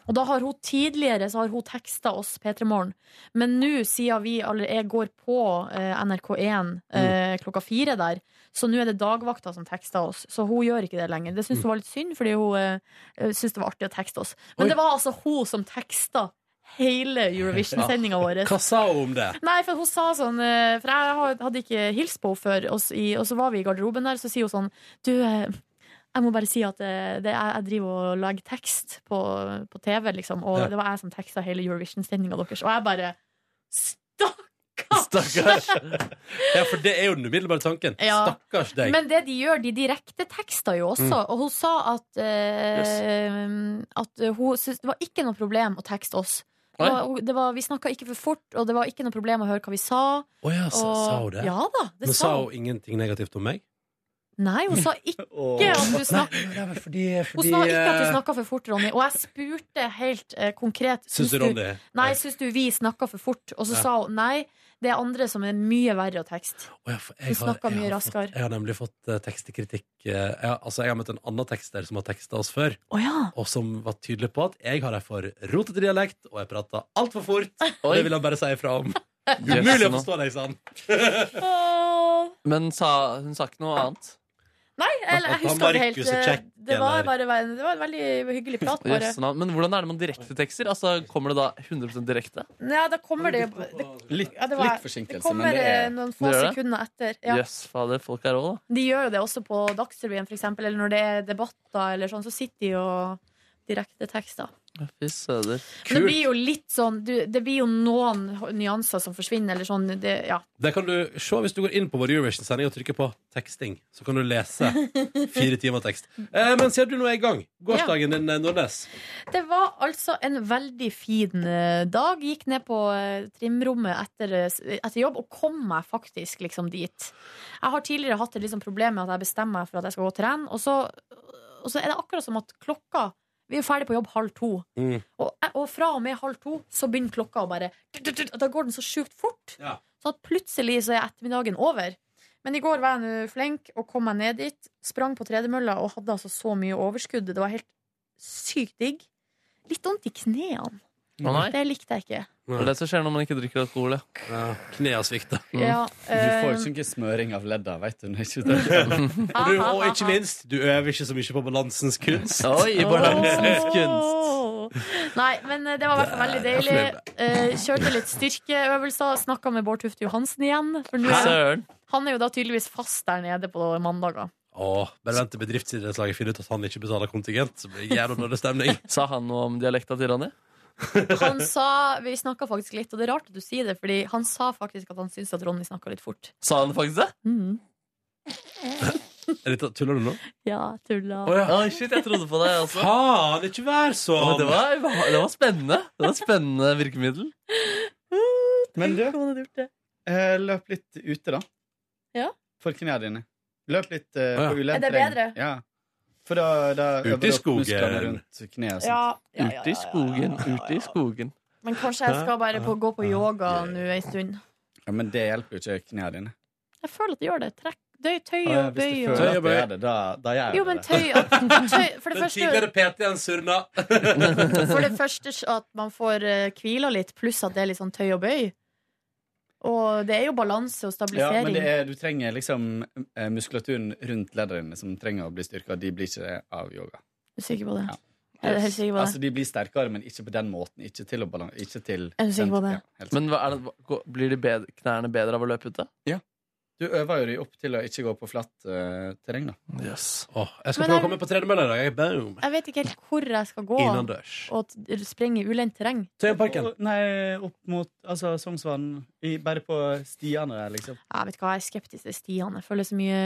Speaker 3: Og da har hun tidligere så har hun teksta oss P3 Morgen. Men nå, siden vi alle jeg går på eh, NRK1 eh, klokka fire der, så nå er det dagvakta som tekster oss. Så hun gjør ikke det lenger. Det syns hun var litt synd, fordi hun eh, syntes det var artig å tekste oss. Men
Speaker 2: Oi.
Speaker 3: det var altså hun som teksta hele Eurovision-sendinga vår.
Speaker 2: Hva sa hun om det?
Speaker 3: Nei, for hun sa sånn eh, For jeg hadde ikke hilst på henne før, og s- i- og så var vi i garderoben der, så sier hun sånn Du, eh, Jeg må bare si at eh, det, jeg, jeg driver og lager tekst på, på TV, liksom, og
Speaker 2: Ja.
Speaker 3: det var jeg som teksta hele Eurovision-sendinga deres, og jeg bare
Speaker 2: Stakkars! ja, for det er jo den umiddelbare tanken.
Speaker 3: Ja.
Speaker 2: Stakkars deg.
Speaker 3: Men det de gjør, de direkte tekster jo også.
Speaker 2: Mm.
Speaker 3: Og hun sa at eh, At hun syntes det var ikke noe problem å tekste oss. Det
Speaker 2: Nei.
Speaker 3: var, hun- det var, vi snakka ikke for fort, og det var ikke noe problem å høre hva vi sa.
Speaker 2: Å ja, sa,
Speaker 3: og-
Speaker 2: sa hun det?
Speaker 3: Ja da, det
Speaker 2: Men
Speaker 3: sa
Speaker 2: sa
Speaker 3: hun.
Speaker 2: hun ingenting negativt om meg?
Speaker 3: Nei, hun sa ikke at du
Speaker 2: Nei,
Speaker 3: snakka
Speaker 2: det er vel fordi,
Speaker 3: Hun
Speaker 2: fordi
Speaker 3: sa ikke at du
Speaker 2: eh,
Speaker 3: snakka for fort, Ronny. Og jeg spurte helt eh, konkret
Speaker 2: Syns du Ronny-
Speaker 3: Nei, syns du vi snakka for fort? Og så
Speaker 2: Ja.
Speaker 3: sa hun nei, det er andre som er mye verre å tekste.
Speaker 2: Å ja, for
Speaker 3: Hun
Speaker 2: jeg har-
Speaker 3: snakka
Speaker 2: jeg
Speaker 3: mye
Speaker 2: har
Speaker 3: raskere.
Speaker 2: Fått, jeg har nemlig fått eh, tekstekritikk. eh, jeg, har- altså, jeg har møtt en annen tekster som har teksta oss før,
Speaker 3: Å ja.
Speaker 2: og som var tydelig på at jeg har en for rotete dialekt, og jeg prater altfor fort. Og det vil han bare si ifra om. Umulig å forstå deg, sa han.
Speaker 3: Åh.
Speaker 4: Men sa, hun sa ikke noe annet?
Speaker 3: Nei, jeg, jeg
Speaker 4: At han
Speaker 3: husker det
Speaker 4: Markus
Speaker 3: helt.
Speaker 4: er
Speaker 3: eh,
Speaker 4: kjekk
Speaker 3: Det
Speaker 4: igjen
Speaker 3: var,
Speaker 4: her.
Speaker 3: bare, en- det var en veldig hyggelig prat, bare.
Speaker 4: Yes, no. men hvordan er det man direktetekster? Altså, kommer det da 100 direkte?
Speaker 3: Nei, da kommer det det,
Speaker 4: Litt,
Speaker 3: ja, det var- litt forsinkelse, det kommer, men det er- eh, noen få sekunder etter, ja.
Speaker 4: Yes, fader, folk er rå, da.
Speaker 3: De gjør jo det også på Dagsrevyen, for eksempel, eller når det er debatter, eller sånn, så sitter de og direkte tekster.
Speaker 4: Ja, Fy søder.
Speaker 3: Men det blir jo litt sånn du, Det blir jo noen nyanser som forsvinner, eller sånn. Det, ja.
Speaker 2: Det kan du se hvis du går inn på vår Eurovision-sending og trykker på 'teksting'. Så kan du lese fire timer tekst. Eh, men ser du nå er i gang? Gårsdagen din, eh, Nordnes.
Speaker 3: det var altså en veldig fin eh, dag. Gikk ned på eh, trimrommet etter, eh, s- etter jobb og kom meg faktisk liksom dit. Jeg har tidligere hatt et liksom problem med at jeg bestemmer meg for at jeg skal gå og trene, og så, og så er det akkurat som at klokka Vi er jo ferdig på jobb halv to. Og, og fra og med halv to så begynner klokka å bare Da går den så sjukt fort.
Speaker 2: Ja.
Speaker 3: Så at plutselig så er ettermiddagen over. Men i går var jeg nå flink og kom meg ned dit. Sprang på tredemølla og hadde altså så mye overskudd. Det var helt sykt digg. Litt vondt i knærne.
Speaker 4: Å, nei.
Speaker 3: Det likte jeg ikke.
Speaker 4: Det er det som skjer når man ikke drikker alkohol.
Speaker 2: Ja. Knea svikter.
Speaker 3: Ja,
Speaker 22: Mm. du får
Speaker 3: eh,
Speaker 22: jo ikke smøring av ledda, veit du. Når ikke du drikker.
Speaker 2: Og, du, og ikke minst, du øver ikke så mye på balansens kunst.
Speaker 22: Oi, balansens
Speaker 3: Åh. Nei, men eh, det var i hvert fall veldig
Speaker 2: Der,
Speaker 3: deilig.
Speaker 2: jeg
Speaker 3: Eh, kjørte litt styrkeøvelser. Snakka med Bård Tufte Johansen igjen. For nå er,
Speaker 2: Søren.
Speaker 3: han er jo da tydeligvis fast der nede på mandager.
Speaker 2: Åh, bare vent til bedriftsidrettslaget finner ut at han ikke betaler kontingent. Så blir det jævla dårlig stemning.
Speaker 4: Sa han noe om dialekta til Ronny?
Speaker 3: Han sa, Vi snakka faktisk litt, og det er rart at du sier det, Fordi han sa faktisk at han syntes at Ronny snakka litt fort.
Speaker 4: Sa han faktisk det?
Speaker 2: Er dette, tuller du nå?
Speaker 3: Ja, tulla.
Speaker 4: Å, ja. Oi, shit, jeg trodde på deg også.
Speaker 2: Faen, ikke vær
Speaker 4: Ja,
Speaker 2: sånn!
Speaker 4: men det, var, det var spennende. Det var et spennende virkemiddel.
Speaker 22: Men du,
Speaker 3: det.
Speaker 22: eh, løp litt ute, da.
Speaker 3: Ja.
Speaker 22: For knærne dine. Løp litt eh,
Speaker 2: Å, ja.
Speaker 22: på ulendt
Speaker 3: Er det
Speaker 22: terreng.
Speaker 3: bedre?
Speaker 22: Ja. For da, da
Speaker 2: Ute
Speaker 22: øver
Speaker 2: i
Speaker 22: du opp
Speaker 2: skogen.
Speaker 22: musklene rundt kneet og sånt.
Speaker 3: Ja, ja, ja,
Speaker 4: Ute i skogen, ute i skogen.
Speaker 3: Men kanskje jeg skal bare på, gå på yoga nå ei stund.
Speaker 22: Ja, men det hjelper jo ikke knærne dine.
Speaker 3: Jeg føler at det gjør det. Trekk, døy, tøy
Speaker 22: Ja,
Speaker 3: og
Speaker 22: hvis du
Speaker 3: bøy.
Speaker 22: føler
Speaker 3: Og...
Speaker 22: at du gjør det, da, da gjør
Speaker 3: Jo,
Speaker 22: du
Speaker 3: men
Speaker 22: det.
Speaker 3: tøy, at, tøy For det
Speaker 2: Den tidligere
Speaker 3: første,
Speaker 2: PT-en surna.
Speaker 3: for det første så at man får eh, hvila litt, pluss at det er litt sånn tøy og bøy. Og det er jo balanse og
Speaker 22: Ja, men
Speaker 3: stabilisering.
Speaker 22: det er, du trenger liksom eh, muskulaturen rundt leddene dine som trenger å bli styrka. De blir ikke det av yoga.
Speaker 3: Er du sikker på det? Er du helt sikker på det?
Speaker 22: Altså, de blir sterkere, men ikke på den måten. Ikke til å balan- Ikke til
Speaker 3: Er du sikker på det?
Speaker 4: Men hva er det, hva- blir de bedre, knærne bedre av å løpe ute?
Speaker 22: Du øver jo de opp til å ikke gå på flatt eh, terreng, da.
Speaker 2: Åh, jeg skal
Speaker 3: Men
Speaker 2: prøve
Speaker 3: er-
Speaker 2: å komme på tredemølla i dag. jeg. Boom!
Speaker 3: Jeg vet ikke helt hvor jeg skal gå
Speaker 2: Innendørs.
Speaker 3: og t- sprenge i ulendt terreng.
Speaker 22: Og- Nei, opp mot altså, Sognsvann. I- Bare på stiene der, liksom.
Speaker 3: Jeg vet hva, jeg er skeptisk til stiene. Jeg føler så mye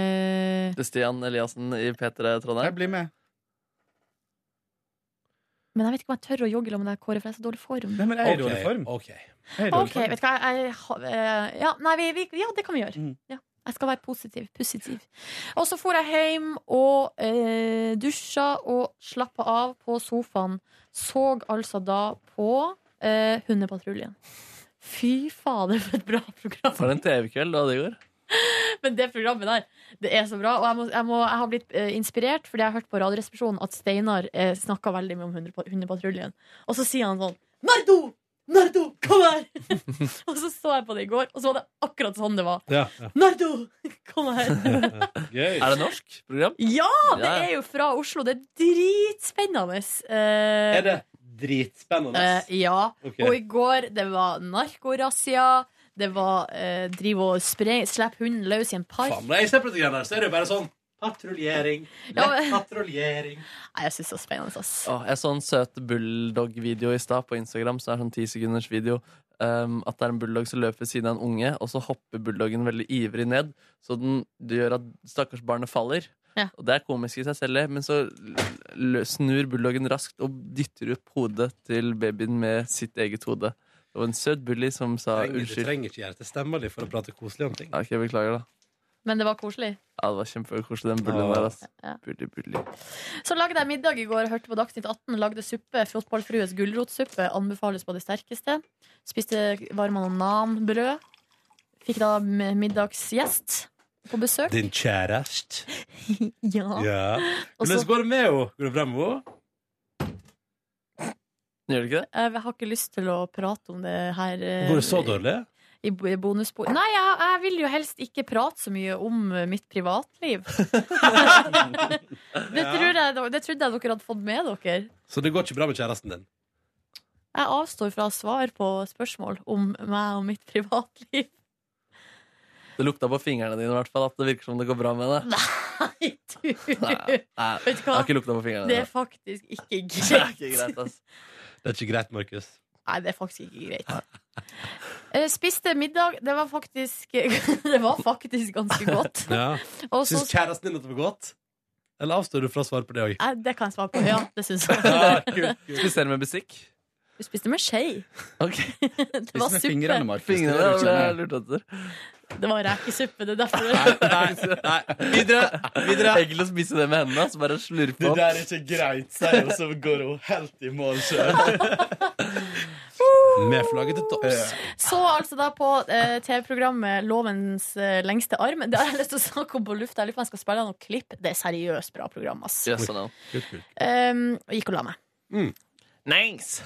Speaker 4: Det er Stian Eliassen i P3 Trondheim. Jeg
Speaker 22: blir med.
Speaker 3: Men jeg vet ikke om jeg tør å jogge sammen med deg, Kåre, for jeg er så dårlig form.
Speaker 22: Nei, men jeg er i dårlig form. Jeg er i dårlig
Speaker 3: Ok,
Speaker 22: form.
Speaker 3: vet du hva jeg, ha- eh, ja, nei, vi, vi, ja, det kan vi gjøre. Ja. Jeg skal være positiv. positiv. Og så for jeg hjem og eh, dusja og slappa av på sofaen. Så altså da på eh, Hundepatruljen. Fy fader, for et bra program!
Speaker 4: For en TV-kveld du hadde i går.
Speaker 3: Men det programmet der, det er så bra. Og jeg, må, jeg, må, jeg har blitt eh, inspirert fordi jeg har hørt på Radioresepsjonen at Steinar eh, snakka veldig mye om hundepa- Hundepatruljen. Og så sier han sånn Nardo! Nardo, kom her! og så så jeg på det i går, og så var det akkurat sånn det var.
Speaker 2: Ja, ja.
Speaker 3: Nardo, kom her!
Speaker 4: Er det norsk program?
Speaker 3: ja, det er jo fra Oslo. Det er dritspennende. Eh,
Speaker 2: Er det dritspennende?
Speaker 3: Eh, ja.
Speaker 2: Ok.
Speaker 3: Og i går, det var narkorazzia. Det var eh, drive og spre- slippe hunden løs i en park.
Speaker 2: Faen, når jeg ser på dette greiene her, så er det jo bare sånn Patruljering.
Speaker 3: Ja,
Speaker 2: Lett
Speaker 3: men-
Speaker 2: patruljering.
Speaker 3: Nei, jeg syns det er spennende, ass.
Speaker 4: Åh, jeg så en søt bulldog-video i stad på Instagram. Så er det sånn 10 sekunders video um, At det er en bulldog som løper ved siden av en unge, og så hopper bulldoggen veldig ivrig ned. Så den, det gjør at stakkars barnet faller.
Speaker 3: Ja.
Speaker 4: Og Det er komisk i seg selv, det, men så l- l- snur bulldoggen raskt og dytter opp hodet til babyen med sitt eget hode. Det var en søt bully som sa
Speaker 2: Trenger, du
Speaker 4: unnskyld.
Speaker 2: trenger ikke gjøre det stemmer litt for å prate koselig om ting.
Speaker 4: Ja, ok, beklager, da.
Speaker 3: Men det var koselig.
Speaker 4: Ja, det var kjempekoselig, den bullyen
Speaker 2: Ja.
Speaker 4: der. ass.
Speaker 3: Ja.
Speaker 4: Bully, bully.
Speaker 3: Så lagde jeg middag i går, hørte på Dagsnytt 18, lagde suppe. Fotballfrues gulrotsuppe anbefales på det sterkeste. Spiste varma nanbrød. Fikk da m- middagsgjest på besøk.
Speaker 2: Din kjæreste.
Speaker 3: Ja.
Speaker 2: Ja.
Speaker 3: Og
Speaker 2: Hvordan
Speaker 3: så-
Speaker 2: går det med henne? Går det bra med henne?
Speaker 4: Gjør det ikke det?
Speaker 3: Jeg har ikke lyst til å prate om det her. eh,
Speaker 2: Går det så dårlig?
Speaker 3: I bo- i bonusbord. Nei, jeg, jeg vil jo helst ikke prate så mye om eh, mitt privatliv. det,
Speaker 2: Ja.
Speaker 3: tror jeg, det trodde jeg dere hadde fått med dere.
Speaker 2: Så det går ikke bra med kjæresten din?
Speaker 3: Jeg avstår fra svar på spørsmål om meg og mitt privatliv.
Speaker 4: Det lukta på fingrene dine i hvert fall at det virker som det går bra med det.
Speaker 3: Nei, du!
Speaker 4: Nei,
Speaker 3: Vet du
Speaker 4: jeg
Speaker 3: hva?
Speaker 4: har ikke lukta på fingrene
Speaker 3: Det er
Speaker 4: dine.
Speaker 3: faktisk ikke
Speaker 4: Det er
Speaker 3: greit.
Speaker 4: ikke greit, ass.
Speaker 2: Det er ikke greit, Markus.
Speaker 3: Nei, det er faktisk ikke greit. Eh, Spiste middag. Det var faktisk Det var faktisk ganske godt.
Speaker 2: Ja.
Speaker 3: Og så-
Speaker 2: Syns kjæresten din at det var godt? Eller avstår du fra å svare på det òg?
Speaker 3: Nei, det kan jeg svare på. Ja, det syns
Speaker 4: Ah,
Speaker 2: Ja,
Speaker 3: jeg.
Speaker 2: kult,
Speaker 4: Spesielt med bestikk.
Speaker 3: Du spiste med skje. Det var
Speaker 4: Spiste med
Speaker 3: suppe.
Speaker 4: fingrene, Markus. Fingrene, det ble jeg lurt etter.
Speaker 3: Det var rekesuppe. Det er derfor det
Speaker 4: Nei, videre! videre. Egil å spise det med hendene, så bare slurpe
Speaker 13: Det
Speaker 4: opp.
Speaker 13: der er ikke greit, sier hun, så går hun helt i mål sjøl.
Speaker 2: Med flagget til topps.
Speaker 3: Så altså da på eh, TV-programmet Lovens eh, lengste arm. Det har jeg lyst til å snakke om på lufta. Jeg lurer på om jeg skal spille av noen klipp. Det er seriøst bra program, ass.
Speaker 4: Yes, I know.
Speaker 3: Um, og gikk og la meg.
Speaker 4: Nice.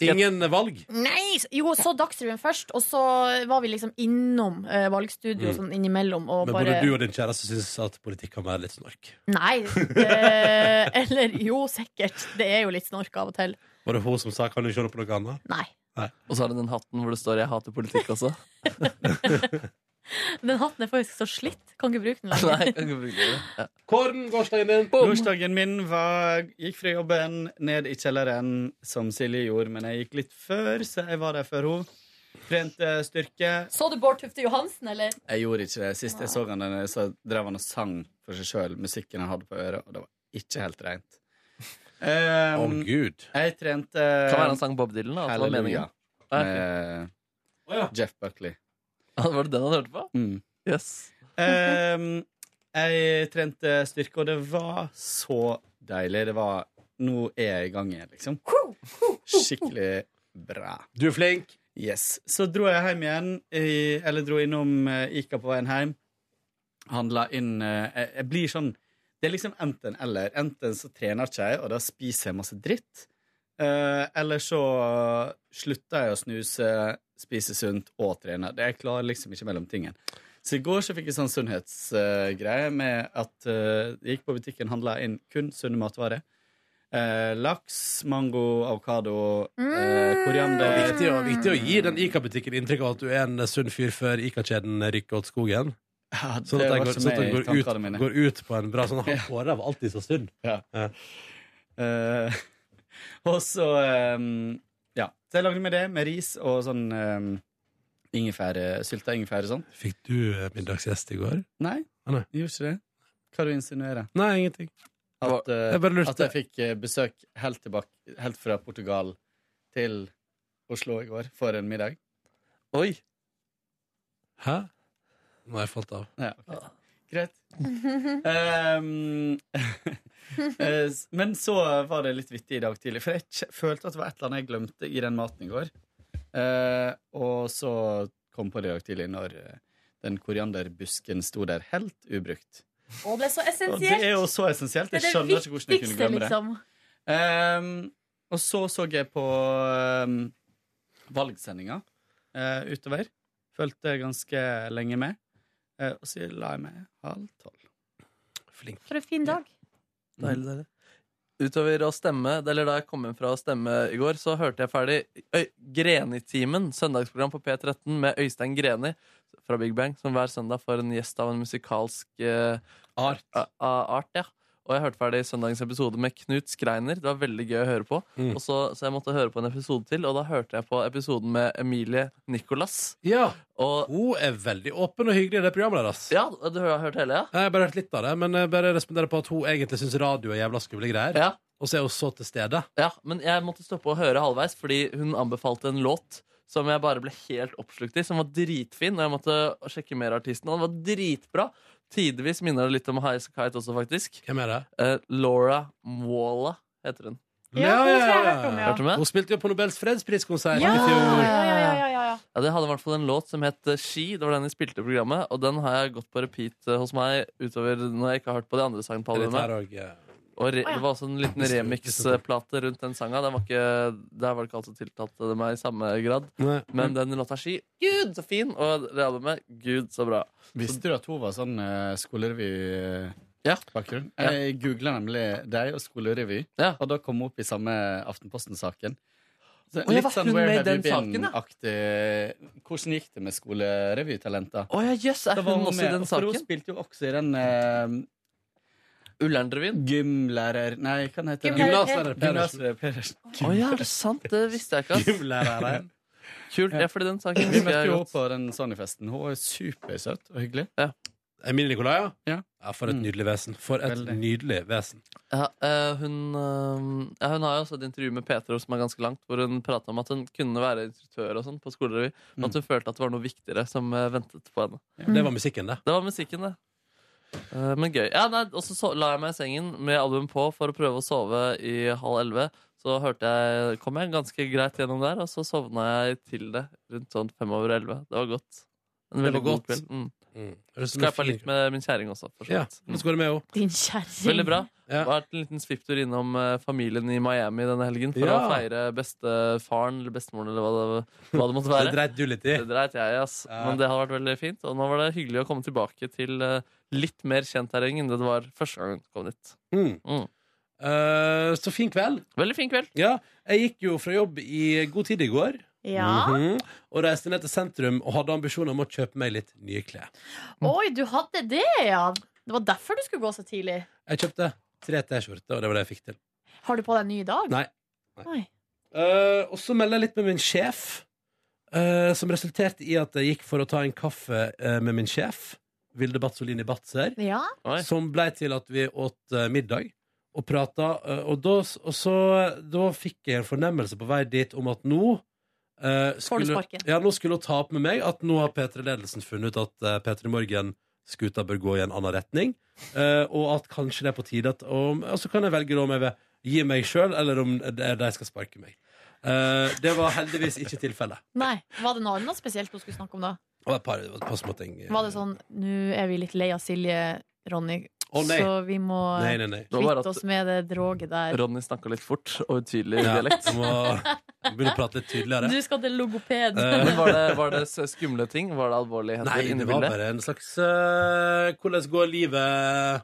Speaker 2: Ingen valg?
Speaker 3: Nice! Jo, så Dagsrevyen først, og så var vi liksom innom eh, valgstudio
Speaker 2: Mm.
Speaker 3: sånn innimellom. Og
Speaker 2: Men
Speaker 3: bare
Speaker 2: både du og din kjæreste syns at politikk kan være litt snork.
Speaker 3: Nei. Eh, eller jo, sikkert. Det er jo litt snork av og til.
Speaker 2: Var det hun som sa 'kan du ikke holde på noe annet'?
Speaker 3: Nei.
Speaker 4: Og så har hun den hatten hvor det står 'jeg hater politikk' også.
Speaker 3: Den hatten er faktisk så slitt. Kan ikke bruke den
Speaker 4: Nei, jeg
Speaker 3: lenger.
Speaker 4: kan ikke bruke det. Ja.
Speaker 2: Kåren, gårsdagen din?
Speaker 13: Gårsdagen min var, gikk fra jobben ned i kjelleren, som Silje gjorde, men jeg gikk litt før, så jeg var der før hun. Trente styrke.
Speaker 3: Så du Bård Tufte Johansen, eller?
Speaker 13: Jeg gjorde ikke det. Sist jeg så han, den- så drev han og sang for seg sjøl musikken han hadde på øret, og det var ikke helt rent. Å,
Speaker 4: Å, Gud.
Speaker 13: Jeg trente
Speaker 4: Kan være han sang Bob Dylan, da, at det var meningen.
Speaker 13: Halleluja
Speaker 4: Ah, ok. Ah,
Speaker 13: med Jeff Buckley.
Speaker 4: Var det den han hørte på?
Speaker 13: Mm.
Speaker 4: Yes.
Speaker 13: Ehm, jeg trente styrke, og det var så deilig. Det var Nå er jeg i gang igjen, liksom. Skikkelig bra.
Speaker 2: Du er flink.
Speaker 13: Yes. Så dro jeg hjem igjen, i, eller dro innom eh, Ica på veien hjem. Handla inn eh, jeg, jeg blir sånn Det er liksom enten-eller. Enten så trener ikke jeg, og da spiser jeg masse dritt. Eh, eller så slutter jeg å snuse, spise sunt og trene. Det Jeg klarer liksom ikke mellomtingen. Så i går så fikk jeg sånn sunnhetsgreie med at eh, jeg gikk på butikken, handla inn kun sunne matvarer. Eh, laks, mango, avokado, eh, koriander
Speaker 2: Det er viktig, å- viktig å gi den Ica-butikken inntrykk av at du er en sunn fyr før Ica-kjeden rykker åt skogen.
Speaker 13: det
Speaker 2: Sånn at den
Speaker 13: var
Speaker 2: går,
Speaker 13: ikke
Speaker 2: sånn at
Speaker 13: med
Speaker 2: den
Speaker 13: i
Speaker 2: går, ut,
Speaker 13: tankene mine.
Speaker 2: går ut på en bra sånn Han Kåre var alltid så sunn. Ja.
Speaker 13: Eh, og så eh, Ja. Så jeg lagde med det, med ris og sånn um, ingefære, sylta ingefære og sånn.
Speaker 2: Fikk du eh, middagsgjest i går?
Speaker 13: Nei,
Speaker 2: Ah, nei.
Speaker 13: gjorde ikke det. Hva du insinuerer
Speaker 2: Nei, ingenting.
Speaker 13: At, eh,
Speaker 2: Jeg bare lurte.
Speaker 13: at jeg fikk eh, besøk helt, tilbake, helt fra Portugal til Oslo i går for en middag.
Speaker 4: Oi!
Speaker 2: Hæ? Nå har jeg falt av.
Speaker 13: Ja, ok. Greit. Ehm, eh, s- men så var det litt vittig i dag tidlig, for jeg kj- følte at det var et eller annet jeg glemte i den maten i går. Eh, og så kom på det i dag tidlig når eh, den korianderbusken sto der helt ubrukt.
Speaker 3: Å, det er så
Speaker 13: Og det er
Speaker 3: essensielt!
Speaker 13: jo så essensielt. Jeg
Speaker 3: Det er det
Speaker 13: skjønner ikke hvordan jeg kunne
Speaker 3: viktigste,
Speaker 13: glemme det.
Speaker 3: liksom.
Speaker 13: Ehm, og så så jeg på um, valgsendinga eh, utover. Fulgte ganske lenge med. Eh, og så la jeg meg halv tolv.
Speaker 3: For en fin dag.
Speaker 13: Deilig,
Speaker 4: deilig. Mm. utover å stemme, eller da jeg kom hjem fra å stemme i går, så hørte jeg ferdig Øy, Greni-timen, søndagsprogram på P13 med Øystein Greni fra Big Bang, som hver søndag får en gjest av en musikalsk eh,
Speaker 2: art.
Speaker 4: art ja. Og jeg hørte ferdig søndagens episode med Knut Skreiner. Det var veldig gøy å høre på.
Speaker 2: Mm.
Speaker 4: Og så, så jeg måtte høre på en episode til, og da hørte jeg på episoden med Emilie Nicolas.
Speaker 2: Ja.
Speaker 4: Og,
Speaker 2: Hun er veldig åpen og hyggelig i det programmet deres.
Speaker 4: ja, du har hørt hele, ja?
Speaker 2: Jeg har bare hørt litt av det, men jeg bare responderer på at hun egentlig syns radio er jævla skumle greier. Og så er hun så til stede.
Speaker 4: Ja, men jeg måtte stoppe og høre halvveis Fordi hun anbefalte en låt som jeg bare ble helt oppslukt i Som var dritfin Og jeg måtte sjekke mer av artisten Og den var dritbra Tidvis minner det litt om High Kite også faktisk
Speaker 2: Hvem er det?
Speaker 4: Eh, Laura Mwala heter hun
Speaker 2: Ja,
Speaker 4: ja,
Speaker 2: ja, ja, ja.
Speaker 4: Hørte du om det?
Speaker 2: Hun spilte jo på Nobels fredspriskonsert
Speaker 4: Ja,
Speaker 2: i fjor.
Speaker 4: ja, ja,
Speaker 3: Ja, ja, ja.
Speaker 4: Ja, det hadde i hvert fall en låt som het eh, She. Det var den jeg spilte i programmet, og den har jeg gått på repeat eh, hos meg utover når jeg ikke har hørt på de andre sangene på
Speaker 2: Det er litt
Speaker 4: albumet.
Speaker 2: her også, ja.
Speaker 4: Og re det var også en liten
Speaker 2: Ikke så-
Speaker 4: remix-plate rundt den sanga. Den var ikke, der var det ikke altså tiltalt det meg i samme grad.
Speaker 2: Nei.
Speaker 4: Men den låta She, gud, så fin! Og det albumet, gud, så bra.
Speaker 13: Visste du at hun var sånn eh,
Speaker 4: skolerevy-bakgrunn?
Speaker 13: Ja. Jeg googla nemlig deg og skolerevy, og da kom hun opp i samme Aftenposten-saken. Så sånn
Speaker 4: Å, ja, var hun med i den saken, ja?
Speaker 13: Aktig. eh, Hvordan gikk det med skolerevytalenter?
Speaker 4: Å ja, jøss, er
Speaker 13: Da var
Speaker 4: hun også i den
Speaker 13: For hun
Speaker 4: saken?
Speaker 13: spilte jo også i den uh,
Speaker 4: Ullernrevyen?
Speaker 13: Gymlærer... Nei, hva heter den?
Speaker 4: Gymnaslærer Pedersen.
Speaker 13: Gymnaslærer Pedersen.
Speaker 4: Å ja, er det sant? Det visste jeg ikke. ass.
Speaker 13: Gymlæreren.
Speaker 4: Kult. Ja, fordi den saken
Speaker 13: Vi
Speaker 4: husker
Speaker 13: møtte
Speaker 4: jeg
Speaker 13: jo
Speaker 4: godt.
Speaker 13: opp på den Sonny-festen. Hun var jo supersøt og hyggelig.
Speaker 2: Emilie Nicolai, ja?
Speaker 13: Ja.
Speaker 2: For
Speaker 4: Mm.
Speaker 2: et nydelig vesen. For et
Speaker 13: Veldig.
Speaker 2: nydelig vesen.
Speaker 4: Ja, eh, hun, eh, ja, hun har jo også et intervju med Petra som er ganske langt, hvor hun prater om at hun kunne være instruktør og sånn på skolerevy, men at hun følte at det var noe viktigere som eh, ventet på henne.
Speaker 2: Det var musikken, det.
Speaker 4: Det var musikken, det. Eh, men gøy. Ja, nei, og så so la jeg meg i sengen med albumet på for å prøve å sove i halv elleve. Så hørte jeg, kom jeg ganske greit gjennom der, og så sovna jeg til det rundt sånn fem over elleve. Det var godt. En
Speaker 2: Det
Speaker 4: veldig
Speaker 2: var
Speaker 4: god
Speaker 2: godt.
Speaker 4: kveld. Mm.
Speaker 2: Mm.
Speaker 4: Skaffa litt med min kjæring også. For så
Speaker 2: Ja,
Speaker 4: vidt. Mm.
Speaker 2: nå skal du med òg.
Speaker 3: Din kjerring.
Speaker 4: Veldig bra. Vært en liten svipptur innom eh, familien i Miami denne helgen for
Speaker 2: Ja.
Speaker 4: å feire bestefaren eller bestemoren eller hva det, hva det måtte være.
Speaker 2: Det dreit du litt i.
Speaker 4: Det dreit jeg i, ass.
Speaker 2: Ja.
Speaker 4: Men det har vært veldig fint. Og nå var det hyggelig å komme tilbake til eh, litt mer kjent terreng enn det det var første gang hun kom dit.
Speaker 2: Mm.
Speaker 4: Mm.
Speaker 2: Eh, så fin kveld.
Speaker 4: Veldig fin kveld.
Speaker 2: Ja, jeg gikk jo fra jobb i god tid i går.
Speaker 3: Ja.
Speaker 2: Mhm. Og reiste ned til sentrum og hadde ambisjoner om å kjøpe meg litt nye klær.
Speaker 3: Oi, du hadde det, ja. Det var derfor du skulle gå så tidlig.
Speaker 2: Jeg kjøpte tre T-skjorter, og det var det jeg fikk til.
Speaker 3: Har du på deg en ny i dag?
Speaker 2: Nei.
Speaker 3: Oi.
Speaker 2: Eh, og så melder jeg litt med min sjef, eh, som resulterte i at jeg gikk for å ta en kaffe eh, med min sjef, Vilde Batzolini Batzer,
Speaker 3: Ja.
Speaker 2: som blei til at vi åt eh, middag og prata. eh, og da, s- og så, da fikk jeg en fornemmelse på vei dit om at nå eh,
Speaker 3: Får du
Speaker 2: skulle-
Speaker 3: sparken.
Speaker 2: Ja, nå skulle hun ta opp med meg at nå har P3-ledelsen funnet ut at eh, P3 Morgen-skuta bør gå i en annen retning, eh, og at kanskje det er på tide at om, Og så kan jeg velge da om jeg vil gi meg sjøl, eller om det er de skal sparke meg. Eh, det var heldigvis ikke tilfellet.
Speaker 3: Nei. Var det noe annet spesielt hun skulle snakke om da?
Speaker 2: Det var et par, det var et par små ting.
Speaker 3: Var det sånn Nå er vi litt lei av Silje, Ronny,
Speaker 2: Å, nei.
Speaker 3: så vi må
Speaker 2: Nei, nei, nei. Det var bare
Speaker 3: kvitte
Speaker 2: at-
Speaker 3: oss med det droget der.
Speaker 4: Ronny snakka litt fort og utydelig i
Speaker 2: Ja,
Speaker 4: dialekt.
Speaker 2: jeg må begynne å prate litt tydeligere.
Speaker 3: Du skal til logoped.
Speaker 2: Eh,
Speaker 4: Men var det, var det s- skumle ting? Var det alvorligheter
Speaker 2: Nei,
Speaker 4: inni
Speaker 2: det var
Speaker 4: bildet?
Speaker 2: bare en slags eh, Hvordan går livet?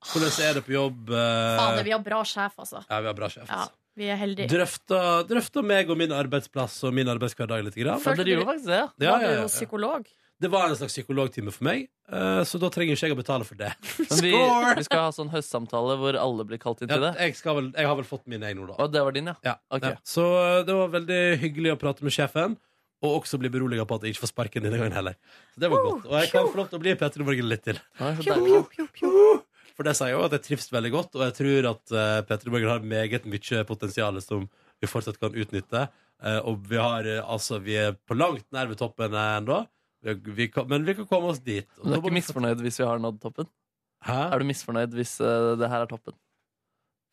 Speaker 2: Hvordan er det på jobb? eh,
Speaker 3: Fader, vi har bra sjef, altså.
Speaker 2: Ja, vi har bra sjef.
Speaker 3: Ja, vi er heldige.
Speaker 2: Drøfta, drøfta meg og min arbeidsplass og min arbeidshverdag litt. Grann.
Speaker 3: Følte du-
Speaker 2: Ja,
Speaker 3: Var
Speaker 2: ja,
Speaker 3: du
Speaker 2: ja.
Speaker 3: hos psykolog?
Speaker 2: Det var en slags psykologtime for meg, eh, så da trenger ikke jeg å betale for det.
Speaker 4: Men vi,
Speaker 2: Score!
Speaker 4: vi skal ha sånn høstsamtale hvor alle blir kalt inn til
Speaker 2: Ja,
Speaker 4: det.
Speaker 2: jeg, skal vel, jeg har vel fått min egen nå, da.
Speaker 4: Og det var din, ja? Ok.
Speaker 2: Ja, Så eh, det var veldig hyggelig å prate med sjefen, og også bli beroliga på at jeg ikke får sparken denne gangen heller. Så det var godt. Og jeg kan få lov til å bli Petter i Morgen litt til. For det sier jo at jeg trives veldig godt, og jeg tror at uh, Petter Morgen har meget mye potensial som vi fortsatt kan utnytte. Eh, og vi har eh, altså Vi er på langt nær ved toppen ennå, vi, vi kan, men vi kan komme oss dit. Og
Speaker 4: Men du
Speaker 2: da
Speaker 4: er
Speaker 2: må
Speaker 4: ikke
Speaker 2: vi-
Speaker 4: misfornøyd hvis vi har nådd toppen?
Speaker 2: Hæ?
Speaker 4: Er du misfornøyd hvis eh, det her er toppen?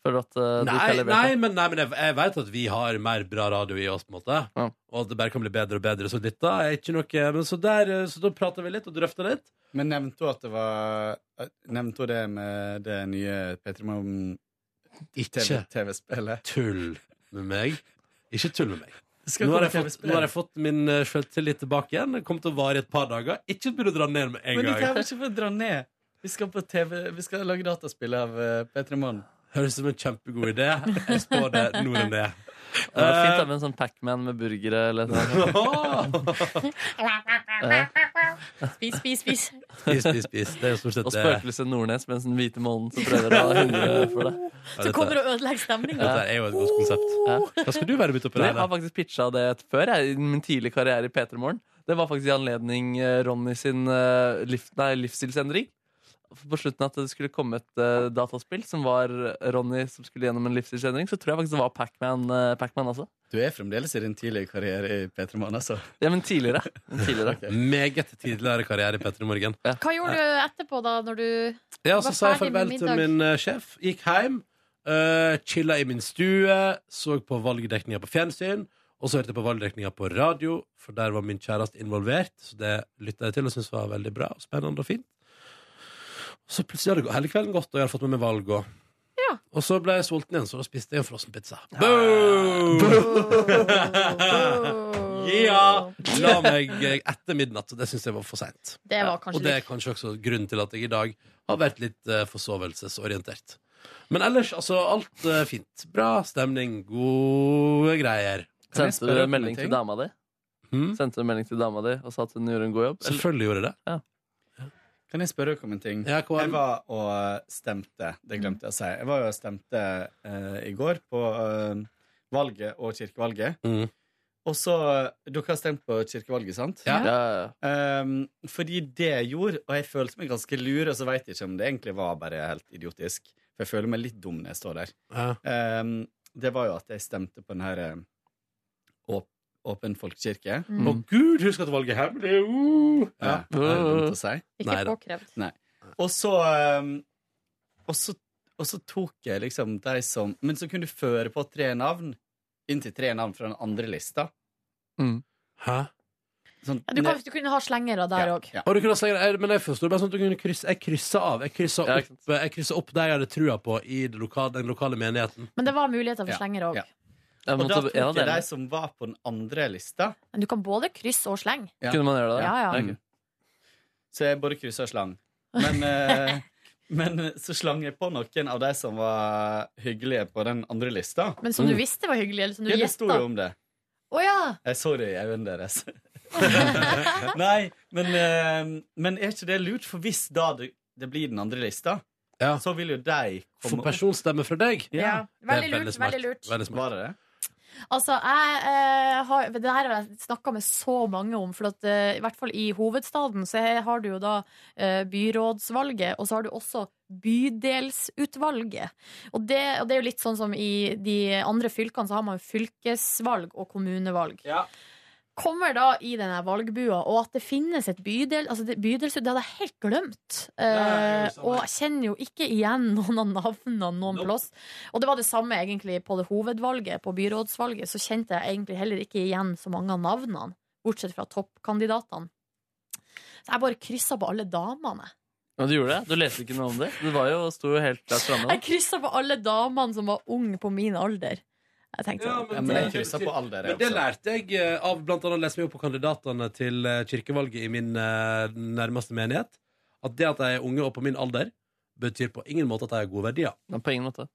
Speaker 4: Føler du at eh, du ikke har
Speaker 2: Nei,
Speaker 4: levert
Speaker 2: nei,
Speaker 4: det?
Speaker 2: men, nei, men jeg, jeg vet at vi har mer bra radio i oss, på en måte. Og at det bare kan bli bedre og bedre. Så dette er ikke noe men så, der, eh, så da prater vi litt og drøfter litt.
Speaker 13: Men nevnte hun at det var eh, Nevnte hun det med det nye P3 Morgen
Speaker 2: Ikke
Speaker 13: TV-spillet?
Speaker 2: Tull med meg. Ikke tull med meg.
Speaker 13: Skal
Speaker 2: Nå har,
Speaker 13: komme
Speaker 2: jeg fått,
Speaker 13: TV-spill.
Speaker 2: nå har jeg fått min eh, selvtillit tilbake igjen. Det kommer til å vare i et par dager. Ikke begynn å dra ned med en
Speaker 13: Men dette er
Speaker 2: gang.
Speaker 13: vel ikke for å dra ned. Vi skal, på TV, vi skal lage dataspill av eh, P3 Morgen.
Speaker 2: Høres ut som en kjempegod idé. Jeg spår det nå når det er.
Speaker 4: Det var fint da, med en sånn Pac-Man med burgere eller noe.
Speaker 17: Spis, spis, spis.
Speaker 2: Spis, spis, spis. Det er jo stort sett
Speaker 4: Og
Speaker 2: det.
Speaker 4: spøkelset Nordnes mens den hvite månen som prøver å ha hundre for deg.
Speaker 3: Så kommer og ødelegger stemninga.
Speaker 2: Dette er jo et godt konsept. Hva skal du være midt oppi
Speaker 4: Jeg
Speaker 2: der?
Speaker 4: har faktisk pitcha det før jeg, i min tidlige karriere i P3 Morgen. Det var faktisk i anledning eh, Ronny sin eh, liv, nei, livsstilsendring. På slutten at det skulle komme et eh, dataspill som var Ronny som skulle gjennom en livsstilsendring, så tror jeg faktisk det var Pac-Man eh, Pac-Man også.
Speaker 22: Du er fremdeles i din tidlige karriere i P3 Morgen, altså.
Speaker 4: Ja, men tidligere. Men tidligere.
Speaker 2: Meget tidligere karriere i Petter i morgen.
Speaker 3: Hva gjorde du etterpå, da, når du
Speaker 2: Ja, så
Speaker 3: var
Speaker 2: sa jeg
Speaker 3: ferdig med
Speaker 2: farvel til
Speaker 3: middag?
Speaker 2: min eh, sjef. Gikk hjem. eh, chilla i min stue. Så på valgdekninga på fjernsyn. Og så hørte jeg på valgdekninga på radio, for der var min kjæreste involvert. Så det lytta jeg til og syntes var veldig bra og spennende og fint. Så plutselig hadde det gått- hele kvelden gått, og jeg hadde fått med meg valg òg. Og så ble jeg sulten igjen, så da spiste jeg en frossenpizza. Boom!
Speaker 3: Oh.
Speaker 2: yeah! La meg eh, etter midnatt, og det syns jeg var for seint.
Speaker 3: Det var kanskje
Speaker 2: Og det er
Speaker 3: litt-
Speaker 2: kanskje også grunnen til at jeg i dag har vært litt eh, forsovelsesorientert. Men ellers, altså, alt eh, fint. Bra stemning, gode greier.
Speaker 4: Kan jeg Sendte du spørre om melding en ting? til dama di? Sendte du en melding til dama di og sa at hun gjorde en god jobb? Eller-
Speaker 2: Hmm? Selvfølgelig gjorde jeg det.
Speaker 22: Kan jeg spørre dere om en ting? jeg var og stemte. Det glemte jeg å si. Jeg var og stemte eh, i går på eh, valget og kirkevalget.
Speaker 2: Mhm.
Speaker 22: Og så Dere har stemt på kirkevalget, sant?
Speaker 2: Ja.
Speaker 22: Ehm, fordi det jeg gjorde, og jeg følte meg ganske lur, og så veit jeg ikke om det egentlig var bare helt idiotisk, for jeg føler meg litt dum når jeg står der.
Speaker 2: Ja.
Speaker 22: Ehm, det var jo at jeg stemte på den her eh, åp Åpen folkekirke.
Speaker 2: Mm. Å, gud, husk at valget er hemmelig! Uh.
Speaker 22: Ja. det er dumt å si.
Speaker 2: Ikke Neida.
Speaker 3: påkrevd.
Speaker 22: Nei. Og så um, og så, og så tok jeg liksom de som Men så kunne du føre på tre navn. Inntil tre navn fra den andre lista.
Speaker 2: Hæ?
Speaker 22: Sånn,
Speaker 3: Ja, du, kan, du kunne ha slengere der òg.
Speaker 2: Og du kunne også, jeg, men jeg forstod bare sånn at du kunne krysse Jeg kryssa av. Jeg kryssa
Speaker 4: Ja,
Speaker 2: opp, jeg kryssa opp der jeg hadde trua på i det lokale, den lokale menigheten.
Speaker 3: Men det var muligheter for
Speaker 2: Ja,
Speaker 3: slengere òg.
Speaker 22: og da tok jeg de
Speaker 2: deg
Speaker 22: som var på den andre lista.
Speaker 3: Men du kan både krysse og slenge.
Speaker 22: Kunne man gjøre det?
Speaker 3: Ja, ja.
Speaker 22: Mm. Så jeg både kryssa og slang. Men, eh, men så slang jeg på noen av de som var hyggelige på den andre lista.
Speaker 3: Men som du visste var hyggelig, eller som du
Speaker 22: Mm. ja, det sto
Speaker 3: gjetta.
Speaker 22: jo om det.
Speaker 3: Å ja!
Speaker 22: Jeg så det i øynene deres. Nei, men, eh, men er ikke det lurt? For hvis da det, det blir den andre lista, så vil jo de
Speaker 2: Få
Speaker 22: komme
Speaker 2: personstemme fra deg.
Speaker 3: Ja. Veldig lurt, veldig lurt.
Speaker 22: Var det det?
Speaker 3: Altså, jeg eh, har Det her har jeg snakka med så mange om, for at, eh, i hvert fall i hovedstaden så he- har du jo da eh, byrådsvalget, og så har du også bydelsutvalget. Og det, og det er jo litt sånn som i de andre fylkene, så har man jo fylkesvalg og kommunevalg. Kommer da i denne valgbua, og at det finnes et bydel altså det, bydelsut, det hadde jeg helt glemt. Eh, og jeg kjenner jo ikke igjen noen av navnene noen plass. Og det var det samme egentlig på det hovedvalget, på byrådsvalget. Så kjente jeg egentlig heller ikke igjen så mange av navnene, bortsett fra toppkandidatene. Så jeg bare kryssa på alle damene.
Speaker 4: Ja, du gjorde det? Du leste ikke noe om det? Du var jo, sto jo helt der framme.
Speaker 3: Jeg kryssa på alle damene som var unge på min alder. Jeg tenkte sånn.
Speaker 22: men jeg krysset på alle dere
Speaker 2: Men det
Speaker 13: altså.
Speaker 22: også.
Speaker 2: lærte jeg eh, av blant annet å lese meg opp på kandidatene til eh, kirkevalget i min eh, nærmeste menighet. At det at de er unge og på min alder, betyr på ingen måte at de har gode verdier.
Speaker 4: på ingen måte.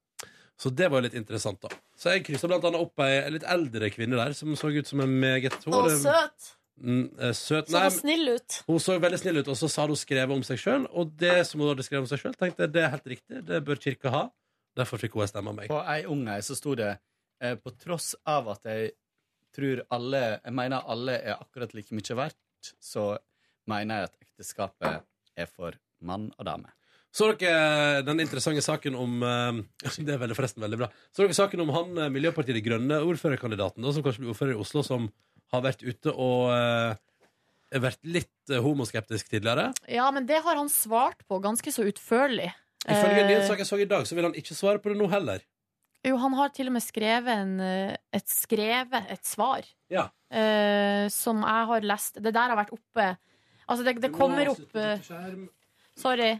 Speaker 2: Så det var jo litt interessant, da. Så jeg kryssa blant annet opp ei litt eldre kvinne der, som så ut som en meget Hun
Speaker 3: Å,
Speaker 2: hadde-
Speaker 3: søt!
Speaker 2: Mm, eh, søt.
Speaker 3: Så
Speaker 2: Nei, men-
Speaker 3: snill ut.
Speaker 2: Hun så veldig snill ut, og så sa hun skrevet om seg sjøl. Og det som hun hadde skrevet om seg sjøl, tenkte jeg det er helt riktig. Det bør kirka ha. Derfor fikk hun en stemme av meg.
Speaker 22: På ei ung ei så sto det eh, På tross av at jeg tror alle Jeg mener alle er akkurat like mye verdt, så mener jeg at ekteskapet er for mann og dame.
Speaker 2: Så dere den interessante saken om eh, Det er veldig, forresten veldig bra. Så dere saken om han eh, Miljøpartiet De Grønne, ordførerkandidaten, da, som kanskje blir ordfører i Oslo, som har vært ute og eh, vært litt eh, homoskeptisk tidligere.
Speaker 3: Ja, men det har han svart på ganske så utførlig.
Speaker 2: Ifølge en
Speaker 3: Eh,
Speaker 2: nyhetssak jeg så i dag, så vil han ikke svare på det nå heller.
Speaker 3: Jo, han har til og med skrevet en, eh, et skrevet et svar
Speaker 2: Ja.
Speaker 3: eh, som jeg har lest. Det der har vært oppe Altså, det, det kommer opp eh, Sorry.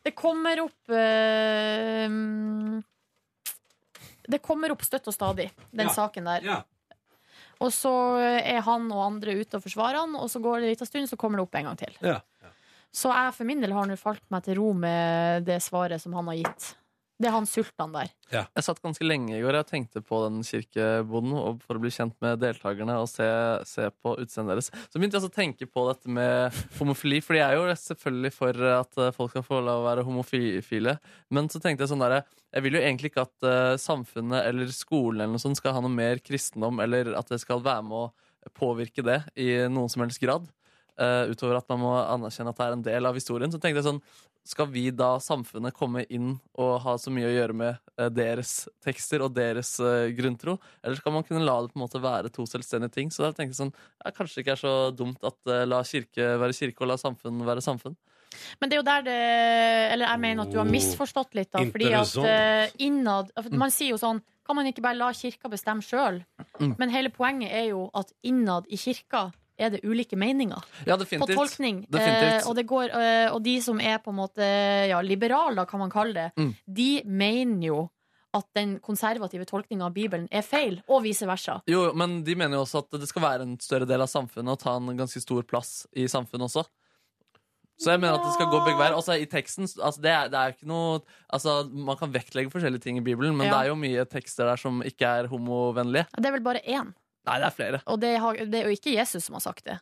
Speaker 3: Det kommer opp eh, mm, Det kommer opp støtt og stadig, den
Speaker 24: Ja.
Speaker 3: saken der. Og så er han og andre ute og forsvarer han, og så går det en liten stund, så kommer det opp en gang til.
Speaker 2: Ja.
Speaker 3: Så jeg for min del har nå falt meg til ro med det svaret som han har gitt. Det er han sultan der.
Speaker 4: Jeg satt ganske lenge i går Jeg tenkte på den kirkeboden og for å bli kjent med deltakerne og se, se på utseendet deres. Så begynte jeg altså å tenke på dette med homofili, Fordi jeg er jo selvfølgelig for at eh, folk skal få lov å være homofile. Men så tenkte jeg sånn derre Jeg vil jo egentlig ikke at eh, samfunnet eller skolen eller noe sånt skal ha noe mer kristendom, eller at det skal være med å påvirke det i noen som helst grad. Eh, utover at man må anerkjenne at det er en del av historien. Så tenkte jeg sånn Skal vi da, samfunnet, komme inn og ha så mye å gjøre med eh, deres tekster og deres eh, grunntro? Eller skal man kunne la det på en måte være to selvstendige ting? Så da tenkte jeg sånn ja, Kanskje det ikke er så dumt at eh, la kirke være kirke, og la samfunn være samfunn.
Speaker 3: Men det er jo der det Eller jeg mener at du har misforstått litt, da. Fordi at
Speaker 4: Interessant.
Speaker 3: eh, innad for Man sier jo sånn Kan man ikke bare la kirka bestemme sjøl?
Speaker 4: Mm.
Speaker 3: Men hele poenget er jo at innad i kirka er det ulike meninger
Speaker 4: Ja, definitivt.
Speaker 3: på tolkning.
Speaker 4: Definitivt.
Speaker 3: Eh, og, det går, eh, og de som er på en måte ja, liberale, kan man kalle det,
Speaker 4: Mm.
Speaker 3: de mener jo at den konservative tolkninga av Bibelen er feil, og vice versa.
Speaker 4: Jo, men de mener jo også at det skal være en større del av samfunnet og ta en ganske stor plass i samfunnet også. Så jeg mener at det skal gå begge veier. Altså, I teksten altså, det er, det er ikke noe altså, Man kan vektlegge forskjellige ting i Bibelen, men
Speaker 3: Ja.
Speaker 4: det er jo mye tekster der som ikke er homovennlige.
Speaker 3: Det er vel bare én,
Speaker 4: Nei, det er flere.
Speaker 3: og det, har, det er jo ikke Jesus som har sagt det.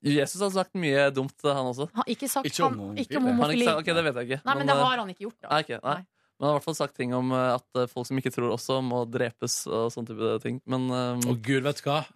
Speaker 4: Jesus har sagt mye dumt, han også.
Speaker 3: Han har ikke sagt Ikke om han- homofile. ikke om homofili.
Speaker 4: Han har ikke sagt- ok, det vet jeg ikke.
Speaker 3: Nei, men det har han ikke gjort, da.
Speaker 4: Nei, ok, nei. Men han har i hvert fall sagt ting om eh, at eh, folk som ikke tror også, må drepes og sånne type ting. Men eh,
Speaker 2: Å, gud, vet du hva?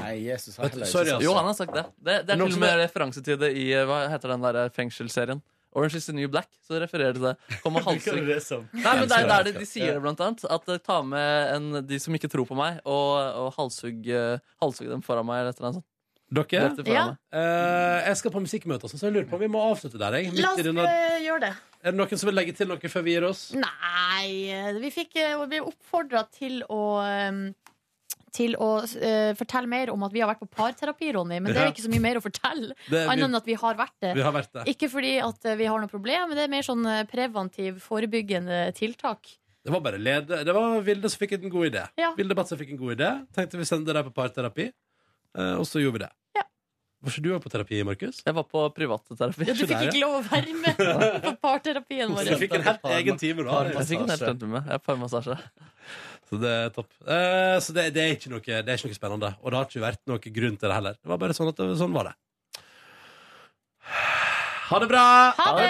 Speaker 13: Nei, Jesus
Speaker 2: Vet- heller ikke sorry, sagt altså. det.
Speaker 4: Jo, han har sagt det. Det,
Speaker 2: Men
Speaker 4: det er
Speaker 2: noen
Speaker 4: til og
Speaker 2: som
Speaker 4: med referanse til det i eh, hva heter den der fengselsserien. Orange is the New Black. Så det refererer til det. Kom og halshugg.
Speaker 13: Bruker du det som-
Speaker 4: Nei, men det er der de, de sier det,
Speaker 13: Ja.
Speaker 4: blant annet. At eh, ta med en, de som ikke tror på meg, og, og halshugg, eh, halshugg dem foran meg, eller et eller annet sånt.
Speaker 2: Dere?
Speaker 4: Dette foran meg.
Speaker 2: Eh, jeg skal på musikkmøte, så jeg lurer på om vi må avslutte der. Jeg.
Speaker 3: La
Speaker 2: Midt
Speaker 3: oss Mm.
Speaker 2: i denne...
Speaker 3: eh, gjøre det.
Speaker 2: Er det noen som vil legge til noe før vi gir oss?
Speaker 3: Nei, eh, vi fikk eh, vi ble oppfordra til å eh, til å eh, fortelle mer om at vi har vært på parterapi, Ronny. Men det er
Speaker 2: Ja.
Speaker 3: ikke så mye mer å fortelle.
Speaker 2: Det- vi-
Speaker 3: Annet enn at vi har vært det.
Speaker 2: Vi har vært det.
Speaker 3: Ikke fordi at eh, vi har noe problem, men det er mer sånn eh, preventiv, forebyggende tiltak.
Speaker 2: Det var bare lede. Det var Vilde som fikk en god idé.
Speaker 3: Ja.
Speaker 2: Vilde Batse fikk en god idé. Tenkte vi sender deg på parterapi, eh, og så gjorde vi det. Var ikke du på terapi, Markus?
Speaker 4: Jeg var på privatterapi.
Speaker 3: Ja, du fikk ikke lov å være med på parterapien vår.
Speaker 2: Du fikk en helt egen time, da.
Speaker 4: Jeg fikk en helt
Speaker 2: Parmassasje.
Speaker 4: time med. Jeg er parmassasje.
Speaker 2: Så det er topp. Eh, så det, det, er ikke noe, det er ikke noe spennende. Og det har ikke vært noe grunn til det heller. Det var bare sånn at det, sånn var det. Ha det bra!
Speaker 3: Ha det!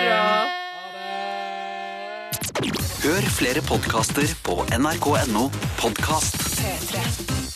Speaker 5: Hør flere podkaster på nrk.no podkast.
Speaker 1: P3.